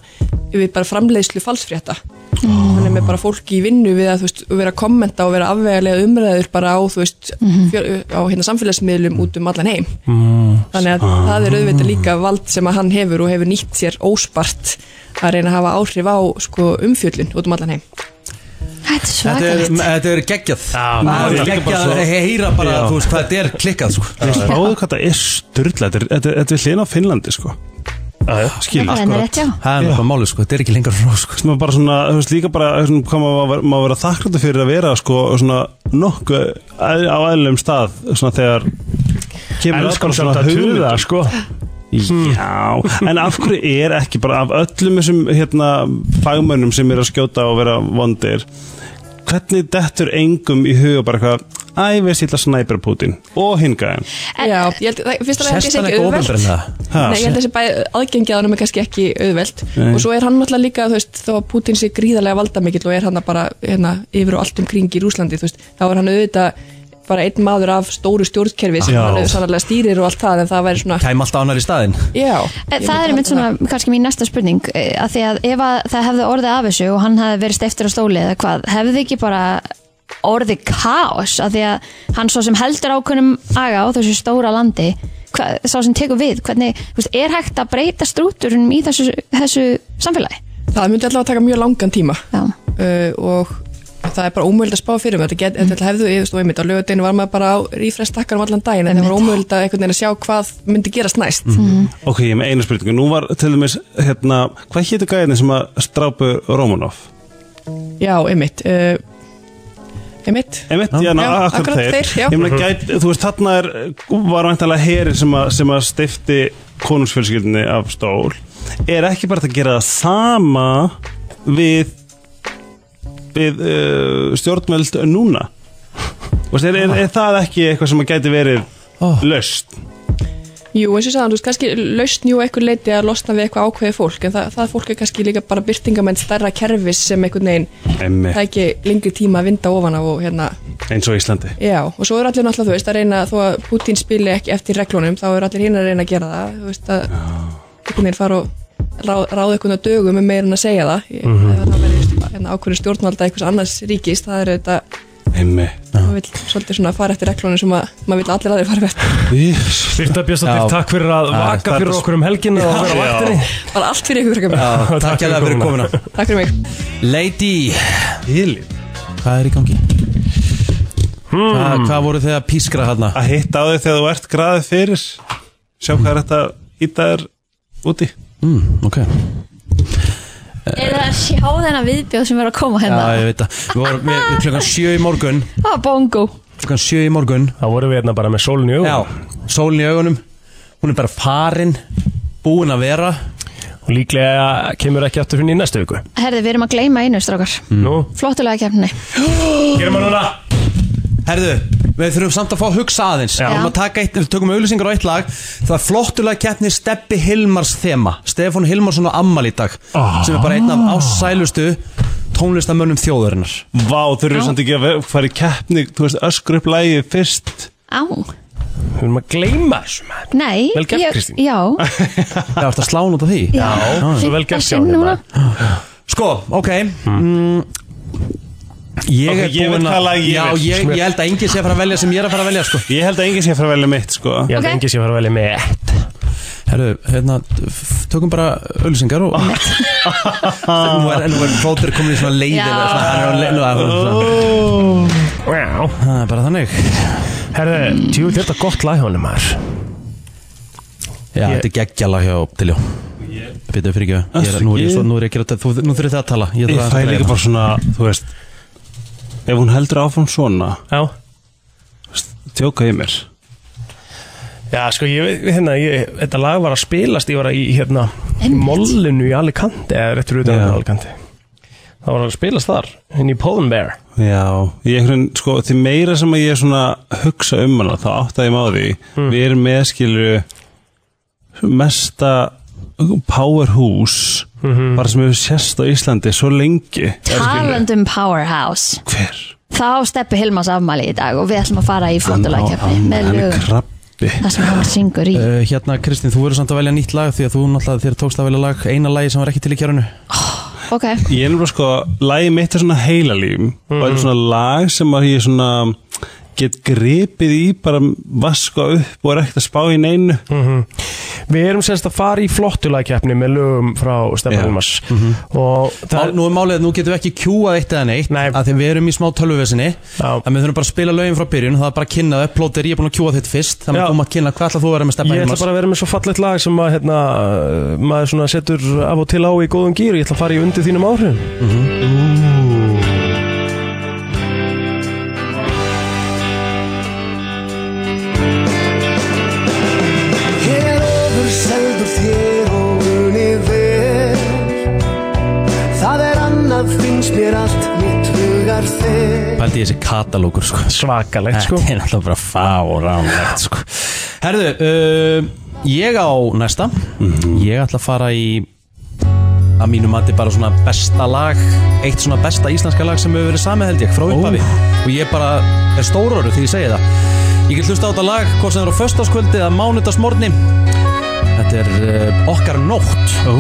Speaker 9: við bara framleiðslu falsfrétta hann er með bara fólki í vinnu við að, þú veist, vera að kommenta og vera afvegarlega umræður bara á, þú veist, fjör, á hérna samfélagsmiðlum út um allan heim þannig að
Speaker 8: Ah.
Speaker 9: það er auðvitað líka vald sem að hann hefur og hefur nýtt sér óspart að reyna að hafa áhrif á sko, umfjöllun út um allan heim
Speaker 3: Þetta er
Speaker 2: Þetta er,
Speaker 3: svakalegt
Speaker 2: þetta er geggjað
Speaker 8: maður
Speaker 2: Það er
Speaker 8: er líka bara
Speaker 2: geggjað
Speaker 8: svo-
Speaker 2: að heyra bara
Speaker 8: Já.
Speaker 2: þú veist, hvað þetta er klikkað sko.
Speaker 8: Ég spáðu hvað það er styrla Þetta er- þetta er- þetta er hlýna á Finnlandi sko Skil
Speaker 3: Þetta er henni rétt, já.
Speaker 2: Það er náttúrulega máli sko, þetta er ekki lengur frá sko.
Speaker 8: sem er bara svona, þú veist, líka bara svona, hvað maður var- maður vera þakkláttur fyrir að vera sko, svona nokkuð að- á aðlum stað, svona þegar kemur
Speaker 4: Elskum
Speaker 8: bara
Speaker 4: samt að tuða, sko
Speaker 9: Hmm.
Speaker 8: Já, en af hverju er ekki bara af öllum þessum hérna fagmönnum sem eru að skjóta og vera vondir hvernig dettur engum í huga bara eitthvað, æ, veist, ég ætla að snæpera Putin og hinga þeim
Speaker 9: Já, ég held, það, fyrst að það er
Speaker 2: Sest hann
Speaker 9: ekki
Speaker 2: eitthvað
Speaker 9: auðvelt
Speaker 2: ofendur en það?
Speaker 8: Ha,
Speaker 9: Nei, ég held að þessi bæ- aðgengi að hann er kannski ekki auðvelt
Speaker 8: Nei.
Speaker 9: og svo er hann náttúrulega líka, þú veist, þó að Putin sé gríðarlega valdamikill og er hann bara hérna, yfir og allt um kring í Rúslandi, þú veist, þá er hann auðvitað bara einn maður af stóru stjórnkerfi sem
Speaker 2: Já.
Speaker 9: hann auðvitað sannarlega stýrir og allt það en það væri svona,
Speaker 2: Kæm alltaf annar í staðinn
Speaker 9: já
Speaker 3: Eh, Það er einmitt svona kannski mín næsta spurning eh, að því að ef að það hefði orðið af þessu og hann hefði verið eftir á stóli eða hvað hefði ekki bara orðið kaos að því að hann svo sem heldur ákunnum aga á þessu stóra landi hvað, svo sem tekur við, hvernig þú veist, er hægt að breyta strúturunum í þessu, þessu samfélagi?
Speaker 9: Það myndi allavega taka mjög langan tíma
Speaker 3: Já,
Speaker 9: uh, og það er bara ómögulegt að spá fyrir um þetta, get,
Speaker 8: Mm.
Speaker 9: þetta hefðu yfirst og einmitt á lögadeinu var maður bara á rífrestakkan um allan daginn en það var ómögulegt að einhvern veginn að sjá hvað myndi gerast næst
Speaker 8: Mm. ok, ég er með einu spurningu, nú var til dæmis hérna, hvað hétu gæðin sem að strápu Romanov?
Speaker 9: Já, einmitt uh, einmitt
Speaker 8: Einmitt, já, ná,
Speaker 9: Já,
Speaker 8: akkurat,
Speaker 9: akkurat
Speaker 8: þeir,
Speaker 9: þeir, já.
Speaker 8: Ég meina, gæt, þú veist, þarna er, var væntalega herin sem, að- sem að stifti konungsfjölskyldinni af stól er ekki bara hægt að gera það sama við við uh, stjórnmöld núna Þú veist, er, er, er það ekki eitthvað sem að gæti verið löst
Speaker 9: Oh. Jú, eins og ég sagði, hann, þú veist, kannski lausn jú eitthvað leiti að losna við eitthvað ákveðið fólk en það, það fólk er kannski líka bara byrtingamenn stærra kerfis sem einhvern veginn
Speaker 8: Einmitt.
Speaker 9: það er ekki lengri tíma að vinda ofan á og hérna,
Speaker 8: eins og Íslandi
Speaker 9: já, og svo eru allir náttúrulega, þú veist, að reyna þó að Putin spili ekki eftir reglunum, þá eru allir hinn að reyna að gera það, þú veist, að einhvern veginn fara og ráð, ráða einhvern að dögum með meira en að segja það, mm
Speaker 8: Mhm.
Speaker 9: -hmm. það verður hérna, ákveðin stjórnvalda einhvers annars ríkist, það er þetta,
Speaker 8: Einmitt
Speaker 9: maður vil svolítið svona fara eftir reglunum sem að, maður vil að allir aðrir fara eftir,
Speaker 4: Birta Björnsdóttir,
Speaker 2: Já.
Speaker 4: takk fyrir að
Speaker 2: Já,
Speaker 4: vaka
Speaker 2: þetta
Speaker 4: fyrir
Speaker 2: er-
Speaker 4: okkur um helginu og vera á vaktinni
Speaker 9: bara allt fyrir ykkur, krakkar.
Speaker 2: Já, Takk
Speaker 4: fyrir
Speaker 2: hjá fyrir
Speaker 4: komuna.
Speaker 2: komuna
Speaker 9: takk fyrir mig.
Speaker 2: Lady,
Speaker 8: Hilið
Speaker 2: hvað er í gangi? Hvað, hvað voru þið að pískra hérna?
Speaker 8: Að hitta á þig þegar þú ert graðið fyrir Sjá hvað er þetta Ítta er úti
Speaker 2: Mm, ok
Speaker 3: er það að sjá þennan viðbjóð sem er að koma
Speaker 2: Já,
Speaker 3: hérna?
Speaker 2: ég veit það Við vorum við, við klukkan sjö í morgun
Speaker 3: Það er Ah, bongo
Speaker 2: Klukkan sjö í morgun
Speaker 4: Þá vorum við hérna bara með sólun í
Speaker 2: Já,
Speaker 4: augum
Speaker 2: sólin í augunum Hún er bara farin Búin að vera
Speaker 4: og líklega kemur ekki aftur fyrir í næstu viku
Speaker 3: Herði, við erum að gleyma einu strákar
Speaker 8: Mm.
Speaker 4: Nú,
Speaker 3: Flottulega kemni
Speaker 4: gerum við núna
Speaker 2: Herðu, við þurfum samt að fá að hugsa aðeins
Speaker 4: Já.
Speaker 2: Við erum að taka eitt, við tökum auðlýsingar á eitt lag Það er flottulega keppni Steppi Hilmars þema Stefán Hilmarsson og Ammal í dag
Speaker 4: Ah.
Speaker 2: Sem er bara einn af ássælustu tónlistamönnum þjóðarinnar
Speaker 9: Vá, þau eru samt ekki að ver- fara í keppni Þú veist, öskur upp lægið fyrst
Speaker 3: Á,
Speaker 4: Við erum að gleyma þessu maður
Speaker 3: nei
Speaker 4: Vel gert,
Speaker 3: ég-
Speaker 4: Kristín.
Speaker 3: Já,
Speaker 2: Það ert að slán út af því
Speaker 3: Já,
Speaker 4: svo vel
Speaker 3: fimmta
Speaker 4: gert hjá
Speaker 3: sinn
Speaker 4: hérna.
Speaker 3: núna.
Speaker 2: Sko, ok mm. Ég
Speaker 9: Ok,
Speaker 2: er
Speaker 9: ég veit
Speaker 2: búinn
Speaker 9: hvað
Speaker 2: að
Speaker 9: lag ég
Speaker 2: Já,
Speaker 9: vil.
Speaker 2: ég, ég held að enginn sé að fara að velja sem ég er að fara að velja sko.
Speaker 9: Ég held að enginn sé að fara að velja mitt, sko
Speaker 4: Ég held
Speaker 3: Ok.
Speaker 4: okay. engi sem var að velja með ett
Speaker 2: Herru, hérna, f- tökum bara öllusingar og Nú er, nú er Róður komin í svona leiðin
Speaker 3: Já.
Speaker 2: svona, hann er á leið- nú er hann svona-
Speaker 4: wow.
Speaker 2: Það er bara þannig
Speaker 4: Herðu, tjú, þetta er gott lag hjá honum maður
Speaker 2: Já, þetta er geggjala hjá Tiljó Býtu fyrir ekki, ég er, nú er ég svo, nú er ég að gera þetta þú- Nú þurfið það að tala Ég,
Speaker 9: Ég fæ líka bara svona, þú veist Ef hún heldur áfram svona
Speaker 4: Já
Speaker 9: Tjóka í mér
Speaker 4: Já, sko, ég, veit- hérna, ég, þetta lag var að spilast, ég var í, hérna, í mollinu í Alicante, eða réttur utan
Speaker 9: Já.
Speaker 4: á Alicante. Það var að spilast þar, inn í Poland Bear.
Speaker 9: Já, ég einhvern, sko, því meira sem að ég svona hugsa um hana, þá átta ég maður því við erum meðskilju mesta powerhouse bara sem hefur sérst á Íslandi svo lengi skilurðu.
Speaker 3: Talandum um Powerhouse
Speaker 9: Hver?
Speaker 3: Þá steppi Hilmas afmæli í dag og við ætlum að fara í flottulagkefni með
Speaker 9: hann er
Speaker 3: lögum
Speaker 9: krabbi
Speaker 3: Það sem hann syngur í
Speaker 2: Uh, hérna Kristín, þú verður samt að velja nýtt lag því að þú náttúrulega þér tókst að velja lag eina lagi sem var ekki til í kjörunu
Speaker 3: Ok,
Speaker 9: Ég er nefnilega sko, lagið mitt er svona heilalím og þetta er svona lag sem að ég svona get gripið í bara vaska upp og er ekkert að spá í neinu
Speaker 4: Við erum semst að fara í flottulagkeppni með lögum frá
Speaker 9: Já.
Speaker 4: Stefán Hilmars. Og það,
Speaker 2: Nú er málið að nú getum við ekki kjúað eitt eða neitt
Speaker 4: Nei.
Speaker 2: að því við erum í smá tölvuvesinni
Speaker 4: Já.
Speaker 2: að við þurfum bara að spila lögin frá byrjun það er bara að kynna það, plóter, ég er búin að kjúa þetta fyrst þannig
Speaker 4: Já.
Speaker 2: að þú maður kynna hvað ætlað þú að vera með stefna
Speaker 4: ég ætla bara að vera með svo fallegt lag sem að, hérna, uh, maður svona setur af og til á í góðum gýr. Ég ætla að fara í undir þínum áhrifum.
Speaker 1: Herofur seldur þér og unið vel Það er annað finnst mér allt mitt hugar þér
Speaker 2: Pældi ég þessi katalógur sko
Speaker 4: Svakalegt, sko.
Speaker 2: Þetta er náttúrulega bara fáránlegt sko Herðu, uh, ég á næsta Ég ætla að fara í að mínu mati bara svona besta lag eitt svona besta íslenska lag sem hefur verið samið held ég frá upphafi og ég bara er stórorður því ég segi það Ég get hlusta á þetta lag hvort sem það er á föstaskvöldi eða mánudagsmorni Þetta er uh, okkar nótt
Speaker 9: Ó,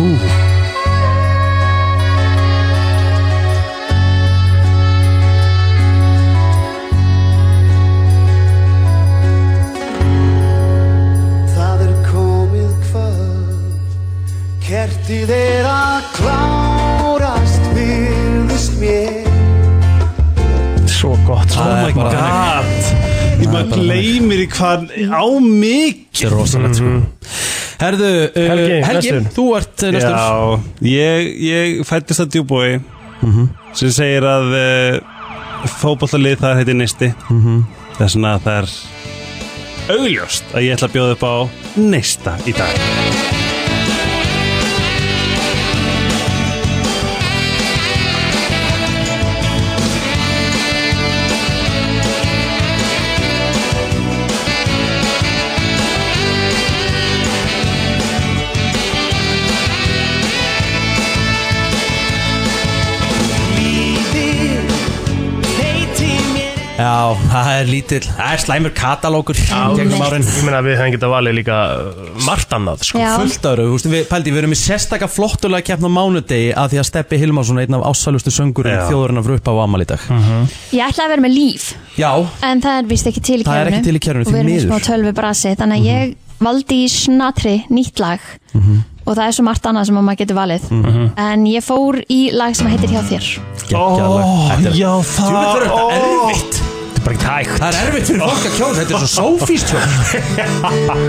Speaker 1: Það er komið kvöld Kertið er að klárast virðist mér
Speaker 4: Svo gott. sko.
Speaker 2: Það er bara
Speaker 9: god Ég maður gleymir í hvað á mikið
Speaker 2: Þetta er rosalegt sko Herðu, uh,
Speaker 4: Helgi,
Speaker 2: Helgi,
Speaker 4: næstur.
Speaker 2: þú ert uh, næstur
Speaker 9: Já, ég, ég fættist að djúbói sem segir að uh, fótbollalið þar heiti Nisti mm -hmm. þess vegna að það er augljóst að ég ætla að bjóða upp á Nista í dag
Speaker 2: Já, það er lítill, það er slæmur katalógur gegnum árin
Speaker 4: Ég meina að við hefum getað valið líka uh, margt annað, sko.
Speaker 3: já,
Speaker 2: Eh, fullt ára, þú veist, við, pældi, við erum í sérstaka flottulega keppna á mánudegi að því að Steppi Hilmarsson er einn af ásælustu söngurinn
Speaker 9: Já.
Speaker 2: þjóðurinn af Rupa á Amal í dag
Speaker 3: ég ætlaði að vera með líf
Speaker 2: Já,
Speaker 3: En það er vist ekki til í
Speaker 2: Það er
Speaker 3: kjörnu
Speaker 2: ekki til í kerfinu,
Speaker 3: Og
Speaker 2: því
Speaker 3: við erum í
Speaker 2: miður. Mhm.
Speaker 3: smá tölvubrasi Þannig að ég valdi í snatri nýtt lag Og það er svo margt annað sem að maður getur valið
Speaker 2: Mhm.
Speaker 3: En ég fór í lag sem heitir Hjá þér
Speaker 2: geggjaðlag Þetta er-
Speaker 9: já, það
Speaker 2: Djúpið er
Speaker 9: ó.
Speaker 2: þetta erfitt
Speaker 4: Þetta er bara ekki hægt.
Speaker 2: Það er erfitt fyrir fólk að kjósa, þetta er svo sófíst hjá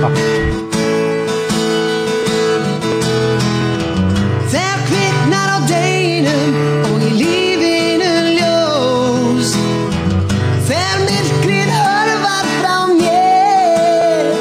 Speaker 1: Þegar kviknar á deginum og í lífinu ljós Þegar myrkrið hörfar frá mér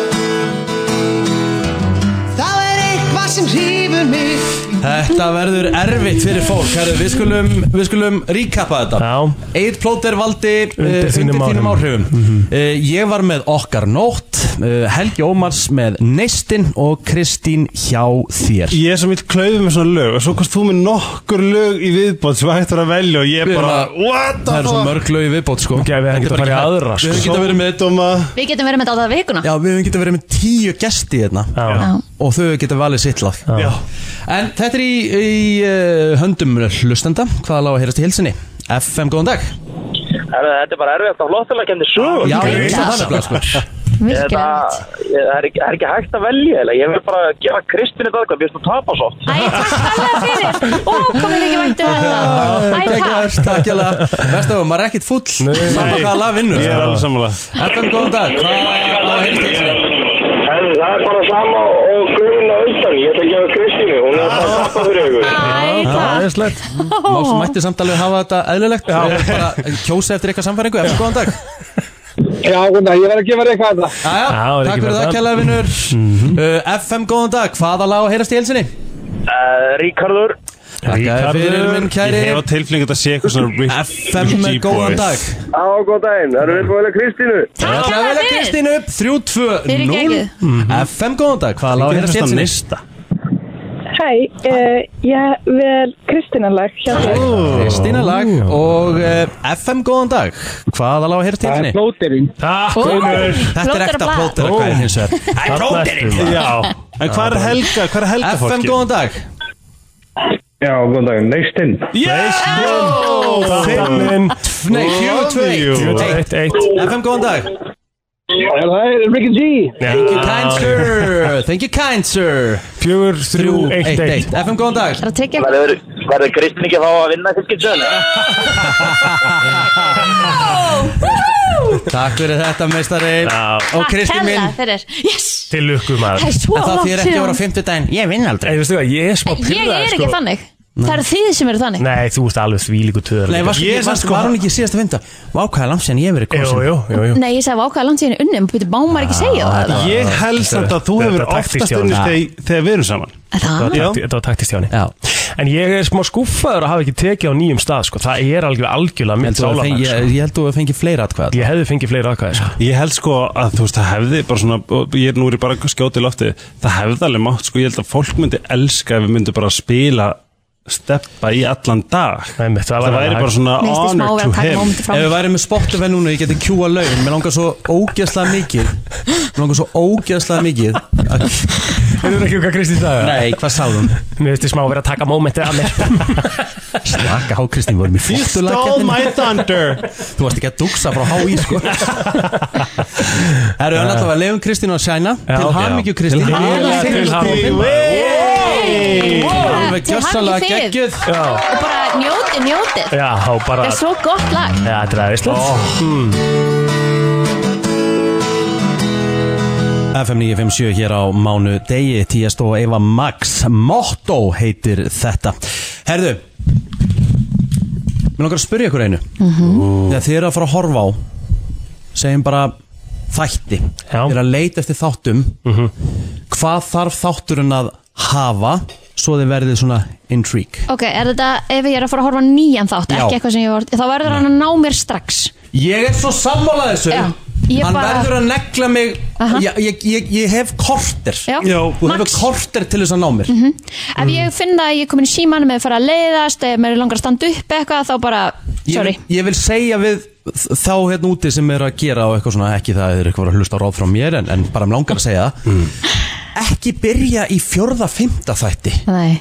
Speaker 1: Þá er eitthvað sem hrýfur mig
Speaker 2: Þetta verður erfitt fyrir fólk Herðu, við skulum, við skulum ríkappa þetta Já. Eitt plóter valdi eh,
Speaker 4: Undir þínum áhrifum.
Speaker 2: áhrifum Eh, Ég var með okkar nótt eh, Helgi Ómars með neistinn og Kristín hjá þér
Speaker 9: Ég er sem vill klauði með svona lög og svo komst þú með nokkur lög í viðbót sem hægt var að velja og ég
Speaker 2: Við erum
Speaker 9: bara
Speaker 2: að-
Speaker 9: What the
Speaker 2: Það eru svo
Speaker 9: fuck?
Speaker 2: mörg lög í viðbót sko
Speaker 4: við hefum
Speaker 2: Þetta
Speaker 4: getað
Speaker 2: er bara
Speaker 4: farið í
Speaker 2: ekki hægt.
Speaker 4: aðra, sko.
Speaker 2: Við hefum getað verið með
Speaker 9: Dóma
Speaker 3: Við getum verið með þetta á það vikuna
Speaker 2: Já, við hefum getað verið með tíu gesti hérna
Speaker 3: Já.
Speaker 2: og þau geta valið sitt lag
Speaker 9: Já.
Speaker 2: En þetta er í, í uh, höndum hlustenda Hvaða lág að heyrast í hilsinni? FM, góðan dag
Speaker 13: Herra, þetta er bara erfitt að flottilega kemdi sögum.
Speaker 2: Já, ég veist
Speaker 13: Þetta-
Speaker 2: það nefnilega sko
Speaker 13: ég- það er ekki- það er ekki hægt að velja, eiginlega. ég vil bara gefa Kristínu þetta eitthvað, mér finnst þú tapa svo. oft.
Speaker 3: Ó, komið ekki vænt um þetta Æ, takk
Speaker 2: Takk, takk jæla Vestu, maður er ekkit fúll Samma hvaða lag vinnur
Speaker 9: Ég er alveg sammála
Speaker 2: FM, góðan dag Hvaða lág að heyrast í hilsinni?
Speaker 13: Herra, það er bara sama og Guðun á undan, ég ætla að gefa Kristínu, hún er bara að tapa fyrir ykkur.
Speaker 3: Æ, takk
Speaker 4: Æðislegt
Speaker 2: Má sem mætti samt alveg hafa þetta eðlilegt Við erum bara kjósa eftir eitthvað samfæringu FM, góðan dag
Speaker 13: Já, hún, ég verð að gefa þér eitthvað þetta.
Speaker 2: Jæja,
Speaker 4: Já, er
Speaker 2: Takk fyrir
Speaker 4: ekki betra.
Speaker 2: það, kjæla vinnur uh, FM, góðan dag Hvaða lág að heyrast í hilsinni?
Speaker 13: Ríkardur,
Speaker 2: Takk fyrir minn kæri
Speaker 9: Ég hef á tilfinningu að þetta sé eitthvað svona Rick
Speaker 2: FM,
Speaker 9: G-boys.
Speaker 2: góðan dag
Speaker 13: á, góðan daginn, erum við búin að Kristínu?
Speaker 3: Takk
Speaker 2: Alla
Speaker 3: hella
Speaker 2: vega
Speaker 3: fyrir
Speaker 2: Kristín upp 3-2-0
Speaker 3: Fyrirgefið.
Speaker 2: FM, góðan dag Hvaða lág að heyrast í
Speaker 9: Þetta
Speaker 2: hilsinni?
Speaker 9: nista
Speaker 14: Hæ, uh, ég vel Kristinalag hjá þér.
Speaker 2: Kristína lag og uh, FM góðan dag Hvaða lág að heyrast í hilsinni?
Speaker 13: Plóterinn.
Speaker 4: Takk
Speaker 2: Þetta er
Speaker 3: Plóter
Speaker 2: ekta
Speaker 3: og blað.
Speaker 2: plótera hvað er hins vegar
Speaker 9: Já En hvað er helga, hvað er helga fólki?
Speaker 2: FM góðan dag
Speaker 13: Já, góðan daginn, neistinn.
Speaker 4: Fimmin
Speaker 2: Nei, fjögur tvö
Speaker 9: Jú.
Speaker 2: eitt.
Speaker 4: Eitt, eitt
Speaker 2: FM góðan dag
Speaker 13: Það er Ricky G.
Speaker 2: Thank you kind sir Thank you kind sir
Speaker 4: Fjögur, þrjú, eitt, eitt
Speaker 2: 3-1-1 FM góðan dag
Speaker 3: Það er að tryggja
Speaker 13: Verður, verður Kristín ekki að fá að vinna fylgjitsöðinu?
Speaker 2: Takk fyrir þetta meistari
Speaker 4: Já.
Speaker 2: Og Kristín
Speaker 3: hella
Speaker 2: minn
Speaker 3: fyrir Yes,
Speaker 4: Til lukku
Speaker 3: það
Speaker 4: maður
Speaker 3: er svo
Speaker 2: En það
Speaker 3: langt
Speaker 2: þýr ekki að voru á 50 daginn Ég vinn aldrei
Speaker 4: Ég veistu hvað, ég er smá
Speaker 3: Ég
Speaker 4: pyrraður
Speaker 3: er sko. ekki
Speaker 2: sko.
Speaker 3: þannig Það eru þið sem eru þannig
Speaker 4: Nei, þú veist alveg því líku töður
Speaker 2: Nei, var,
Speaker 9: Ég
Speaker 2: ég,
Speaker 9: er
Speaker 2: var,
Speaker 9: samt sko-
Speaker 2: var hún ekki síðast að vinda Vákvæða langt sem ég hef verið
Speaker 4: Jú,
Speaker 2: kosin
Speaker 4: jú, jú, jú
Speaker 3: Nei, ég sagði ákvæða langt síðan unnum Býtu, má maður ekki
Speaker 2: Ah,
Speaker 3: segja það eða?
Speaker 9: Ég held samt að þú
Speaker 4: Þetta
Speaker 9: hefur
Speaker 4: er taktískt
Speaker 9: oftast
Speaker 4: hjá
Speaker 9: unnist
Speaker 4: honum.
Speaker 9: þegar þegar við erum saman
Speaker 3: Er Það
Speaker 9: Já.
Speaker 4: Takti- Þetta var taktist hjá henni
Speaker 2: Já.
Speaker 4: En ég er smá skúffaður að hafa ekki tekið á nýjum stað sko. Það er algjör algjörlega
Speaker 2: Ég
Speaker 4: mitt
Speaker 2: held þú að
Speaker 4: sálarlag
Speaker 2: fengi-
Speaker 4: sko.
Speaker 2: ég- ég held þú að fengi fleira atkvæða
Speaker 4: Ég hefði fengið fleiri aðkvæði sko.
Speaker 9: Ég held sko að þú veist það hefði bara svona, og ég er nú er ég bara að skjóta í lofti það hefði alveg mátt sko, ég held að fólk myndi elska ef við myndum bara spila steppa í allan dag
Speaker 4: Nei, mitt, það
Speaker 9: það,
Speaker 4: væri
Speaker 9: væri
Speaker 4: alveg
Speaker 9: bara
Speaker 4: hægt.
Speaker 9: svona
Speaker 3: Mér finnst þið smá
Speaker 9: honor
Speaker 3: verið að
Speaker 9: to
Speaker 3: taka
Speaker 9: him
Speaker 3: mómenti frá
Speaker 2: Ef við værið með spotlöfið núna, ég geti kjúa laun Mér langar svo ógeðslega mikið Mér langar svo ógeðslega mikið að-
Speaker 4: Hefur þú ekki um hvað Kristi sagði?
Speaker 2: Nei, hvað sáðum?
Speaker 4: Mér veist ég smá verið að taka mómentið að mér
Speaker 2: Slaka, há Kristín, vorum í
Speaker 9: Stole
Speaker 2: fóttulag
Speaker 9: my thunder
Speaker 2: Þú varst ekki að duksa frá hái, sko Herru, en alltaf að leifum Kristín að sæna
Speaker 4: Já,
Speaker 2: Til
Speaker 4: ok.
Speaker 2: hamingju, Kristín
Speaker 4: Til hamingju, til hamingju.
Speaker 2: Alveg
Speaker 3: Til
Speaker 2: gjössalega
Speaker 3: hamingju þið.
Speaker 2: geggjuð
Speaker 4: Já,
Speaker 3: Og bara njótið, njótið
Speaker 4: já, þá
Speaker 3: Það
Speaker 4: bara
Speaker 3: er
Speaker 4: Já,
Speaker 3: svo gott lag
Speaker 4: þetta er aðeinslega
Speaker 2: FM 957 hér á mánu degi Tíast og Eva Max Motto heitir þetta Herðu Mér langar að spyrja ykkur einu Þegar þið eru að fara að horfa á segjum bara þætti
Speaker 4: Já.
Speaker 2: Þið eru að leita eftir þáttum Hvað þarf þátturinn að hafa svo þið verðið svona intrigue
Speaker 3: Ok, er þetta, ef ég er að fara að horfa á nýjan þátt
Speaker 2: Já.
Speaker 3: Ekki eitthvað sem ég var, þá verður hann að ná mér strax
Speaker 2: Ég er svo sammálað þessu
Speaker 3: Já, ég
Speaker 2: Hann
Speaker 3: bara-
Speaker 2: verður að negla mig
Speaker 3: Aha.
Speaker 2: ég, ég, ég, ég hef korter
Speaker 3: Já. Já.
Speaker 2: Þú hefur
Speaker 3: Max.
Speaker 2: korter til þess að ná mér
Speaker 3: Ef
Speaker 2: Mm.
Speaker 3: ég finn það að ég er komin í símanum eða fer að leiðast eða mér er langar að standa upp eitthvað þá bara,
Speaker 2: Ég
Speaker 3: sorry
Speaker 2: vil, ég vil segja við þ- þá hérna úti sem er að gera og eitthvað svona ekki það er eitthvað að hlusta á ráð frá mér en, en bara um langar að segja það
Speaker 9: Mm.
Speaker 2: ekki byrja í fjörða fymta þætti
Speaker 3: Nei,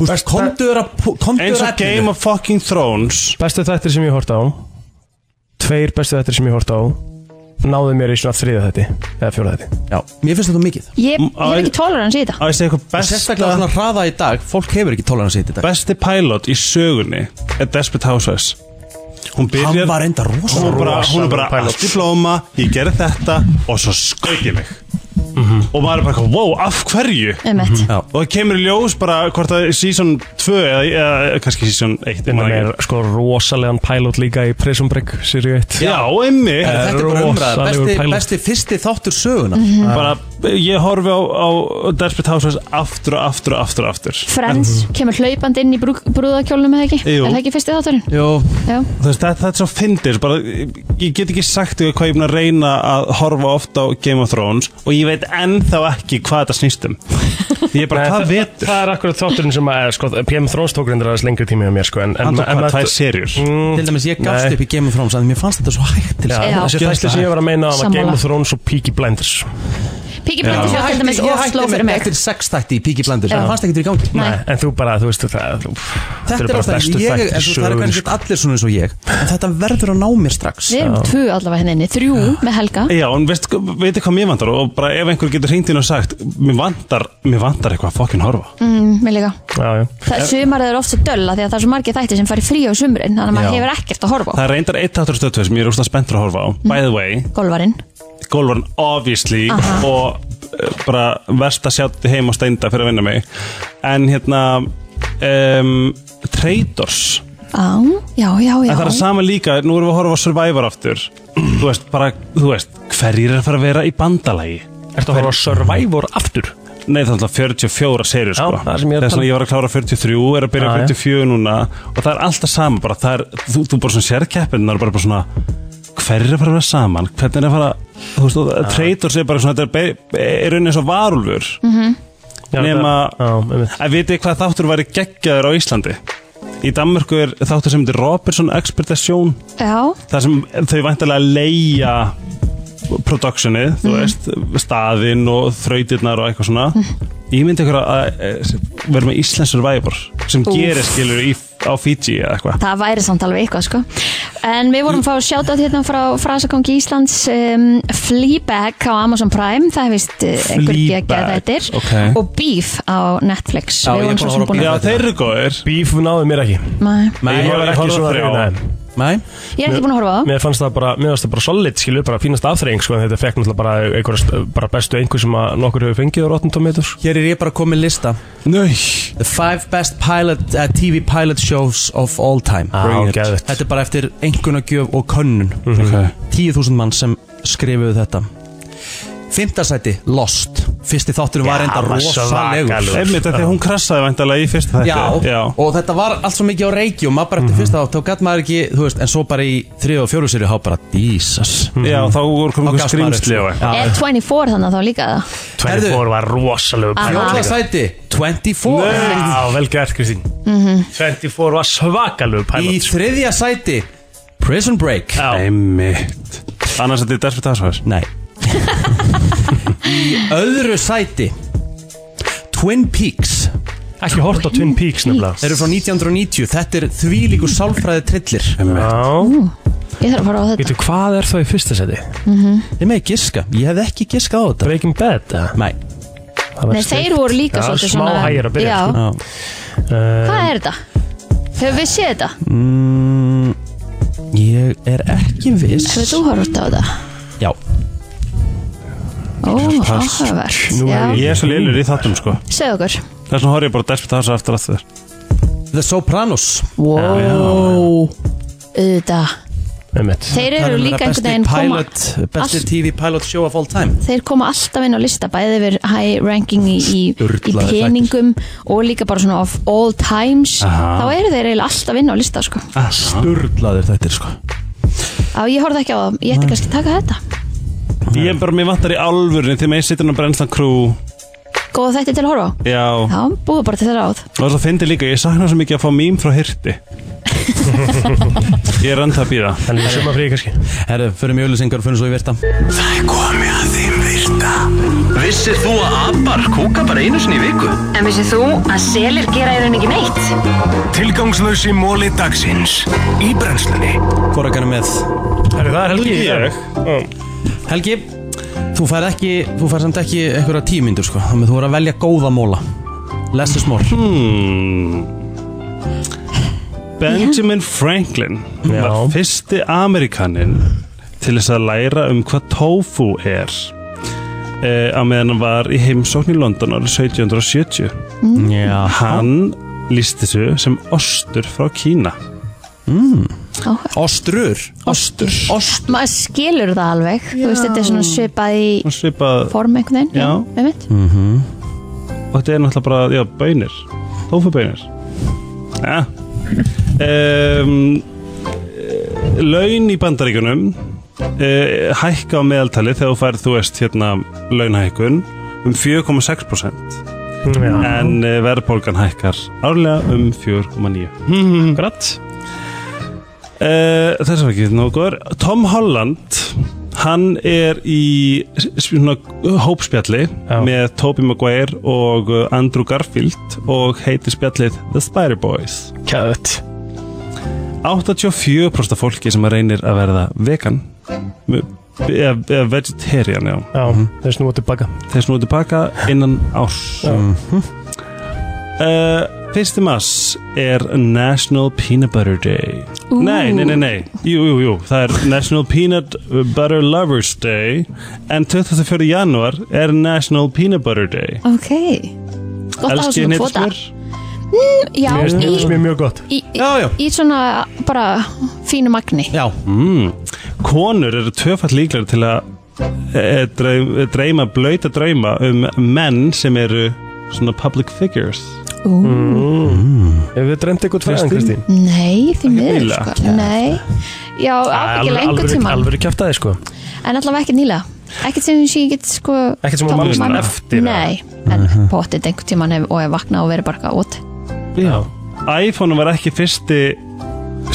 Speaker 2: Þú veist, komdu þér að komdu
Speaker 9: eins
Speaker 2: þér
Speaker 9: og
Speaker 2: að
Speaker 9: Game of fucking Thrones
Speaker 4: Bestu þættir sem ég horta á Tveir bestu þættir sem ég horta á Náðu mér í svona þriða þætti Eða fjóra þætti
Speaker 2: Já, mér finnst þetta mikið
Speaker 3: ég,
Speaker 9: Mm,
Speaker 3: ég er ekki tolerans í þetta
Speaker 9: að ég segi eitthvað
Speaker 2: og sérstaklega
Speaker 9: besta
Speaker 2: svona hraða í dag fólk hefur ekki tolerans í þetta í dag
Speaker 9: besti pilot í sögunni er Desperate Housewives hún
Speaker 2: hann
Speaker 9: byrjar
Speaker 2: var enda rosa
Speaker 9: hún er bara, hún er
Speaker 4: Rosalegur
Speaker 9: bara
Speaker 4: pilot.
Speaker 9: allt í blóma ég gerði þetta og svo skaut ég mig og maður er bara eitthvað, wow, af hverju
Speaker 3: Um eitt
Speaker 2: Já.
Speaker 9: og það kemur í ljós bara hvort að season 2 eða, eða kannski season 1
Speaker 4: Og
Speaker 9: man
Speaker 4: hann er
Speaker 9: ekki.
Speaker 4: sko rosalegan pælót líka í Prison Break Sirju 1
Speaker 9: já, emmi
Speaker 2: Þetta er bara umræða,
Speaker 4: Rosalegur
Speaker 2: besti,
Speaker 4: pilot.
Speaker 3: Mhm.
Speaker 2: besti fyrsti þáttur söguna
Speaker 9: Eh, bara ég horfi á, á Desperate Housewives aftur og aftur og aftur og aftur
Speaker 3: Friends kemur hlaupand inn í brú, brúðakjólnum eða ekki?
Speaker 9: Mhm. Jú.
Speaker 3: Er það ekki fyrsti þátturinn?
Speaker 2: Jú.
Speaker 3: Já.
Speaker 9: Þú veist, það, það er svo fyndis bara, ég get ekki sagt ykkur hvað ég er búin að reyna að horfa oft á Game of Thrones og ég veit ennþá ekki hvað þetta snýst um ég er bara, hvað
Speaker 4: það,
Speaker 9: vetur
Speaker 4: það er akkurat þátturinn sem að, eh, sko, PM Thrones tók reyndir aðeins lengri tími hjá mér, sko en,
Speaker 9: Hann tók hvað, tvær
Speaker 4: serjur?
Speaker 2: Til dæmis ég gafst upp í Game of Thrones að mér fannst þetta svo hægt
Speaker 4: Já, þessi þætti sem ég var að meina á að Game of Thrones og Peaky Blinders
Speaker 3: Peaky Blinders
Speaker 4: Já.
Speaker 3: var til dæmis
Speaker 2: Ég hætti
Speaker 3: ofsló
Speaker 2: með-
Speaker 3: fyrir mig
Speaker 2: eftir sex þætti í Peaky Blinders
Speaker 3: Já.
Speaker 2: það fannst ekki verið í gangi
Speaker 4: Nei, en þú bara, þú veist það þú-
Speaker 2: þetta er
Speaker 4: bara
Speaker 2: ástæðan,
Speaker 4: bestu
Speaker 2: ég,
Speaker 4: þættir sko.
Speaker 2: en þú- það er
Speaker 4: sögunnar,
Speaker 2: kannski ekki allir svona eins og ég en þetta verður að ná mér strax
Speaker 3: Við erum tvö allavega henni inni, þrjú með Helga
Speaker 9: Já, en veist, veitir hvað mér vantar og bara ef einhver getur hringt inn og sagt mér vantar, mér vantar eitthvað að fokkin horfa
Speaker 3: mm, Mér líka
Speaker 4: já, já.
Speaker 3: Það sumarið er oft svo dölla því að það er svo margir þættir sem fari frí á sumurinn þannig að maður
Speaker 9: Já.
Speaker 3: hefur ekkert að horfa á
Speaker 9: Það er reyndar eitt áttur stöðtöð sem ég er úrslega spenntur að horfa á
Speaker 3: Mm.
Speaker 9: By the way,
Speaker 3: Golvarinn
Speaker 9: Golvarn obviously
Speaker 3: Aha.
Speaker 9: og eh, bara verst að sjátti heim á steinda fyrir að vinna mig en hérna um, Traitors
Speaker 3: Á, já, já, já
Speaker 9: En það er sama líka, nú erum við að horfa á Survivor aftur Þú veist, bara, þú veist, hverjir er að fara að vera í bandalagi? Ertu að horfa á Survivor aftur? Nei, það er alltaf 44 serjur sko
Speaker 4: það sem ég er að
Speaker 9: Þess vegna
Speaker 4: tala-
Speaker 9: ég var að klára 43, er að byrja
Speaker 4: Já, já.
Speaker 9: 44 núna Og það er alltaf sama, bara það er, þú, þú bara svona sérkeppin Það er bara, bara svona, hverjir er að fara að vera saman? Hvernig er að fara, þú veist, og
Speaker 4: Já.
Speaker 9: Traitors er bara svona, þetta er, be- er raunin eins og varulfur
Speaker 4: Mhm. Já,
Speaker 9: nema að vitið hvað þáttur væri geggjaður á Íslandi í Danmörku er þáttur sem heitir Robertson Expertation
Speaker 3: Já,
Speaker 9: þar sem þau væntalega leia productionið, þú
Speaker 3: Mhm.
Speaker 9: veist staðinn og þrautirnar og eitthvað svona ég myndi ykkur að eh, vera með Íslands Survivor sem
Speaker 3: Úff.
Speaker 9: gerir skilur í, á Fiji eða eitthvað
Speaker 3: það væri samt alveg eitthvað sko En við vorum að fá sjátt hérna frá frasakongi Íslands um, Fleabag á Amazon Prime Það er vist uh, einhver geggja
Speaker 4: Fleabag,
Speaker 3: þættir
Speaker 4: ok.
Speaker 3: Og Beef á Netflix Við vorum svo sem búin
Speaker 4: Já,
Speaker 3: að-
Speaker 4: þeir
Speaker 9: eru góðir
Speaker 4: Beef náðu mér ekki
Speaker 3: Nei.
Speaker 4: Ég
Speaker 9: ég
Speaker 4: var
Speaker 9: var
Speaker 4: ekki
Speaker 9: horfði á
Speaker 4: svona
Speaker 9: þrjá.
Speaker 4: hrifin
Speaker 2: Nei
Speaker 3: Ég er ekki búin að horfa á það.
Speaker 4: Mér fannst það bara, mér fannst það bara solid, skilur, bara fínast afþreying, sko, en þetta fekk náttúrulega bara einhverja, bara bestu einhver sem að nokkur hefur fengið á Rotten Tomatoes.
Speaker 2: Hér er ég bara komið lista
Speaker 9: Nei
Speaker 2: The five best pilot, uh, TV pilot shows of all time
Speaker 4: Ah, Bring it. geðveikt.
Speaker 2: Þetta er bara eftir engunagjöf og könnun mm -hmm.
Speaker 9: Ok.
Speaker 2: 10.000 mann sem skrifuðu þetta Fymtasæti, Lost Fyrsti þáttur var enda rosalegur
Speaker 9: einmitt af því að hún krassaði væntalega í fyrsta þætti
Speaker 2: Já, og þetta var allt svo mikið á reiki og maður bara eftir fyrsta átt, þá gæt maður ekki, þú veist, en svo bara í þrið og fjóru sér þá bara, dísas
Speaker 9: Já, þá voru komið einhver skrýmsli og
Speaker 3: Er 24 þannig að þá líka það?
Speaker 4: 24 var rosalegu
Speaker 3: Aha.
Speaker 2: Fjóla sæti, 24
Speaker 4: Já, vel gert, Kristín.
Speaker 3: Mm
Speaker 4: 24 var svakalegu
Speaker 2: Í
Speaker 4: pælót.
Speaker 2: þriðja sæti, Prison Break
Speaker 9: Einmitt Mhm. Annars þetta er Desperate Housewives
Speaker 2: Nei Í öðru sæti Twin Peaks
Speaker 4: Ekki hort á Twin Peaks nefnilega
Speaker 2: Þeir eru frá 1990, þetta er þvílíkur sálfræði trillir
Speaker 4: Já
Speaker 3: Ég þarf að fara á þetta
Speaker 4: Veitu, hvað er þá í fyrsta seti?
Speaker 3: mm
Speaker 2: Ég með giska, ég hef ekki giskað á þetta
Speaker 4: Breaking Bad, eða?
Speaker 2: Nei
Speaker 3: Nei, þeir voru líka
Speaker 4: Já,
Speaker 3: svolítið
Speaker 4: smá
Speaker 3: svona
Speaker 4: hægir að byrja,
Speaker 3: Já.
Speaker 4: sko. Eh,
Speaker 3: Hvað er þetta? Hefur við séð þetta?
Speaker 2: Mm, ég er ekki viss
Speaker 3: Hefur þú horfst á þetta?
Speaker 2: Já
Speaker 3: Ó, áhugaverð Já.
Speaker 9: Ég er svo lillur í þáttum sko
Speaker 3: Segð okkur
Speaker 9: Þess vegna horf ég bara á Desperate Housewives aftur aftur
Speaker 2: The Sopranos
Speaker 3: Wow
Speaker 9: Já,
Speaker 3: Þetta Þeir eru líka einhvern veginn koma-
Speaker 2: um pilot, Besti
Speaker 3: Allt-
Speaker 2: TV pilot show of all time
Speaker 3: Þeir koma alltaf inn á lista Bæði yfir high ranking í, í, í
Speaker 2: Sturlaðir
Speaker 3: peningum Og líka bara svona of all times
Speaker 2: Aha.
Speaker 3: Þá eru þeir eiginlega alltaf inn á lista sko.
Speaker 2: Sturlaður þetta er sko
Speaker 3: Á, ég horfði ekki á það Ég ætti kannski að taka þetta
Speaker 9: Ég er bara, mér vantar í alvörni Þegar maður sittur á brennslan crew
Speaker 3: Góða þætti til að horfa á
Speaker 9: Já
Speaker 3: Já, búið bara til þeirra áð
Speaker 9: Og svo fyndi líka, ég sakna svo mikið að fá mím frá hirti Ég er enda að býða
Speaker 4: Þannig að suma frí kannski
Speaker 2: Herru, förum í auðlýsingar og fyrir svo í virta
Speaker 1: Það er komið að þeim virta Vissir þú að abar kúka bara einu sinni í viku?
Speaker 6: En vissið þú að selir gera í rauninni ekki neitt?
Speaker 1: Tilgangslösi móli dagsins Í brennslunni
Speaker 2: Hvorakana með
Speaker 4: Herru, það er Helgi í dag.
Speaker 2: Helgi, þú fær ekki Þú fær samt ekki einhverja tímyndur sko Þannig að þú voru að velja góða móla Less is more
Speaker 9: hmm. Benjamin Franklin var fyrsti Amerikanin til þess að læra um hvað tofu er eh, á meðan hann var í heimsókn í London árið 1770
Speaker 3: Mhm.
Speaker 2: mm.
Speaker 9: Hann líst þessu sem ostur frá Kína
Speaker 2: mm. Ostrur Ostur
Speaker 3: maður skilur það alveg þú veist,
Speaker 9: Já.
Speaker 3: þetta er svona svipað í
Speaker 9: Svipað
Speaker 3: form einhvern veginn
Speaker 9: Já.
Speaker 3: einmitt.
Speaker 9: mm -hmm. Og þetta er náttúrulega bara, já, Ah. bönir Tófubönir Já um, eh, Laun í bandaríkunum uh, hækka á meðaltali þegar þú færð, þú veist, hérna launhækun um 4,6%
Speaker 4: Já.
Speaker 9: en uh, verðbólgan hækkar árlega um 4,9 mm, Grætt uh, Þess var ekki nógu góður Tom Holland hann er í s- svona hópspjalli með Tobey Maguire og uh, Andrew Garfield og heitir spjallið The Spider Boys Kjöðt 84% af fólki sem reynir að verða vegan eða eða vegetarian já.
Speaker 4: Já, þeir snúið tilbaka
Speaker 9: Þeir snúið tilbaka innan árs Uh, Fyrsti mass er National Peanut Butter Day
Speaker 4: Ú.
Speaker 9: Nei, nei, nei, nei Jú, jú, jú, það er National Peanut Butter Lovers Day En 24. januar er National Peanut Butter Day
Speaker 3: ok gott að hafa
Speaker 9: Elskið
Speaker 3: svona kvota
Speaker 9: hnetusmjör?
Speaker 3: mm, já, í,
Speaker 4: mjög gott
Speaker 3: í, í, í svona bara fínu magni
Speaker 2: Já
Speaker 9: mm. Konur eru tvöfall líklar til að e, dreim, dreima, blöyta drauma um menn sem eru svona public figures
Speaker 4: Ef við dreymdi eitthvað tvæðan, Kristín
Speaker 3: nei, því miður
Speaker 4: nýlega.
Speaker 3: sko. nei, já, ábyggilega einhvern tíma
Speaker 4: Alveg kjæft aðeins, sko
Speaker 3: en allavega ekki nýla ekkert sem ég get sko
Speaker 4: Ekkert sem hún
Speaker 3: þá-
Speaker 4: manst
Speaker 3: man-
Speaker 4: eftir, eða?
Speaker 3: nei, en potið einhvern tíman hef, og hef vaknað og verið bara eitthvað út
Speaker 9: Já. iPhone var ekki fyrsti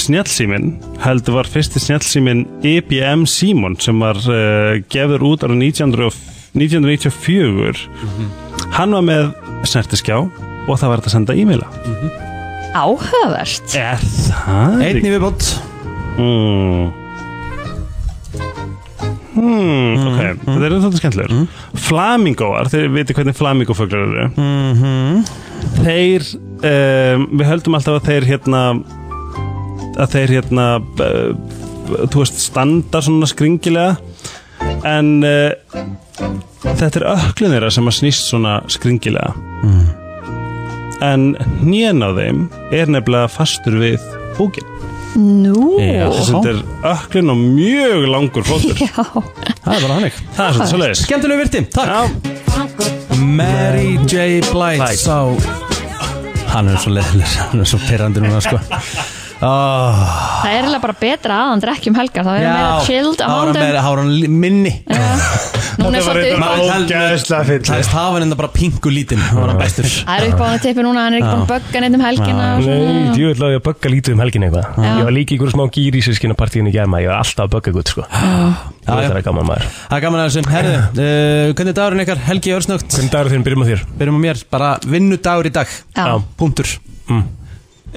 Speaker 9: snjallsímin heldur var fyrsti E snjallsímin IBM Simon sem var uh, gefur út ára 1994 hann var með snertiskjá og það var þetta að senda e-maila
Speaker 3: áhugavert
Speaker 9: er það
Speaker 2: Einni viðbót
Speaker 9: mm. Hmm, ok, þetta er þetta skemmtilegur Flamingóar, þeir viti hvernig flamingófuglar eru Þeir, um, við höldum alltaf að þeir hérna að þeir hérna uh, þú veist, standa svona skringilega en uh, þetta er öklun þeirra sem að snýst svona skringilega Hmm. en nýjan á þeim er nefnilega fastur við búkinn
Speaker 3: nú
Speaker 9: þess að þetta er öklin og mjög langur fóttur
Speaker 3: já
Speaker 2: Það er bara hannig
Speaker 9: Það er svolítið svoleiðis.
Speaker 2: Skemmtileg virti, takk Mary J. Blight Sá Hann er svo leðileg, hann er svo pyrrandi núna sko oh.
Speaker 3: það er eiginlega bara betra að hann drekki um helgar þá er hann meira chilled á
Speaker 2: hann
Speaker 3: mándum
Speaker 2: meira, þá er hann li- minni
Speaker 3: Núna er svolítið upp á
Speaker 2: ógæðslega fyll Það er hafa hann enda bara pingu lítinn, hann var hann bestur
Speaker 3: það er upp á hann tippi núna, hann er ekki
Speaker 4: Já.
Speaker 3: búin að bögga neitt um helgina og
Speaker 4: Nei,
Speaker 3: svona.
Speaker 4: djúvill á ég að bögga lítið um helgin eitthvað
Speaker 3: Já.
Speaker 4: Ég var líka ykkur smá gýr í sískina partíinu gæma Ég var alltaf að bögga eitthvað, sko Ég veit
Speaker 2: já.
Speaker 4: það er gaman maður
Speaker 2: Það er gaman að þessum, herðu, uh, hvernig er dagurinn ykkar, Helgi Örsnögt?
Speaker 4: Hvernig dagur þinn, byrjum á þér?
Speaker 2: Byrjum á mér, bara vinnudagur í dag
Speaker 3: Já.
Speaker 2: Punktur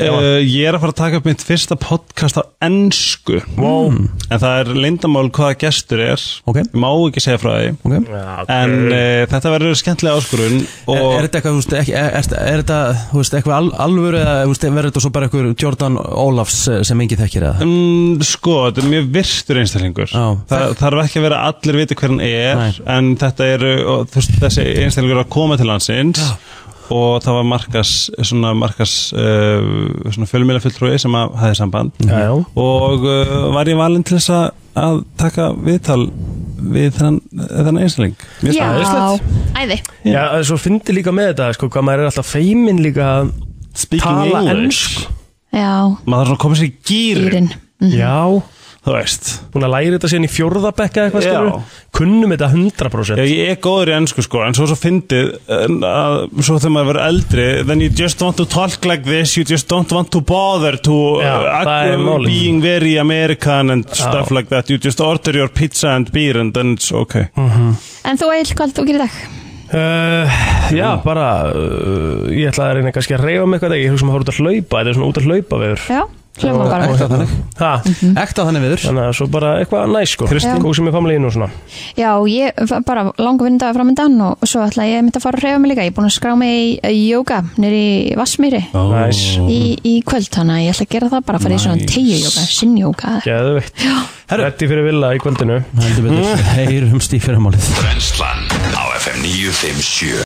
Speaker 9: Uh, ég er að fara að taka upp mitt fyrsta podcast á ennsku wow. En það er lindamál hvaða gestur er okay. Má ekki segja frá því
Speaker 2: okay.
Speaker 9: En uh, þetta verður skemmtilega áskorun og
Speaker 2: Er, er þetta eitthvað, þú veist, ekki, er, er, er þetta, þú veist, eitthvað al, alvöru eða, þú veist, verður þetta svo bara eitthvað Jordan Ólafs eh, sem engi þekkir eða?
Speaker 9: Mm, sko, þetta er mjög virtur einstaklingur Þa, Það þarf ekki að vera að allir viti hver hann er En þetta er, og, þú veist, þessi einstaklingur er að koma til hansins Og það var markas, svona markas, uh, svona fjölmjöla fulltrúi sem að hafði samband
Speaker 4: Já, já.
Speaker 9: Og uh, var ég valinn til þess að, að taka viðtal við þennan, þennan einstakling Mjög
Speaker 3: já,
Speaker 9: spennandi.
Speaker 3: æði
Speaker 4: Já, það er svo fyndi líka með þetta, sko, hvað maður er alltaf feiminn líka að tala ennsku
Speaker 3: já,
Speaker 9: Maður þarf svona að koma sér í gýrin
Speaker 3: dýrin Mm.
Speaker 4: Já
Speaker 9: Þú veist
Speaker 4: Búin að læra þetta síðan í fjórðabekka eitthvað
Speaker 9: Já.
Speaker 4: skilur Kunnum þetta 100%
Speaker 9: Já, ég er góður í ennsku sko, en svo er svo fyndið en að, svo þegar maður verður eldri then you just want to talk like this you just don't want to bother to
Speaker 4: Já,
Speaker 9: uh,
Speaker 4: það er málið.
Speaker 9: being very American and
Speaker 4: Já.
Speaker 9: stuff like that you just order your pizza and beer and then it's okay
Speaker 3: en þú Eil, hvað þú gerir í dag?
Speaker 4: Uh, já, bara uh, ég ætla að reyna kannski að reyfa mig eitthvað ég hugsa maður að fara út að hlaupa, þetta er svona út að hlaupa veður
Speaker 3: já, hljóma bara
Speaker 2: Ekta þannig
Speaker 4: -hmm.
Speaker 2: Ekta þannig veður
Speaker 4: Þannig að svo bara eitthvað næs sko
Speaker 3: Kristín?
Speaker 4: Góð sem ég famlegin og svona
Speaker 3: Já, ég var bara langa vindaði framöndan og svo ætla ég myndi að fara að reyfa mig líka. Ég er búin að skrá mig í eh, yoga nýri í Vassmýri
Speaker 4: oh. Næs
Speaker 3: í, í kvöld, þannig að ég ætla að gera það bara að fara í svona tegju yoga, sinn yoga.
Speaker 4: Geðveikt Retti fyrir villa í kvöldinu
Speaker 2: Heldur betur, heyrumst í fyrramálið
Speaker 1: Brennslan á FM 957